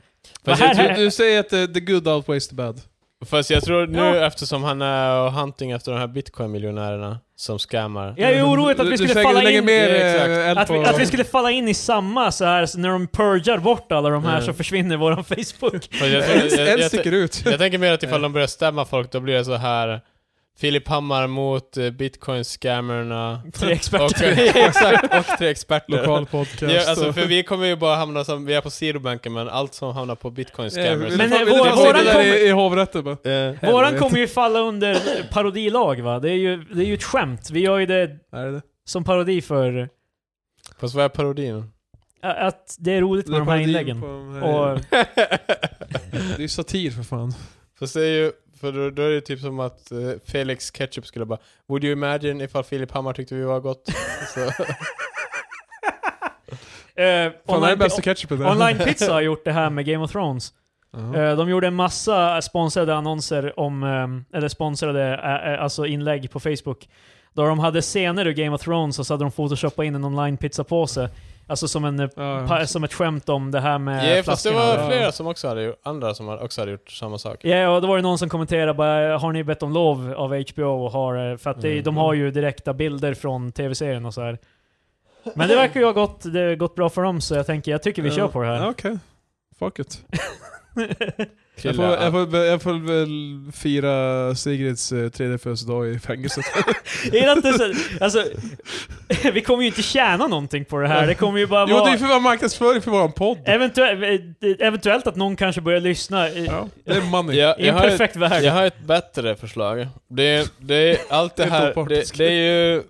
Speaker 3: Fast
Speaker 2: Vad
Speaker 3: jag
Speaker 2: här-
Speaker 3: tror,
Speaker 1: Du, du säger att eh, the good outweighs the bad.
Speaker 3: fast jag tror nu
Speaker 2: Ja.
Speaker 3: eftersom han är och hunting efter de här bitcoin-miljonärerna som scammar.
Speaker 2: Jag är ju orolig att vi
Speaker 1: Du-
Speaker 2: skulle
Speaker 1: du lägger-
Speaker 2: falla
Speaker 1: lägger
Speaker 2: in...
Speaker 1: mer
Speaker 3: Ja,
Speaker 1: eh,
Speaker 3: exakt.
Speaker 1: eld
Speaker 2: Att vi,
Speaker 1: på-
Speaker 2: att vi skulle falla in i samma så här så när de purgar bort alla de här
Speaker 3: Mm.
Speaker 2: så försvinner våran Facebook.
Speaker 3: Fast jag, tror-
Speaker 1: En-
Speaker 3: jag, jag,
Speaker 1: En
Speaker 3: jag,
Speaker 1: sticker ut.
Speaker 3: jag tänker mer att ifall de börjar stämma folk då blir det så här Filip Hammar mot eh, bitcoin-scammerna.
Speaker 2: Tre
Speaker 3: Och,
Speaker 2: experter.
Speaker 3: exakt, och tre experter.
Speaker 1: Lokal podcast.
Speaker 3: Ja, alltså,
Speaker 1: och-
Speaker 3: för vi kommer ju bara hamna som, vi är på sidobanken men allt som hamnar på
Speaker 1: Ja, vi-
Speaker 3: bitcoin-scammers.
Speaker 1: vi-
Speaker 2: Men, eh,
Speaker 1: vi-
Speaker 2: vår-
Speaker 1: vi- vi-
Speaker 2: våran
Speaker 1: det där
Speaker 2: kommer-
Speaker 1: i- I hovrätten bara.
Speaker 3: Eh,
Speaker 2: Våran
Speaker 1: Helvete.
Speaker 2: kommer ju falla under parodilag va? Det är ju, det är ju ett skämt. Vi gör ju det
Speaker 1: Är det det?
Speaker 2: som parodi för
Speaker 3: Fast vad är parodin?
Speaker 2: ä- att det är roligt
Speaker 1: Det är
Speaker 2: med de här
Speaker 1: parodin
Speaker 2: inläggen.
Speaker 1: på de här-
Speaker 2: Och, eh,
Speaker 1: Det är ju satir för fan.
Speaker 3: Fast det är ju, för då, då är det typ som att eh, Felix Ketchup skulle bara Would you imagine ifall Filip Hammar tyckte vi var gott? Så,
Speaker 1: Fan,
Speaker 2: eh,
Speaker 1: det är
Speaker 2: online,
Speaker 1: den bästa ketchupen där.
Speaker 2: online Pizza har gjort det här med Game of Thrones.
Speaker 1: Ja.
Speaker 2: Eh, de gjorde en massa sponsrade annonser om, ehm, eller sponsrade eh, eh, alltså inlägg på Facebook. Där de hade scener ur Game of Thrones och så hade de photoshopat in en online pizzapåse. Alltså som, en, eh,
Speaker 1: Ja,
Speaker 2: pa- som ett skämt om det här med
Speaker 3: yeah, fast det
Speaker 2: flaskorna.
Speaker 3: var
Speaker 1: Ja.
Speaker 3: flera som också hade gjort, andra som hade- också hade gjort samma sak.
Speaker 2: Ja, och då var det någon som kommenterade bara “Har ni bett om lov av HBO?” och har, eh, För att det,
Speaker 3: Mm.
Speaker 2: de har ju direkta bilder från tv-serien och så här. Men det verkar ju ha gått, det har gått bra för dem, så jag tänker, jag tycker vi
Speaker 1: Ja.
Speaker 2: kör på det här.
Speaker 1: Ja, Okej. Fuck it. Jag får,
Speaker 3: Killa,
Speaker 1: jag, får, jag får väl fira Sigrids eh, tredje födelsedag i fängelset.
Speaker 2: Jag gillar att det är så, alltså, vi kommer ju inte tjäna någonting på det här, det kommer ju bara
Speaker 1: jo, det är
Speaker 2: vara...
Speaker 1: ju för vår marknadsföring för våran podd.
Speaker 2: Eh, Eventuellt, eventuellt att någon kanske börjar lyssna i,
Speaker 1: Ja, det är money.
Speaker 3: Ja,
Speaker 2: i
Speaker 3: jag,
Speaker 2: en
Speaker 3: har ett,
Speaker 2: perfekt värld.
Speaker 3: jag har ett bättre förslag. Det är, det är allt det
Speaker 1: Helt
Speaker 3: här, det,
Speaker 1: opartisk.
Speaker 3: det är ju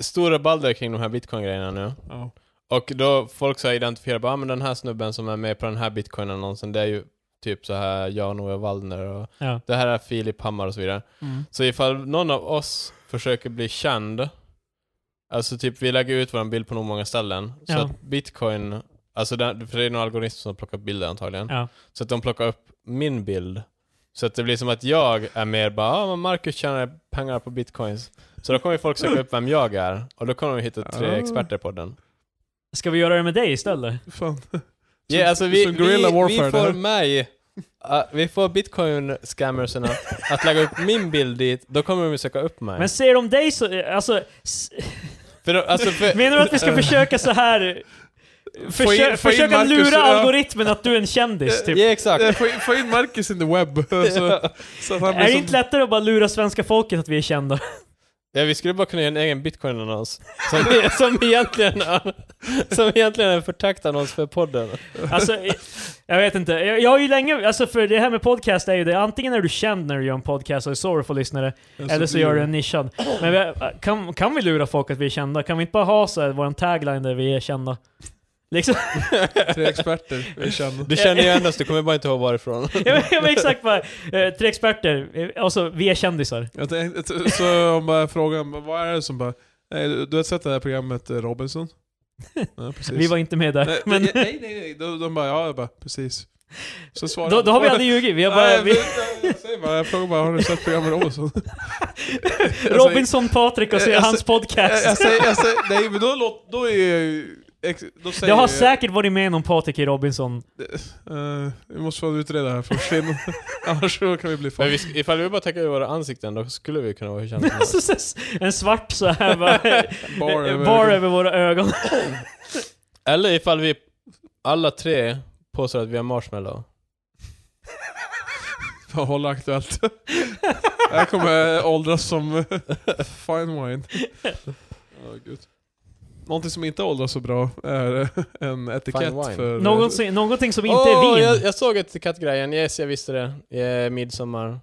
Speaker 3: stora balder kring de här bitcoin-grejerna nu.
Speaker 1: Ja.
Speaker 3: Och då folk så identifierar bara, ah, men den här snubben som är med på den här bitcoin-annonsen, det är ju typ så här Jan-Ove Waldner och
Speaker 2: Ja.
Speaker 3: det här är Filip Hammar och så vidare. Så ifall någon av oss försöker bli känd, alltså typ vi lägger ut vår bild på nog många ställen, så
Speaker 2: Ja.
Speaker 3: att bitcoin, alltså den, för det är någon algoritm som plockar upp bilder antagligen,
Speaker 2: Ja.
Speaker 3: så att de plockar upp min bild. Så att det blir som att jag är mer bara, ah, men Marcus tjänar pengar på bitcoins. Så då kommer ju folk söka upp vem jag är, och då kommer de hitta tre
Speaker 1: Ah.
Speaker 3: experter på den.
Speaker 2: Ska vi göra det med dig istället?
Speaker 1: Fan.
Speaker 3: Ja,
Speaker 1: Som-
Speaker 3: alltså vi,
Speaker 1: som guerrilla
Speaker 3: vi,
Speaker 1: warfare,
Speaker 3: vi får
Speaker 1: det här.
Speaker 3: mig, uh, vi får bitcoin-scammerserna att lägga upp min bild dit, då kommer de ju söka upp mig.
Speaker 2: Men ser de dig så... Alltså, s-
Speaker 3: för då, alltså, för,
Speaker 2: Menar du att vi ska försöka så här
Speaker 1: Få in-
Speaker 2: försö
Speaker 1: få in
Speaker 2: försöka
Speaker 1: Marcus,
Speaker 2: lura
Speaker 1: ja.
Speaker 2: algoritmen att du är en kändis,
Speaker 3: Ja,
Speaker 2: typ.
Speaker 3: exakt.
Speaker 1: Eh, Få in, få in Marcus in the web. Så, så att han
Speaker 2: Är
Speaker 1: blir
Speaker 2: det
Speaker 1: som,
Speaker 2: inte lättare att bara lura svenska folket att vi är kända?
Speaker 3: Ja, vi skulle bara kunna göra en egen bitcoin-annons. Som, som, egentligen, är- som egentligen är en förtäckt annons för podden.
Speaker 2: Alltså, eh, jag vet inte. Jag, jag har ju länge, alltså för det här med podcast är ju det, antingen är du känd när du gör en podcast och är sorrowful lyssnare, eller så gör du en nischad. Men vi, kan, kan vi lura folk att vi är kända? Kan vi inte bara ha så här, vår tagline där vi är kända? Liksom,
Speaker 1: Tre experter, vi känner.
Speaker 3: Du känner ju endast, du kommer bara inte ihåg varifrån.
Speaker 2: jag vet- jag vet exakt bara, eh, tre experter, eh, alltså vi är kändisar.
Speaker 1: Jag tänkte, så om bara frågan, vad är det som bara... eh, Du du har sett det här programmet eh, Robinson? Ja, precis.
Speaker 2: Vi var inte med där.
Speaker 1: nej,
Speaker 2: men,
Speaker 1: nej, nej, nej. De, de bara, ja, jag bara, precis. Så svarar
Speaker 2: då, då har vi
Speaker 1: jag.
Speaker 2: aldrig ljugit, vi har bara...
Speaker 1: Nej,
Speaker 2: Vi,
Speaker 1: jag, jag säger bara, jag frågar bara, har du sett programmet Robinson?
Speaker 2: Robinson Patrik och ser
Speaker 1: alltså, Jag
Speaker 2: hans
Speaker 1: Jag, jag
Speaker 2: podcast.
Speaker 1: säger, jag säger, nej men då, låt, då är jag ju... ex- Då säger
Speaker 2: Jag har
Speaker 1: jag-
Speaker 2: säkert varit med någon Patrik i Robinson.
Speaker 1: Eh, vi måste fan utreda det här först, innan- annars så kan vi bli
Speaker 3: Men
Speaker 1: fan.
Speaker 3: vi, sk- ifall vi bara täcker ut våra ansikten, då skulle vi kunna vara hur kända som helst.
Speaker 2: Alltså, så- så- en svart så här bara,
Speaker 1: Bar
Speaker 2: eh,
Speaker 1: över-
Speaker 2: bar över våra ögon.
Speaker 3: Eller ifall vi alla tre påstår att vi är marshmallow.
Speaker 1: För att hålla aktuellt. Det här kommer eh, åldras som eh, fine wine. Oh, gud. Någonting som inte åldras så bra är eh, en etikett
Speaker 3: Fine wine.
Speaker 1: för... eh,
Speaker 2: Någonting, någonting som inte
Speaker 3: Åh,
Speaker 2: är vin.
Speaker 3: Jag, jag såg etikettgrejen, yes jag visste det. Yeah, midsommar.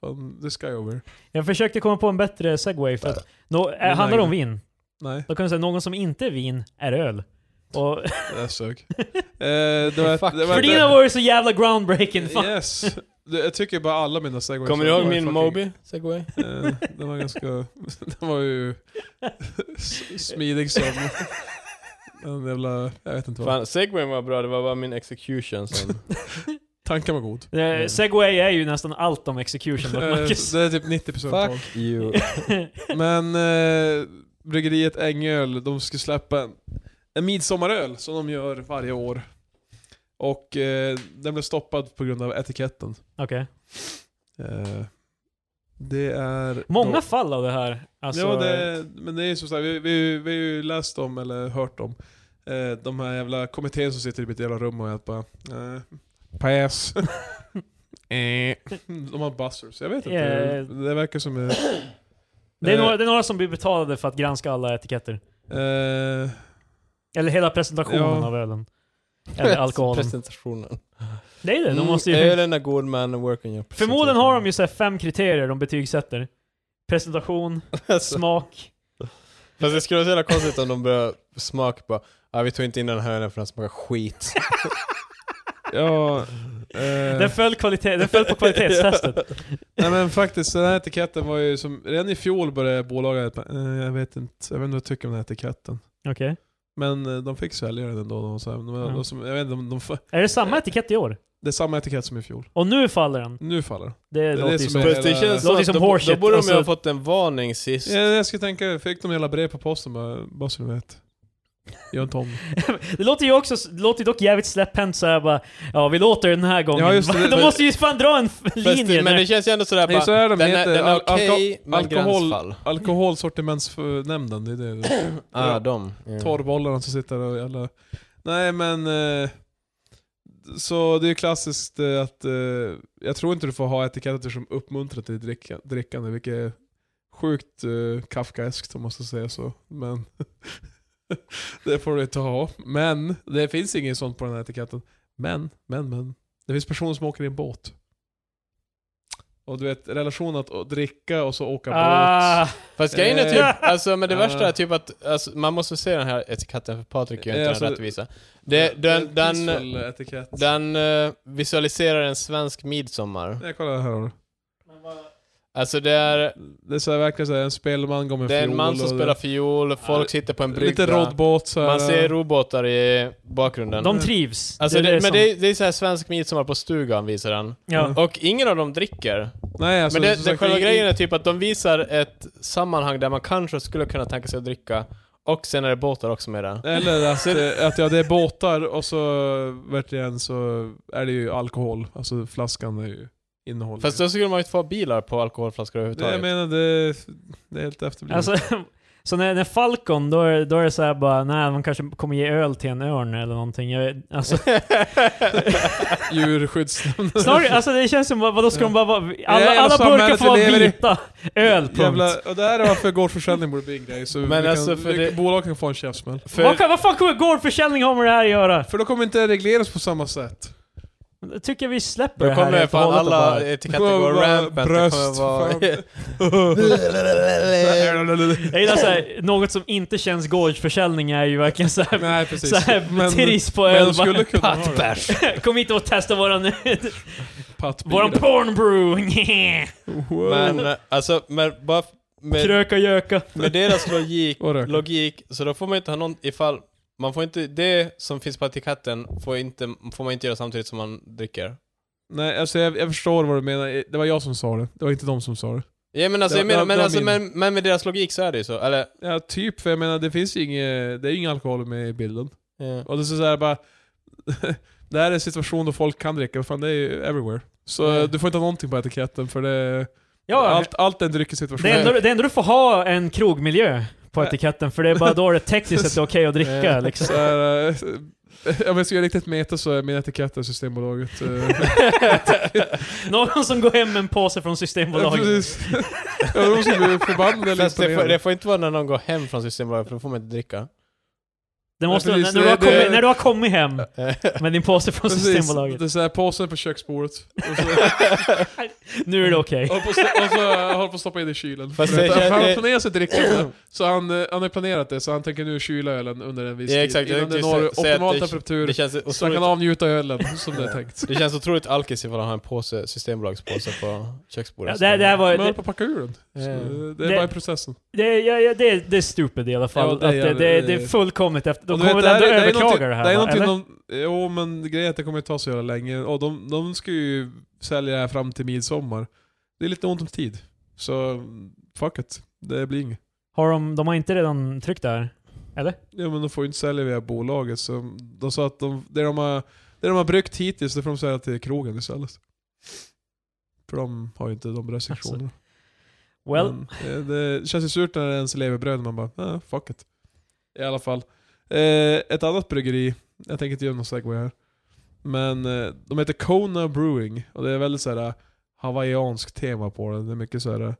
Speaker 1: Fan, the sky over.
Speaker 2: Jag försökte komma på en bättre segway för att no, eh,
Speaker 1: Nej.
Speaker 2: handlar det om vin,
Speaker 1: Nej,
Speaker 2: då kan jag säga någon som inte är vin är öl. Och,
Speaker 1: det där sög. Eh, det var,
Speaker 3: Fuck.
Speaker 1: det var
Speaker 2: för dina var ju så jävla groundbreaking. Fan.
Speaker 1: Yes. Det- Jag tycker bara alla mina segways
Speaker 3: Kommer du
Speaker 1: var
Speaker 3: ihåg min
Speaker 1: fucking-
Speaker 3: Moby segway?
Speaker 1: Eh, den var ganska... den var ju s- smidig som... En jävla... Jag vet inte vad.
Speaker 3: Fan, segwayen var bra, det var bara min execution som...
Speaker 1: Tanken var god.
Speaker 2: Eh, Segway är ju nästan allt om execution dock,
Speaker 1: Eh,
Speaker 2: Marcus.
Speaker 1: Det är typ 90% tal.
Speaker 3: you.
Speaker 1: Men eh, bryggeriet Ängöl, de ska släppa en, en midsommaröl som de gör varje år. Och eh, den blev stoppad på grund av etiketten.
Speaker 2: Okej.
Speaker 1: Eh, det är...
Speaker 2: Många fall av det här. Alltså,
Speaker 1: ja, det, men det är ju som sagt, vi, vi, vi har ju läst om, eller hört om, eh, de här jävla kommittén som sitter i mitt jävla rum och jag bara... Eh, pass. Eh. De har buzzers, jag vet inte.
Speaker 2: Eh.
Speaker 1: Det verkar som... eh,
Speaker 2: Det är,
Speaker 1: Eh.
Speaker 2: några, det är några som blir betalade för att granska alla etiketter.
Speaker 1: Eh,
Speaker 2: Eller hela presentationen
Speaker 1: Ja.
Speaker 2: av ölen. Eller alkoholen.
Speaker 3: Presentationen.
Speaker 2: Det är det, de
Speaker 3: Mm,
Speaker 2: måste ju...
Speaker 3: Ölen är god men working up.
Speaker 2: Förmodligen har de ju så här fem kriterier de betygsätter. Presentation,
Speaker 3: Alltså,
Speaker 2: smak.
Speaker 3: Fast det skulle vara så jävla konstigt om de börjar smaka på ah, vi tog inte in den här ölen för den smakar skit.
Speaker 1: ja... eh.
Speaker 2: Den föll, kvalitet, den föll på kvalitetstestet.
Speaker 1: Nej men faktiskt, den här etiketten var ju som... Redan i fjol började bolaget bara, eh, jag vet inte, jag vet inte vad jag tycker om den här etiketten.
Speaker 2: Okej.
Speaker 1: Men eh, de fick sälja den ändå. De, så här, de, de,
Speaker 2: Ja.
Speaker 1: som, jag vet inte, de, de, f-
Speaker 2: Är det samma etikett i år?
Speaker 1: det är samma etikett som i fjol.
Speaker 2: Och nu faller den.
Speaker 1: Nu faller den.
Speaker 2: Det,
Speaker 1: det
Speaker 2: låter ju
Speaker 1: som
Speaker 2: som...
Speaker 1: är-
Speaker 3: Fast det känns som
Speaker 2: Låter
Speaker 3: att
Speaker 2: som
Speaker 3: då, bo-
Speaker 2: horseshit.
Speaker 3: då borde de
Speaker 2: Alltså-
Speaker 3: ju ha fått en varning sist.
Speaker 1: Ja, jag skulle tänka, fick de hela brev på posten bara, bara så ni vet. Gör inte om det."
Speaker 2: Det låter ju också, det låter ju dock jävligt släpphänt såhär bara Ja vi låter den här gången.
Speaker 1: Ja, just det.
Speaker 2: de måste ju fan dra en f-
Speaker 3: Fast det-
Speaker 2: linje.
Speaker 3: men
Speaker 2: när-
Speaker 3: det känns ju ändå sådär
Speaker 1: Nej, så är de,
Speaker 3: den är,
Speaker 1: heter
Speaker 3: den är
Speaker 1: al-
Speaker 3: okej,
Speaker 1: alko-
Speaker 3: men
Speaker 1: alkohol-
Speaker 3: gränsfall.
Speaker 1: Alkoholsortimentsnämnden, det är det.
Speaker 3: Ah, de. Mm.
Speaker 1: torrbollarna som sitter och jävla... Nej men... Eh, så det är ju klassiskt eh, att... Eh, jag tror inte du får ha etiketter som uppmuntrar till dricka, drickande, vilket är sjukt eh, kafkaeskt om man ska säga så. Men... det får du inte ha. Men, det finns inget sånt på den här etiketten. Men, men, men. Det finns personer som åker i en båt. Och du vet, relationen att å- dricka och så åka båt.
Speaker 2: ah,
Speaker 3: Fast grejen är
Speaker 1: Eh.
Speaker 3: typ, alltså men det
Speaker 1: Ah.
Speaker 3: värsta är typ att, alltså, man måste se den här etiketten för Patrik gör
Speaker 1: Eh,
Speaker 3: inte
Speaker 1: alltså,
Speaker 3: den rättvisa. Det, den,
Speaker 1: Det är en
Speaker 3: den,
Speaker 1: peaceful etikett.
Speaker 3: den eh, visualiserar en svensk midsommar.
Speaker 1: Nej, kolla här har du.
Speaker 3: Alltså det är,
Speaker 1: Det är så här, verkligen så här, en spelman går med
Speaker 3: det är en
Speaker 1: fiol
Speaker 3: man som
Speaker 1: och
Speaker 3: spelar fiol, folk sitter på en brygga.
Speaker 1: Lite roddbåt så här.
Speaker 3: Man ser robotar i bakgrunden.
Speaker 2: de trivs.
Speaker 3: Alltså det, men
Speaker 2: som-
Speaker 3: det är, det är så här svensk midsommar på stugan visar den.
Speaker 2: ja.
Speaker 3: Och ingen av dem dricker.
Speaker 1: Nej, alltså,
Speaker 3: Men det,
Speaker 1: som
Speaker 3: det
Speaker 1: sagt,
Speaker 3: själva
Speaker 1: i-
Speaker 3: grejen är typ att de visar ett sammanhang där man kanske skulle kunna tänka sig att dricka, och sen är det båtar också med där.
Speaker 1: Eller att, eh, att ja, det är båtar och så verkligen så är det ju alkohol. Alltså flaskan är ju innehållet.
Speaker 3: Fast då skulle man ju inte få ha bilar på alkoholflaskor
Speaker 1: det, jag
Speaker 3: överhuvudtaget.
Speaker 1: menar det, det är helt efterblivet.
Speaker 2: Alltså, så när, när Falcon, då är, då är det såhär bara, nej man kanske kommer ge öl till en örn eller någonting. Jag, alltså,
Speaker 1: Djurskyddsnämnden.
Speaker 2: snarare, alltså det känns som, vad, vadå ska de bara vara, alla,
Speaker 1: jävla
Speaker 2: alla burkar
Speaker 1: samhället
Speaker 2: får vara
Speaker 1: vi lever i.
Speaker 2: vita. Öl, punkt.
Speaker 1: Jävla, och det här är varför gårdsförsäljning borde bli en grej. Så
Speaker 3: Men
Speaker 1: vi
Speaker 3: alltså,
Speaker 1: kan,
Speaker 3: för
Speaker 1: vi-
Speaker 3: det-
Speaker 1: bolag kan få en käftsmäll.
Speaker 2: Vad,
Speaker 3: För,
Speaker 2: kan, vad fan kommer gårdförsäljning ha med det här att göra?
Speaker 1: För då kommer inte det regleras på samma sätt.
Speaker 2: Jag tycker vi släpper
Speaker 3: då
Speaker 2: det här
Speaker 3: kommer
Speaker 2: helt och
Speaker 3: fan
Speaker 2: hållet och
Speaker 3: alla
Speaker 2: bara-
Speaker 3: etiketter gå
Speaker 1: Det kommer vara
Speaker 3: rampant. Det kommer
Speaker 1: bröst,
Speaker 3: vara...
Speaker 2: Jag gillar såhär, något som inte känns gårdsförsäljning är ju verkligen såhär,
Speaker 1: Nej precis.
Speaker 2: såhär tris på
Speaker 1: men
Speaker 2: öl.
Speaker 1: de skulle kunna ha det.
Speaker 3: Pattbärs.
Speaker 2: Kom hit och testa våran,
Speaker 1: Pattbira.
Speaker 2: våran porn brew.
Speaker 1: Wow.
Speaker 3: Men eh, alltså, men bara f- med,
Speaker 2: Kröka göka.
Speaker 3: med deras logik,
Speaker 1: Och röka.
Speaker 3: logik, så då får man inte ha någon ifall, man får inte, det som finns på etiketten får, inte, får man inte göra samtidigt som man dricker.
Speaker 1: Nej, alltså jag, jag förstår vad du menar. Det var jag som sa det. Det var inte de som sa det.
Speaker 3: Ja men alltså,
Speaker 1: Det- det-
Speaker 3: jag menar, men,
Speaker 1: det var
Speaker 3: alltså
Speaker 1: min.
Speaker 3: men, men med deras logik så är det ju så, eller?
Speaker 1: Ja, typ. För jag menar, det finns ju inget... Det är ju ingen alkohol med i bilden. Och det är såhär bara... det här är en situation då folk kan dricka. Fan, det är ju everywhere. Så
Speaker 3: Mm.
Speaker 1: du får inte ha någonting på etiketten för det...
Speaker 2: Ja,
Speaker 1: allt, allt är en dryckessituation.
Speaker 2: det, enda, det enda du får ha är en krogmiljö på
Speaker 1: Nej.
Speaker 2: etiketten, för det är bara då det tekniskt sett är okej att dricka
Speaker 3: Nej.
Speaker 2: liksom.
Speaker 1: Så här, eh, om jag ska göra riktigt meta så är min etikett är Systembolaget. eh.
Speaker 2: Någon som går hem med en påse från
Speaker 1: Ja,
Speaker 2: Systembolaget.
Speaker 1: precis. Jag undrar om de skulle bli förbannade eller
Speaker 3: Fast det får,
Speaker 1: imponerade.
Speaker 3: det får inte vara när någon går hem från Systembolaget, för då får man inte dricka.
Speaker 2: Det måste,
Speaker 1: Ja, precis.
Speaker 2: när, du har
Speaker 1: Det- det-
Speaker 2: kommit, när du har kommit hem
Speaker 3: Eh,
Speaker 2: med din påse från
Speaker 1: Precis.
Speaker 2: Systembolaget.
Speaker 1: Det är såhär, påsen på köksbordet. Och så,
Speaker 2: Nu är det okej.
Speaker 1: Håller på, att st- och så håller på att stoppa in i kylen.
Speaker 3: Fast
Speaker 1: För
Speaker 3: det
Speaker 1: att
Speaker 3: känns-
Speaker 1: han
Speaker 3: det-
Speaker 1: har planerat sitt drickande, så han, eh, han har planerat det, så han tänker nu kyla ölen under en viss
Speaker 3: Ja,
Speaker 1: tid.
Speaker 3: exakt, jag
Speaker 1: innan den
Speaker 3: tänkte
Speaker 1: når
Speaker 3: sä- säga att
Speaker 1: optimal
Speaker 3: det-
Speaker 1: temperatur,
Speaker 3: det känns
Speaker 1: så han kan
Speaker 3: otroligt,
Speaker 1: avnjuta ölen som det är tänkt.
Speaker 3: det känns otroligt alkis ifall han har en påse, Systembolagspåse på köksbordet.
Speaker 2: Ja, det, det här var...
Speaker 1: Man håller
Speaker 2: Det,
Speaker 1: på att packa ur den. Så,
Speaker 3: Ja.
Speaker 1: eh, Det är
Speaker 2: Det-
Speaker 1: bara i processen.
Speaker 2: det, ja, ja, det, det är stupid i alla fall.
Speaker 1: Ja,
Speaker 2: att
Speaker 1: det
Speaker 2: det,
Speaker 1: är det.
Speaker 2: det, det, är fullkomligt efter... De
Speaker 1: Och du vet,
Speaker 2: kommer
Speaker 1: här
Speaker 2: väl ändå
Speaker 1: är- är
Speaker 2: överklaga
Speaker 1: någonting-
Speaker 2: det här?
Speaker 1: Det är
Speaker 2: va?
Speaker 1: någonting de-
Speaker 2: Eller?
Speaker 1: jo men grejen är att det kommer ju ta så jävla länge, och de, de ska ju sälja det här fram till midsommar. Det är lite ont om tid. Så, fuck it. Det blir inget.
Speaker 2: Har de, de har inte redan tryckt det här? Eller?
Speaker 1: Ja men de får ju inte sälja via bolaget så de sa att de, det, de har, det de har bryggt hittills det får de sälja till krogen istället. För de har ju inte de restriktionerna.
Speaker 2: Alltså, Well,
Speaker 1: Men, eh, det känns ju surt när det ens lever bröd man bara ah, fuck it. I alla fall. Eh, ett annat bryggeri, jag tänker inte göra någon segway här. Men eh, de heter Kona Brewing och det är väldigt såhär hawaiianskt tema på den. Det är mycket såhär, eh,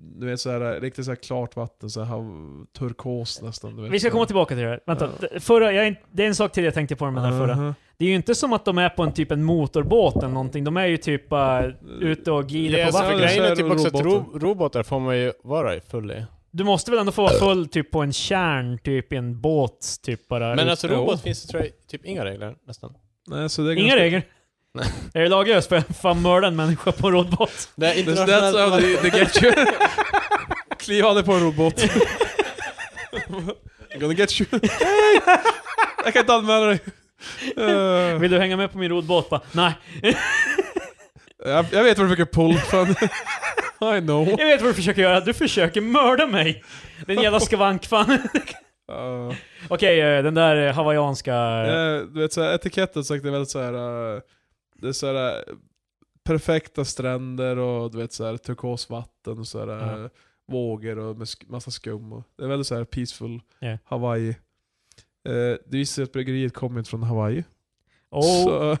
Speaker 1: du vet såhär riktigt såhär klart vatten, såhär hav- turkos nästan. Du vet,
Speaker 2: Vi ska
Speaker 1: såhär.
Speaker 2: komma tillbaka till det här. Vänta.
Speaker 1: Ja. Mm.
Speaker 2: D- Förra, jag, är in- det är en sak till jag tänkte på med den här förra.
Speaker 1: Aha.
Speaker 2: Det är ju inte som att de är på en typ en motorbåt eller någonting. De är ju typ bara ute och glider
Speaker 3: Ja,
Speaker 2: på
Speaker 3: så
Speaker 1: vattnet.
Speaker 3: grejen
Speaker 1: Så
Speaker 3: är
Speaker 1: är
Speaker 3: typ
Speaker 1: det
Speaker 3: också att
Speaker 1: robotar.
Speaker 3: ro- robotar får man ju vara i full i.
Speaker 2: Du måste väl ändå få vara full typ på en kärn, typ i en båt, typ bara.
Speaker 3: Men alltså
Speaker 1: Ja.
Speaker 3: robot finns det tror jag typ inga regler nästan.
Speaker 1: Nej, så det är
Speaker 2: Inga
Speaker 1: ganska-
Speaker 2: regler.
Speaker 3: Nej.
Speaker 2: Är det laglöst? Får jag fan mörda en människa på en robot?
Speaker 3: Det är
Speaker 1: That's, that's how they, they get you. Kliv av dig på en robot. I'm gonna get you. Hey! Jag kan inte anmäla dig. Eh,
Speaker 2: Vill du hänga med på min robot? Bara, nej,
Speaker 1: jag, jag vet vad du försöker pull fan. I know.
Speaker 2: jag vet vad du försöker göra. Du försöker mörda mig. Den jävla skavankfan.
Speaker 1: Eh,
Speaker 2: Okej, eh, den där eh, hawaiianska...
Speaker 1: eh, du vet såhär, etiketten sagt är väldigt såhär... eh, det är såhär... eh, perfekta stränder och du vet såhär turkosvatten och såhär... eh, Vågor och med sk- massa skum. Och, det är väldigt såhär peaceful.
Speaker 2: Ja.
Speaker 1: Hawaii. Eh, det visar sig att bryggeriet kommer inte från Hawaii.
Speaker 2: oh
Speaker 1: så-
Speaker 2: my...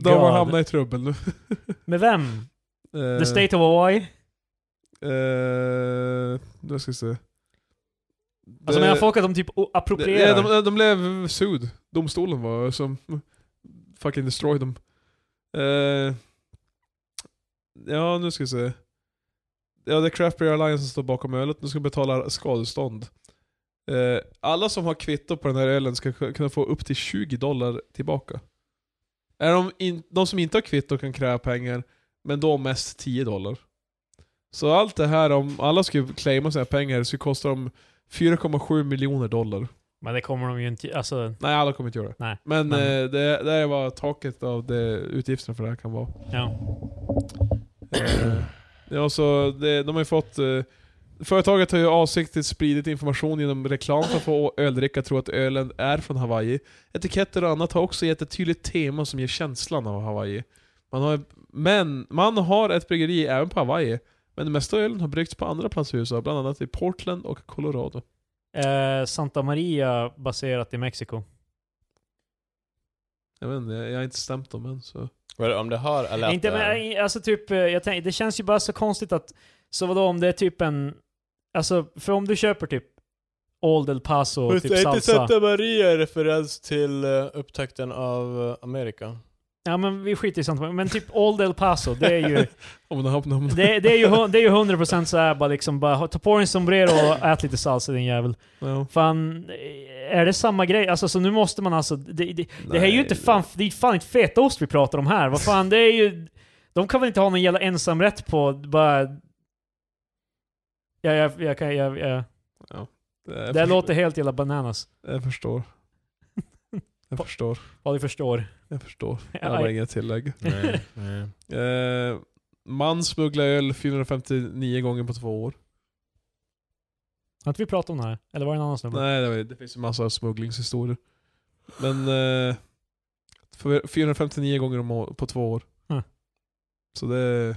Speaker 1: De har
Speaker 2: God.
Speaker 1: hamnat i trubbel nu.
Speaker 2: Med vem?
Speaker 1: Eh,
Speaker 2: The State of Hawaii?
Speaker 1: Eh, nu ska vi se.
Speaker 2: Alltså
Speaker 1: Det-
Speaker 2: menar folk att de typ o-
Speaker 1: det-
Speaker 2: approprierar?
Speaker 1: nej, de, de blev sued. Domstolen var som fucking destroyed dem. Eh, ja, nu ska vi se. Ja, det är Craft Beer Alliance som står bakom ölet. Nu ska de betala skadestånd. Eh, alla som har kvitto på den här ölen ska k- kunna få upp till 20 dollar tillbaka. Är de, in, de som inte har kvitto kan kräva pengar, men då mest 10 dollar. Så allt det här, om alla skulle claima sina pengar, skulle kosta dem 4,7 miljoner dollar.
Speaker 2: Men det kommer de ju inte... Alltså,
Speaker 1: Nej, alla kommer inte göra det.
Speaker 2: Nej,
Speaker 1: men
Speaker 2: men-
Speaker 1: Eh, det, det är vad taket av det, utgifterna för det här kan vara.
Speaker 2: ja.
Speaker 1: Eh, ja, så det, de har ju fått... Eh, företaget har ju avsiktligt spridit information genom reklam för att få öldrickare att tro att ölen är från Hawaii. Etiketter och annat har också gett ett tydligt tema som ger känslan av Hawaii. Man har, men man har ett bryggeri även på Hawaii. Men det mesta av ölen har bryggts på andra platser i USA, bland annat i Portland och Colorado.
Speaker 2: Eh, Santa Maria baserat i Mexiko.
Speaker 1: Jag vet inte, jag har inte stämt dem än så...
Speaker 3: Well, om det har eller att
Speaker 2: Inte,
Speaker 3: det är-
Speaker 2: men, eh, alltså typ, eh, jag tänk, det känns ju bara så konstigt att, så vadå om det är typ en, alltså för om du köper typ Old El Paso och
Speaker 3: Fast
Speaker 2: typ
Speaker 3: är inte
Speaker 2: salsa.
Speaker 3: Santa Maria en referens till eh, upptakten av eh, Amerika?
Speaker 2: Ja men vi skiter i sånt, men typ Old El Paso, det är ju,
Speaker 1: Om det har namn.
Speaker 2: det, det är ju, hu- det är ju 100% såhär bara liksom, bara, ha- ta på dig en sombrero och ät lite salsa din jävel.
Speaker 1: Ja.
Speaker 2: Fan, eh, är det samma grej? Alltså så nu måste man alltså, det, det, det här är ju
Speaker 1: Nej,
Speaker 2: inte fan, det är fan inte fetaost vi pratar om här, vad fan det är ju, de kan väl inte ha någon jävla ensamrätt på bara... Ja, jag, jag kan, jag, jag,
Speaker 1: det-
Speaker 2: det här
Speaker 1: Eh, jag,
Speaker 2: låter helt jävla bananas.
Speaker 1: jag förstår. Jag
Speaker 2: Va-
Speaker 1: förstår.
Speaker 2: Vad du förstår.
Speaker 1: Jag förstår. Jag
Speaker 2: Ja,
Speaker 1: har
Speaker 2: jag-
Speaker 1: inga tillägg.
Speaker 3: Nej, nej.
Speaker 1: Eh, man smugglar öl 459 gånger på två år.
Speaker 2: Har inte vi pratat om det här? Eller var det en annan snubbe?
Speaker 1: Nej, det, var, det finns ju massa smugglingshistorier. Men eh, för- 459 gånger om å- på två år.
Speaker 2: Mm.
Speaker 1: Så det...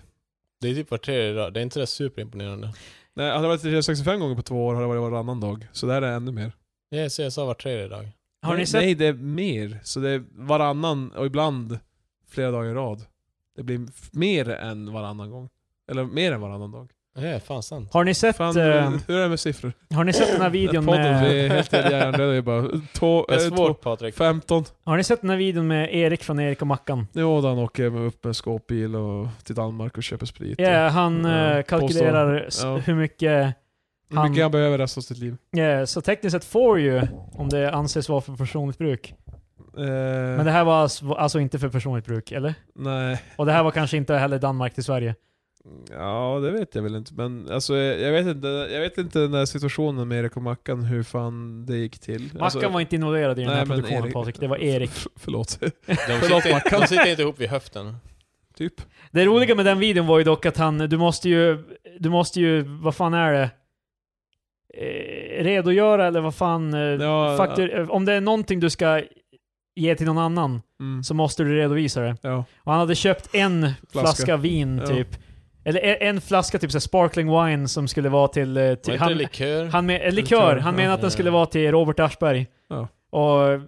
Speaker 3: Det är typ var tredje dag, det är inte det superimponerande.
Speaker 1: Nej, hade det varit 365 gånger på två år hade det varit varannan dag. Så det här är ännu mer.
Speaker 3: Ja, så jag sa var tredje dag.
Speaker 2: Har ni
Speaker 1: nej,
Speaker 2: sett?
Speaker 1: nej, det är mer. Så det är varannan och ibland flera dagar i rad. Det blir f- mer än varannan gång. Eller mer än varannan dag.
Speaker 3: Ja, fan sant.
Speaker 2: Har ni sett,
Speaker 1: Fan,
Speaker 2: ehm,
Speaker 1: hur är det med siffror?
Speaker 2: har ni sett den här videon
Speaker 1: podden, vi
Speaker 2: med...
Speaker 1: är helt hjärndöda. Vi är bara... Två,
Speaker 3: Det är
Speaker 1: eh, två,
Speaker 3: svårt Patrik.
Speaker 1: 15.
Speaker 2: Har ni sett den här videon med Erik från Erik och Mackan?
Speaker 1: Jo, då han åker med upp med eh, skåpbil och till Danmark och köper sprit.
Speaker 2: Ja, han eh,
Speaker 1: Ja,
Speaker 2: kalkylerar s-
Speaker 1: Ja.
Speaker 2: hur mycket...
Speaker 1: och hur mycket
Speaker 2: han-
Speaker 1: han behöver resten av sitt liv.
Speaker 2: ja, så tekniskt sett får ju, om det anses vara för personligt bruk.
Speaker 1: Eh,
Speaker 2: Men det här var ass- alltså inte för personligt bruk, eller?
Speaker 1: Nej.
Speaker 2: Och det här var kanske inte heller Danmark till Sverige.
Speaker 1: Ja, det vet jag väl inte. Men alltså, jag jag vet inte, jag vet inte den där situationen med Erik och Mackan, hur fan det gick till. Alltså,
Speaker 2: Mackan var inte involverad i den här produktionen Patrik, det var Erik.
Speaker 1: F- förlåt.
Speaker 3: De
Speaker 1: Förlåt,
Speaker 3: sitter, de sitter inte ihop vid höften.
Speaker 1: typ.
Speaker 2: Det roliga med den videon var ju dock att han, du måste ju, du måste ju, vad fan är det? Eh, redogöra eller vad fan, eh,
Speaker 1: Ja,
Speaker 2: faktur, eh, om det är någonting du ska ge till någon annan
Speaker 1: Mm.
Speaker 2: så måste du redovisa det.
Speaker 1: Ja.
Speaker 2: Och han hade köpt en flaska, vin
Speaker 1: Ja.
Speaker 2: typ. Eller e- en flaska typ så här sparkling wine som skulle vara till... eh,
Speaker 3: Var
Speaker 2: till
Speaker 3: inte det
Speaker 2: han,
Speaker 3: likör?
Speaker 2: han med, eh, likör.
Speaker 1: Likör,
Speaker 2: Han
Speaker 1: ja.
Speaker 2: menade att den skulle vara till Robert Aschberg.
Speaker 1: Ja.
Speaker 2: Och eh,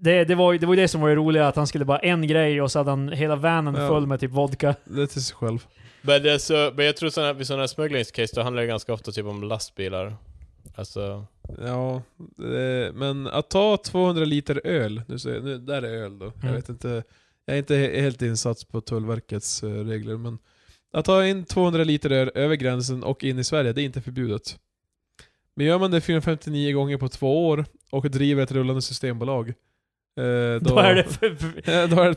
Speaker 2: det, det, var, ju- det var ju det som var det roliga, att han skulle bara en grej och så hade han hela vanen
Speaker 1: Ja.
Speaker 2: full med typ vodka.
Speaker 1: Det är till sig själv.
Speaker 3: Men, det är så, men jag tror såna, vid sådana här smugglingscase, då handlar det ganska ofta typ om lastbilar. Alltså,
Speaker 1: Ja, eh, men att ta 200 liter öl, nu, säger, nu där är öl då. Jag
Speaker 2: Mm.
Speaker 1: vet inte, jag är inte he- helt insatt på Tullverkets eh, regler men att ta in 200 liter öl över gränsen och in i Sverige, det är inte förbjudet. Men gör man det 459 gånger på två år och driver ett rullande systembolag, eh, då,
Speaker 2: Då är det för, för,
Speaker 1: Eh, då är det ett problem.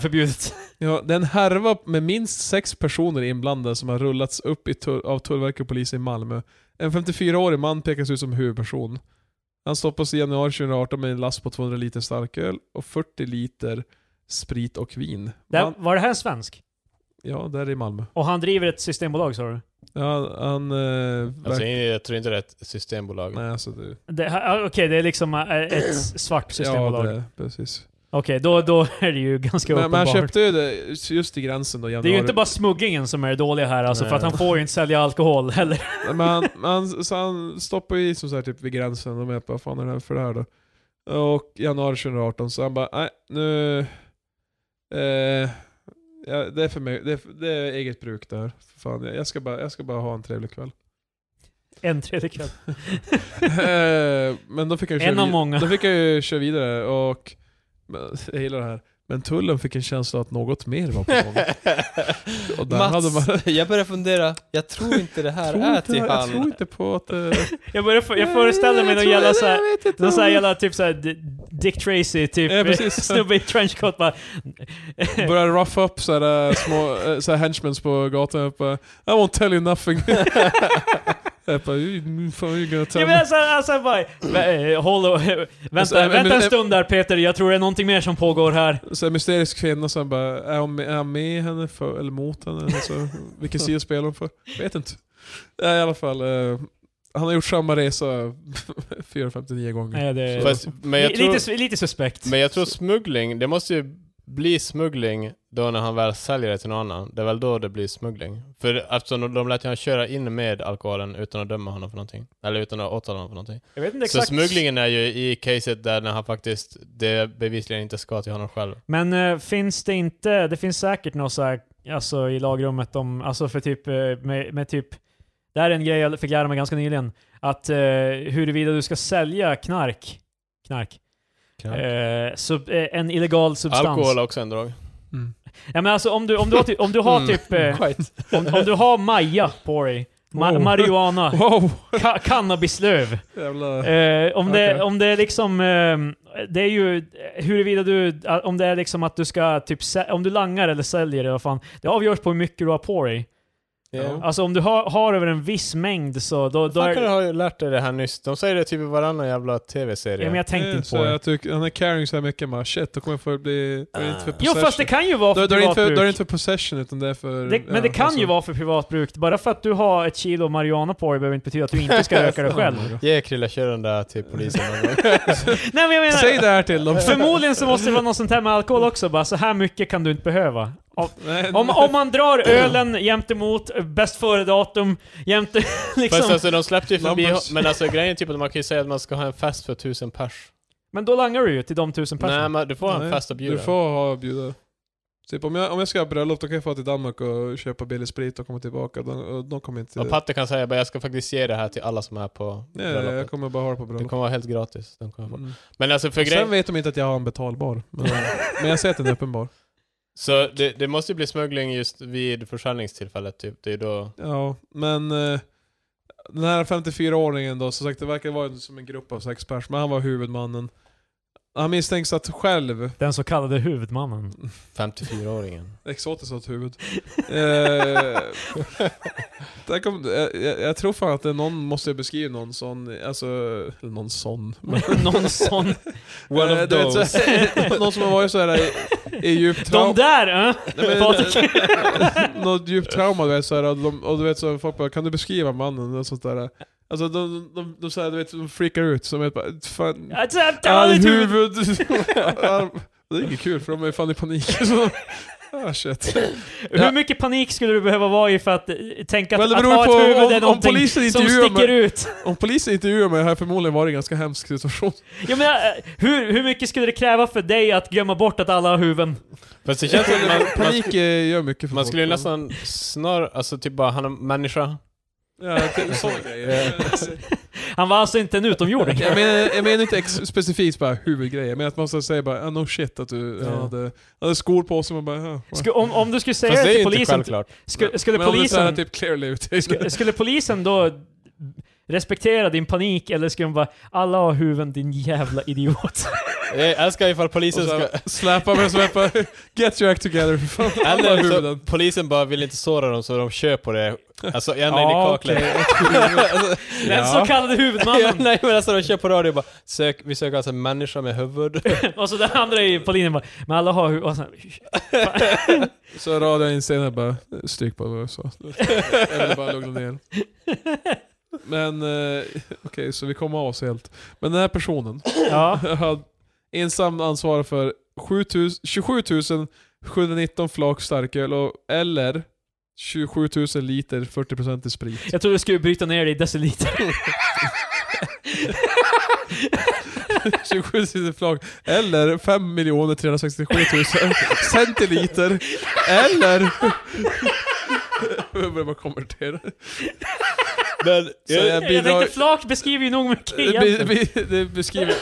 Speaker 2: förbjudet.
Speaker 1: Ja, det är en härva med minst sex personer inblandade som har rullats upp i tull, av Tullverket och polisen i Malmö. En 54-årig man pekas ut som huvudperson. Han stoppas i januari 2018 med en last på 200 liter starköl och 40 liter sprit och vin.
Speaker 2: Där,
Speaker 1: Man,
Speaker 2: var det här en svensk?
Speaker 1: ja, där i Malmö.
Speaker 2: Och han driver ett systembolag sa du?
Speaker 1: Ja, han... Eh,
Speaker 3: alltså
Speaker 1: verk-
Speaker 3: jag tror inte det är ett systembolag.
Speaker 1: nej, alltså det...
Speaker 2: Det, här- ah, Okej, det är liksom eh, ett svart
Speaker 1: Ja,
Speaker 2: systembolag.
Speaker 1: det, precis.
Speaker 2: Okej, då, då är det ju ganska
Speaker 1: Men man
Speaker 2: uppenbart.
Speaker 1: köpte ju det just i gränsen då,
Speaker 2: det är
Speaker 1: januari.
Speaker 2: ju inte bara smugglingen som är det dåliga här alltså, för
Speaker 3: Nej.
Speaker 2: att han får ju inte sälja alkohol heller.
Speaker 1: Men han, han, så han stoppar i som så här typ vid gränsen och med på vad fan är det här för det här då? Och i januari 2018 så han bara nej nu... Eh, ja, det är för mig, det är, det är eget bruk där. För fan, jag, jag, ska bara, jag ska bara ha en trevlig kväll.
Speaker 2: En tredje kväll.
Speaker 1: Eh, men då fick jag ju
Speaker 2: En
Speaker 1: köra
Speaker 2: av
Speaker 1: vid-
Speaker 2: många.
Speaker 1: Då fick jag ju köra vidare och... Men, jag gillar det här. Men tullen fick en känsla att något mer var på gång. Och där hade man-
Speaker 4: jag börjar fundera, jag tror inte det här
Speaker 1: Jag tror
Speaker 4: är
Speaker 1: inte-
Speaker 4: till
Speaker 1: jag tror
Speaker 4: han.
Speaker 1: inte på att... eh,
Speaker 2: Jag, börjar, för- jag föreställer mig
Speaker 1: jag
Speaker 2: någon
Speaker 1: tror-
Speaker 2: jävla såhär...
Speaker 1: jag vet inte
Speaker 2: Någon sån här
Speaker 1: om-
Speaker 2: jävla typ såhär D- Dick Tracy typ
Speaker 1: Ja, precis.
Speaker 2: snubbe i trenchcoat bara
Speaker 1: Börjar rough up såhär, små eh, såhär henchmans på gatan. Jag bara, I won't tell you nothing. jag bara, "You- fan you gonna tell
Speaker 2: Jag
Speaker 1: me.
Speaker 2: menar såhär, alltså bara, vä- eh, håll och,
Speaker 1: Alltså,
Speaker 2: vänta,
Speaker 1: eh, men-
Speaker 2: vänta en
Speaker 1: eh,
Speaker 2: stund där Peter, jag tror det är någonting mer som pågår här.
Speaker 1: Så en mysterisk kvinna som bara, är hon med, är han med henne för, eller mot henne? Alltså, vilken sida spelar hon för? Vet inte. Ja, I alla fall, eh, han har gjort samma resa 459 gånger.
Speaker 2: Nej, det,
Speaker 3: Fast, men, jag
Speaker 2: li-
Speaker 3: tror,
Speaker 2: lite, su- lite suspekt.
Speaker 3: men jag tror smuggling, det måste ju bli smuggling då när han väl säljer det till någon annan. Det är väl då det blir smuggling. För eftersom de- de lät ju han köra in med alkoholen utan att döma honom för någonting. Eller utan att åtala honom för någonting.
Speaker 2: jag vet inte exakt.
Speaker 3: Så smugglingen är ju i caset där när han faktiskt, det bevisligen inte ska till honom själv.
Speaker 2: Men eh, finns det inte, det finns säkert något så här, alltså i lagrummet om, alltså för typ, eh, med, med typ, det här är en grej jag fick lära mig ganska nyligen, att eh, huruvida du ska sälja knark, knark, Eh, sub, eh, en illegal substans.
Speaker 3: Alkohol är också en drog.
Speaker 1: Mm.
Speaker 2: Ja men alltså om du, om du har, ty- om du har
Speaker 3: Mm.
Speaker 2: typ, eh, om, om du har maja på dig, ma-
Speaker 1: Oh.
Speaker 2: marijuana,
Speaker 1: Wow!
Speaker 2: ka- cannabislöv,
Speaker 1: Jävla...
Speaker 2: Eh, om,
Speaker 1: Okej.
Speaker 2: det, om det är liksom, eh, det är ju eh, huruvida du, eh, om det är liksom att du ska typ, sä- om du langar eller säljer det, vad fan, det avgörs på hur mycket du har på dig.
Speaker 1: Ja.
Speaker 2: Alltså om du har, har över en viss mängd så, då, då
Speaker 3: Fan kan du
Speaker 2: är,
Speaker 3: ha lärt dig det här nyss? De säger det typ i varannan jävla tv-serie.
Speaker 2: ja, men jag tänkte
Speaker 1: Eh,
Speaker 2: inte
Speaker 1: så
Speaker 2: på det.
Speaker 1: jag tycker, han är carrying så här mycket, man shit, då kommer jag få bli... Då är det inte för
Speaker 2: Jo fast det
Speaker 1: possession.
Speaker 2: kan ju vara
Speaker 1: Då,
Speaker 2: för
Speaker 1: då, är det inte
Speaker 2: privat
Speaker 1: för, då är det inte
Speaker 2: bruk.
Speaker 1: för possession utan det är för...
Speaker 2: Det,
Speaker 1: ja,
Speaker 2: men det kan
Speaker 1: alltså.
Speaker 2: ju vara för privat bruk. Bara för att du har ett kilo marijuana på dig behöver inte betyda att du inte ska röka det själv.
Speaker 3: Ge Krille, kör den där till polisen någon gång.
Speaker 2: Nej men jag menar,
Speaker 1: Säg det här till dem.
Speaker 2: förmodligen så måste det vara något sånt här med alkohol också. Bara så här mycket kan du inte behöva. Av,
Speaker 1: Nej,
Speaker 2: Om, om man drar ölen jämt emot eh, bäst före-datum jämte liksom...
Speaker 3: Fast alltså de släppte ju förbi
Speaker 1: Lampers.
Speaker 3: Men alltså grejen är typ att man kan ju säga att man ska ha en fest för tusen pers.
Speaker 2: Men då langar du ju till de tusen
Speaker 3: Nej
Speaker 2: personerna.
Speaker 3: men du får ha
Speaker 1: Nej,
Speaker 3: en fest att bjuda.
Speaker 1: Du får ha bjuda. Typ om jag, om jag ska ha bröllop då kan jag få till Danmark och köpa billig sprit och komma tillbaka. De, och de kommer inte...
Speaker 3: Och Patte kan säga bara jag ska faktiskt ge det här till alla som är på
Speaker 1: nej, nej, jag
Speaker 3: bröllopet.
Speaker 1: kommer bara ha det på
Speaker 3: Det
Speaker 1: bröllop.
Speaker 3: kommer vara helt gratis. De kommer få.
Speaker 1: Mm.
Speaker 3: Men alltså för
Speaker 1: Sen
Speaker 3: grejen,
Speaker 1: vet de inte att jag har en betalbar. Men, men jag säger att den är uppenbar.
Speaker 3: så det, det måste ju bli smuggling just vid försäljningstillfället typ. Det är ju då...
Speaker 1: Ja, men... eh, Den här 54-åringen då, som sagt det verkar vara som en grupp av sex pers, men han var huvudmannen. Han misstänks att själv
Speaker 2: Den så kallade huvudmannen.
Speaker 3: 54-åringen.
Speaker 1: Exotiskt åt huvud. eh, där kom, jag, jag, jag tror fan att det är någon måste beskriva någon sån, alltså, eller någon sån. Men,
Speaker 2: Någon sån.
Speaker 3: One
Speaker 1: Eh,
Speaker 3: of
Speaker 1: du vet,
Speaker 3: those.
Speaker 1: så här, någon som har varit såhär i, i djupt
Speaker 2: De
Speaker 1: trauma.
Speaker 2: där! Äh? Patrik.
Speaker 1: Något djupt trauma du vet såhär, och, de, och du vet så folk bara 'Kan du beskriva mannen?' och sånt där. Alltså de, de, de, de, så här, du vet, de freakar ut, som vet bara 'Fan,
Speaker 2: Alltså, jag har
Speaker 1: all
Speaker 2: aldrig huvud.
Speaker 1: huvud' Arm. Det är inget kul för de är fan i panik. Så Ah, shit. Ja.
Speaker 2: Hur mycket panik skulle du behöva vara i för att eh, tänka att,
Speaker 1: Well, det
Speaker 2: att
Speaker 1: beror
Speaker 2: ha
Speaker 1: på
Speaker 2: ett huvud
Speaker 1: om-
Speaker 2: är
Speaker 1: om
Speaker 2: någonting
Speaker 1: polisen
Speaker 2: som
Speaker 1: intervjuar
Speaker 2: sticker
Speaker 1: mig.
Speaker 2: ut?
Speaker 1: Om polisen intervjuar mig har jag förmodligen varit i en ganska hemsk situation.
Speaker 2: Jag menar, eh, hur, hur mycket skulle det kräva för dig att glömma bort att alla har huvuden?
Speaker 3: Fast det känns som man, man,
Speaker 1: Panik eh, gör mycket för
Speaker 3: man
Speaker 1: folk.
Speaker 3: skulle ju nästan snarare, alltså typ bara han är människa.
Speaker 1: Ja, typ sådana grejer.
Speaker 2: Han var alltså inte en utomjording.
Speaker 1: Jag menar, jag menar inte ex- specifikt bara huvudgrejer, men att man så säger bara ah, no shit att du
Speaker 3: Ja.
Speaker 1: hade, hade skor på sig och man bara ah, wow.
Speaker 2: Sku, om, om du skulle säga
Speaker 3: Fast
Speaker 2: det
Speaker 3: det
Speaker 2: till
Speaker 3: är ju inte
Speaker 2: polisen,
Speaker 3: självklart.
Speaker 2: sku, skulle,
Speaker 1: Men om det så här
Speaker 2: polisen
Speaker 1: typ clearly ut.
Speaker 2: sku, skulle polisen då respektera din panik eller skulle de bara “Alla har huvuden din jävla idiot”?
Speaker 3: Jag älskar ifall
Speaker 1: Och
Speaker 3: polisen
Speaker 1: så
Speaker 3: ska...
Speaker 1: här, släpar mig som bara Get your act together för fan. Alla
Speaker 3: Eller så,
Speaker 1: huvuden.
Speaker 3: polisen bara vill inte såra dem så de kör på det. Alltså ända in i
Speaker 1: Ja,
Speaker 3: kaklet.
Speaker 1: okej.
Speaker 3: Alltså,
Speaker 2: Den
Speaker 1: Ja.
Speaker 2: så kallade
Speaker 3: ja,
Speaker 2: huvudmannen.
Speaker 3: nej men alltså de kör på radio och bara sök, vi söker alltså en människa med huvud.
Speaker 2: och så den andra i- på linjen bara “Men alla har huvuden”. Och så här,
Speaker 1: Så radion in senare bara, stryk bara vad jag sa. Jag ville bara lugna ner. Men eh, okej, så vi kommer av oss helt. Men den här personen
Speaker 2: ja.
Speaker 1: hade ensam ansvar för 7000 27 719 flak starköl och, eller 27 000 liter 40% i sprit.
Speaker 2: Jag trodde du skulle bryta ner det i deciliter.
Speaker 1: 27 000 flak eller 5 367 000 centiliter eller... Jag börjar bara konvertera.
Speaker 3: Men,
Speaker 1: Så jag
Speaker 2: Jag
Speaker 1: bidrar...
Speaker 2: tänkte flak beskriver ju nog
Speaker 1: Det
Speaker 2: mycket
Speaker 1: be-
Speaker 2: egentligen.
Speaker 1: be- det beskriver...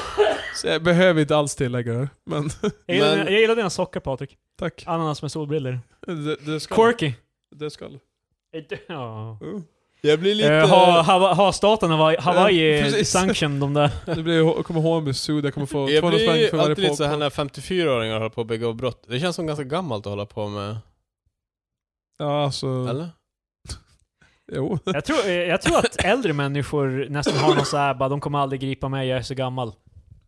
Speaker 1: Så jag behöver inte alls tillägga det, men
Speaker 2: Jag gillar,
Speaker 3: men-
Speaker 2: dina- jag gillar dina sockar Patrik.
Speaker 1: tack.
Speaker 2: Ananas med solbriller.
Speaker 1: Det, det ska...
Speaker 2: Quirky.
Speaker 1: Det ska.
Speaker 2: Ja.
Speaker 3: jag blir lite...
Speaker 2: Eh, ha, ha, ha staten Hawaii, Hawaii
Speaker 1: Ja, precis.
Speaker 2: sanction de där.
Speaker 1: Det blir, jag kommer ihåg med sud, jag kommer få
Speaker 3: jag
Speaker 1: 200 spänn för
Speaker 3: blir
Speaker 1: varje
Speaker 3: alltid lite
Speaker 1: på.
Speaker 3: såhär när 54-åringar håller på att begå brott. Det känns som ganska gammalt att hålla på med,
Speaker 1: Ja, alltså...
Speaker 3: eller?
Speaker 1: Jo.
Speaker 2: Jag tror, eh, jag tror att äldre människor nästan har någon så här, bara de kommer aldrig gripa mig, jag är så gammal.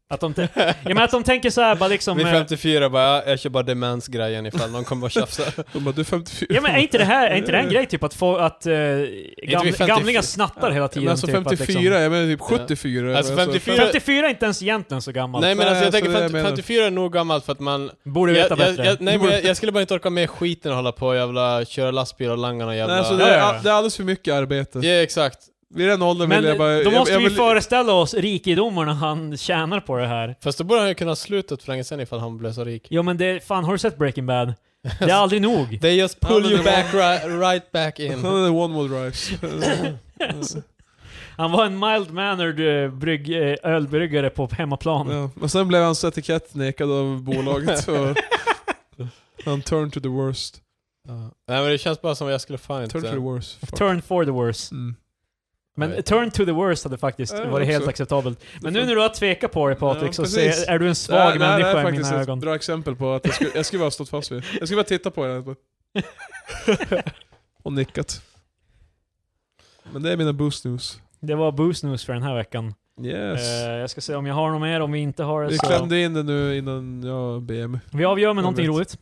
Speaker 2: Att de, te- ja, men att de tänker så här, bara liksom...
Speaker 3: Vid
Speaker 2: eh,
Speaker 3: 54 bara, ja, jag kör bara demensgrejen ifall någon kommer och tjafsar.
Speaker 1: De bara, du är 54.
Speaker 2: Ja men är inte det här, är inte det här en grej typ att, få, att eh,
Speaker 3: vi
Speaker 2: gamla,
Speaker 3: 50
Speaker 2: gamlingar snattar hela tiden?
Speaker 1: Men alltså
Speaker 2: typ,
Speaker 1: 54,
Speaker 2: att liksom,
Speaker 1: jag menar typ 74.
Speaker 3: Alltså 54
Speaker 2: 54 är inte ens egentligen så gammal.
Speaker 3: Nej men alltså jag
Speaker 1: alltså, det
Speaker 3: tänker
Speaker 1: är
Speaker 3: 50,
Speaker 1: det jag menar.
Speaker 3: 54 är nog gammalt för att man...
Speaker 2: Borde
Speaker 3: Jag,
Speaker 2: veta
Speaker 3: jag,
Speaker 2: bättre.
Speaker 3: jag, nej men jag, jag skulle bara inte orka med skiten och hålla på och jävla köra lastbil och langa och jävla...
Speaker 1: Nej, alltså, det,
Speaker 2: Ja, ja, ja.
Speaker 1: är, det är alldeles för mycket arbete.
Speaker 3: Ja exakt.
Speaker 1: Vid den åldern
Speaker 2: men
Speaker 1: vill jag bara...
Speaker 2: då måste
Speaker 1: jag, jag
Speaker 2: vi
Speaker 1: vill,
Speaker 2: föreställa oss rikedomarna han tjänar på det här.
Speaker 3: Fast då borde han ju kunna ha slutat för länge sedan ifall han blev så rik.
Speaker 2: Jo men det, fan har du sett Breaking Bad? Det är aldrig nog.
Speaker 3: They just
Speaker 1: Ja,
Speaker 3: pull
Speaker 1: men
Speaker 3: you
Speaker 1: det var-
Speaker 3: back right, right back
Speaker 1: Han
Speaker 3: in.
Speaker 1: hade one more drives.
Speaker 2: Han var en mild-mannered eh, brygg, eh, ölbryggare på hemmaplan.
Speaker 1: ja. Men sen blev hans etikett nekad av bolaget. Så han turned to the worst.
Speaker 3: Ja. Nej men det känns bara som att jag skulle fan
Speaker 1: Turn to the
Speaker 3: inte...
Speaker 1: worst. Fuck.
Speaker 2: Turn for the worst.
Speaker 1: Mm.
Speaker 2: Men
Speaker 3: Nej.
Speaker 2: turn to the worst hade faktiskt
Speaker 1: Ja,
Speaker 2: varit helt
Speaker 1: också.
Speaker 2: acceptabelt. Men nu när du har tvekat på det Patrik
Speaker 1: Ja,
Speaker 2: så
Speaker 1: precis.
Speaker 2: ser, är du en svag människa
Speaker 1: det är
Speaker 2: i mina
Speaker 1: ett
Speaker 2: ögon.
Speaker 1: bra exempel på att jag skulle, jag skulle bara ha stått fast vid det. Jag skulle bara titta på det. Och nickat. Men det är mina boost news.
Speaker 2: Det var Boost News för den här veckan.
Speaker 1: Yes.
Speaker 2: Eh, jag ska se om jag har något mer, om vi inte har det
Speaker 1: vi
Speaker 2: så...
Speaker 1: klämde in det nu innan jag BM.
Speaker 2: Vi avgör med
Speaker 1: Jag
Speaker 2: någonting
Speaker 1: vet.
Speaker 2: roligt.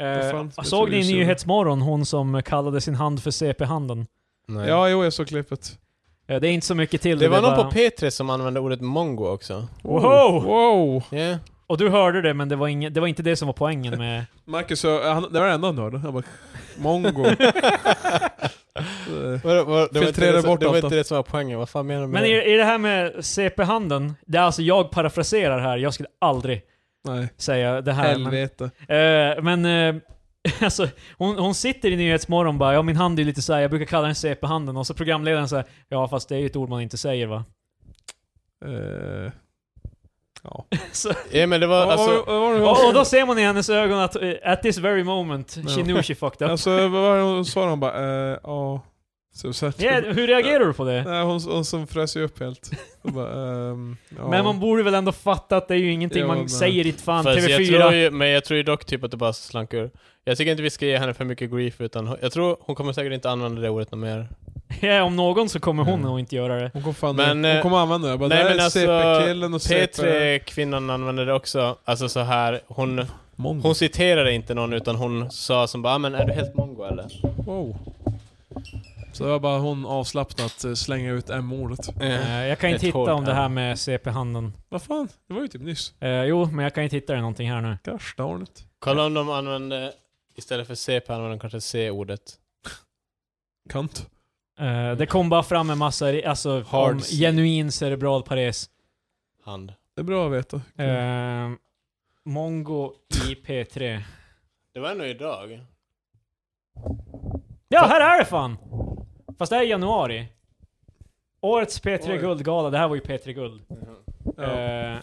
Speaker 2: Eh,
Speaker 1: fan, jag tror
Speaker 2: såg ni
Speaker 1: det är så.
Speaker 2: Nyhetsmorgon, hon som kallade sin hand för CP-handen?
Speaker 3: Nej.
Speaker 1: Ja, jo jag såg klippet.
Speaker 2: Eh, det är inte så mycket till
Speaker 3: Det var
Speaker 2: är
Speaker 3: någon
Speaker 2: bara-
Speaker 3: på P3 som använde ordet mongo också.
Speaker 2: Wow!
Speaker 1: wow.
Speaker 3: Yeah.
Speaker 2: Och du hörde det, men det var, inge, det var inte det som var poängen med...
Speaker 1: Marcus, eh, han, det var det enda han hörde. Han bara Mongo. Eh,
Speaker 3: Var, var, det var inte
Speaker 1: Filtrera
Speaker 3: det, som-
Speaker 1: bort
Speaker 3: det var
Speaker 1: allt
Speaker 3: inte det som var poängen, vad fan menar du med
Speaker 2: Men
Speaker 3: det?
Speaker 2: i, i det här med CP-handen, det är alltså jag parafraserar här, jag skulle aldrig
Speaker 1: Nej,
Speaker 2: säga det här. men-
Speaker 1: helvete.
Speaker 2: Eh, men eh, alltså, hon, hon sitter i Nyhetsmorgon bara, ja min hand är lite såhär, jag brukar kalla den CP-handen. Och så programledaren säger ja fast det är ju ett ord man inte säger va?
Speaker 1: Eh,
Speaker 2: så,
Speaker 3: Ja men det var
Speaker 1: vad-
Speaker 3: alltså...
Speaker 1: vad- vad var det hon
Speaker 2: och, och
Speaker 1: sa?
Speaker 2: då ser man i hennes ögon att eh, at this very moment, she
Speaker 1: Ja.
Speaker 2: knew she fucked up.
Speaker 1: Alltså vad var det hon svarade? Hon bara eh, ja. Så, så,
Speaker 2: Ja, hur reagerar du på det?
Speaker 1: Nej, hon, hon som frös ju upp helt. Hon bara, ehm, ja.
Speaker 2: Men man borde väl ändå fatta att det är ju ingenting
Speaker 1: Ja,
Speaker 2: man
Speaker 1: men-
Speaker 2: säger i ett fan
Speaker 3: Fast
Speaker 2: TV4.
Speaker 3: jag tror ju, men jag tror ju dock typ att det bara slank ur. Jag tycker inte vi ska ge henne för mycket grief utan hon- jag tror hon kommer säkert inte använda det ordet något mer.
Speaker 2: Ja, om någon så kommer hon
Speaker 3: Mm.
Speaker 2: nog inte göra det.
Speaker 1: Hon kommer fan
Speaker 3: Men, eh,
Speaker 1: hon kommer använda det. Jag bara,
Speaker 3: nej,
Speaker 1: det här
Speaker 3: men
Speaker 1: är
Speaker 3: alltså,
Speaker 1: CP-killen och CP...
Speaker 3: P3-kvinnan använde det också, alltså så här hon,
Speaker 1: Mongo.
Speaker 3: hon citerade inte någon utan hon sa som bara "Ah, men är du helt mongo eller?
Speaker 1: Wow. Så det var bara hon avslappnat eh, slänga ut M-ordet.
Speaker 2: Eh, jag kan inte
Speaker 3: Ett hål,
Speaker 2: hitta om det
Speaker 3: ja.
Speaker 2: här med CP-handen.
Speaker 1: Vad fan? Det var ju typ nyss.
Speaker 2: Eh, jo, men jag kan inte hitta det någonting här nu.
Speaker 1: Gosh darn it.
Speaker 3: Kolla om de använde Istället för CP använder de kanske C-ordet.
Speaker 1: Kant.
Speaker 2: Eh, det kom bara fram en massa re- alltså,
Speaker 3: Hard
Speaker 2: om
Speaker 3: C.
Speaker 2: genuin cerebral pares.
Speaker 3: Hand.
Speaker 1: Det är bra att veta.
Speaker 2: Eh,
Speaker 1: Ehm,
Speaker 2: Mongo IP3.
Speaker 3: Det var ändå idag.
Speaker 2: Ja, här är det fan! Fast det här är januari. Årets P3
Speaker 1: Oj.
Speaker 2: Guldgala, det här var ju P3 Guld. Eh,
Speaker 1: ja,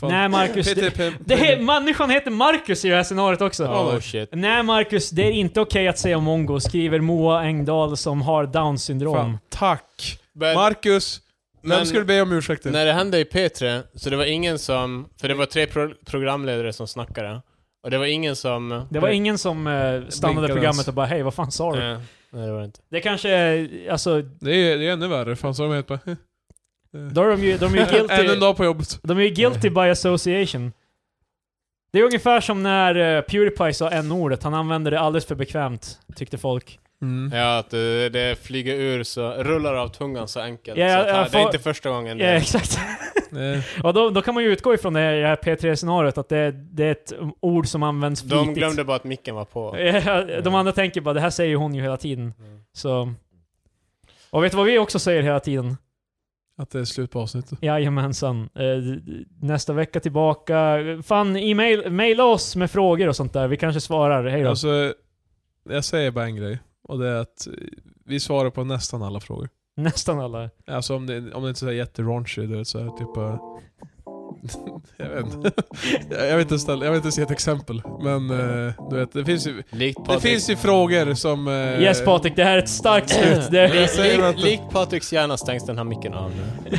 Speaker 1: fan.
Speaker 2: nej Marcus, det,
Speaker 1: PTP.
Speaker 2: det, he- människan heter Marcus i det här scenariot också.
Speaker 3: Oh shit.
Speaker 2: Nej Marcus, det är inte okej att säga mongo, skriver Moa Engdahl som har down syndrom.
Speaker 1: Fan, tack!
Speaker 3: Men
Speaker 1: Marcus, vem
Speaker 3: men-
Speaker 1: skulle be om ursäkt till?
Speaker 3: när det hände i P3, så det var ingen som... För det var tre pro programledare som snackade. Och det var ingen som...
Speaker 2: Det var ingen som eh, stannade
Speaker 1: Blinkade
Speaker 2: programmet
Speaker 1: ens.
Speaker 2: och bara hej, vad fan sa du?
Speaker 3: Eh, nej, det var det inte.
Speaker 2: Det kanske är, alltså,
Speaker 1: Det är, det är ännu värre, fan så har de helt bara... "Eh."
Speaker 2: då är de ju, de är ju
Speaker 1: Än en
Speaker 2: guilty,
Speaker 1: dag på jobbet.
Speaker 2: de är ju guilty by association. Det är ungefär som när eh, Pewdiepie sa n-ordet, han använde det alldeles för bekvämt, tyckte folk.
Speaker 1: Mm.
Speaker 3: Ja, att det, det flyger ur så... Rullar av tungan så enkelt.
Speaker 2: Ja,
Speaker 3: så att,
Speaker 2: ja,
Speaker 3: här- det är
Speaker 2: fa-
Speaker 3: inte första gången
Speaker 2: Ja,
Speaker 3: det...
Speaker 2: exakt.
Speaker 1: Eh,
Speaker 2: Och då, då kan man ju utgå ifrån det här, det här P3-scenariot, att det, det är ett ord som används flitigt.
Speaker 3: De glömde bara att micken var på. Mm.
Speaker 2: Ja, De andra tänker bara det här säger hon ju hela tiden. Så. Och vet du vad vi också säger hela tiden?
Speaker 1: Att det är slut på avsnittet.
Speaker 2: Jajamensan. Eh, Nästa vecka tillbaka. Fan, e-mail, maila oss med frågor och sånt där. Vi kanske svarar. Hej då.
Speaker 1: Alltså, jag säger bara en grej. Och det är att eh, vi svarar på nästan alla frågor.
Speaker 2: Nästan alla.
Speaker 1: Alltså om det, om det inte är jätteraunchy, du vet såhär typ... eh, jag vet inte. jag, jag vet inte ställa, jag vet inte se ett exempel. Men eh, du vet, det finns ju,
Speaker 3: Likt
Speaker 1: det
Speaker 3: Patrik-
Speaker 1: finns ju frågor som... eh,
Speaker 2: Yes Patrik, det här är ett starkt slut. Det,
Speaker 1: Jag säger
Speaker 3: Likt-
Speaker 1: att-
Speaker 3: Likt Patriks hjärna stängs den här micken av nu.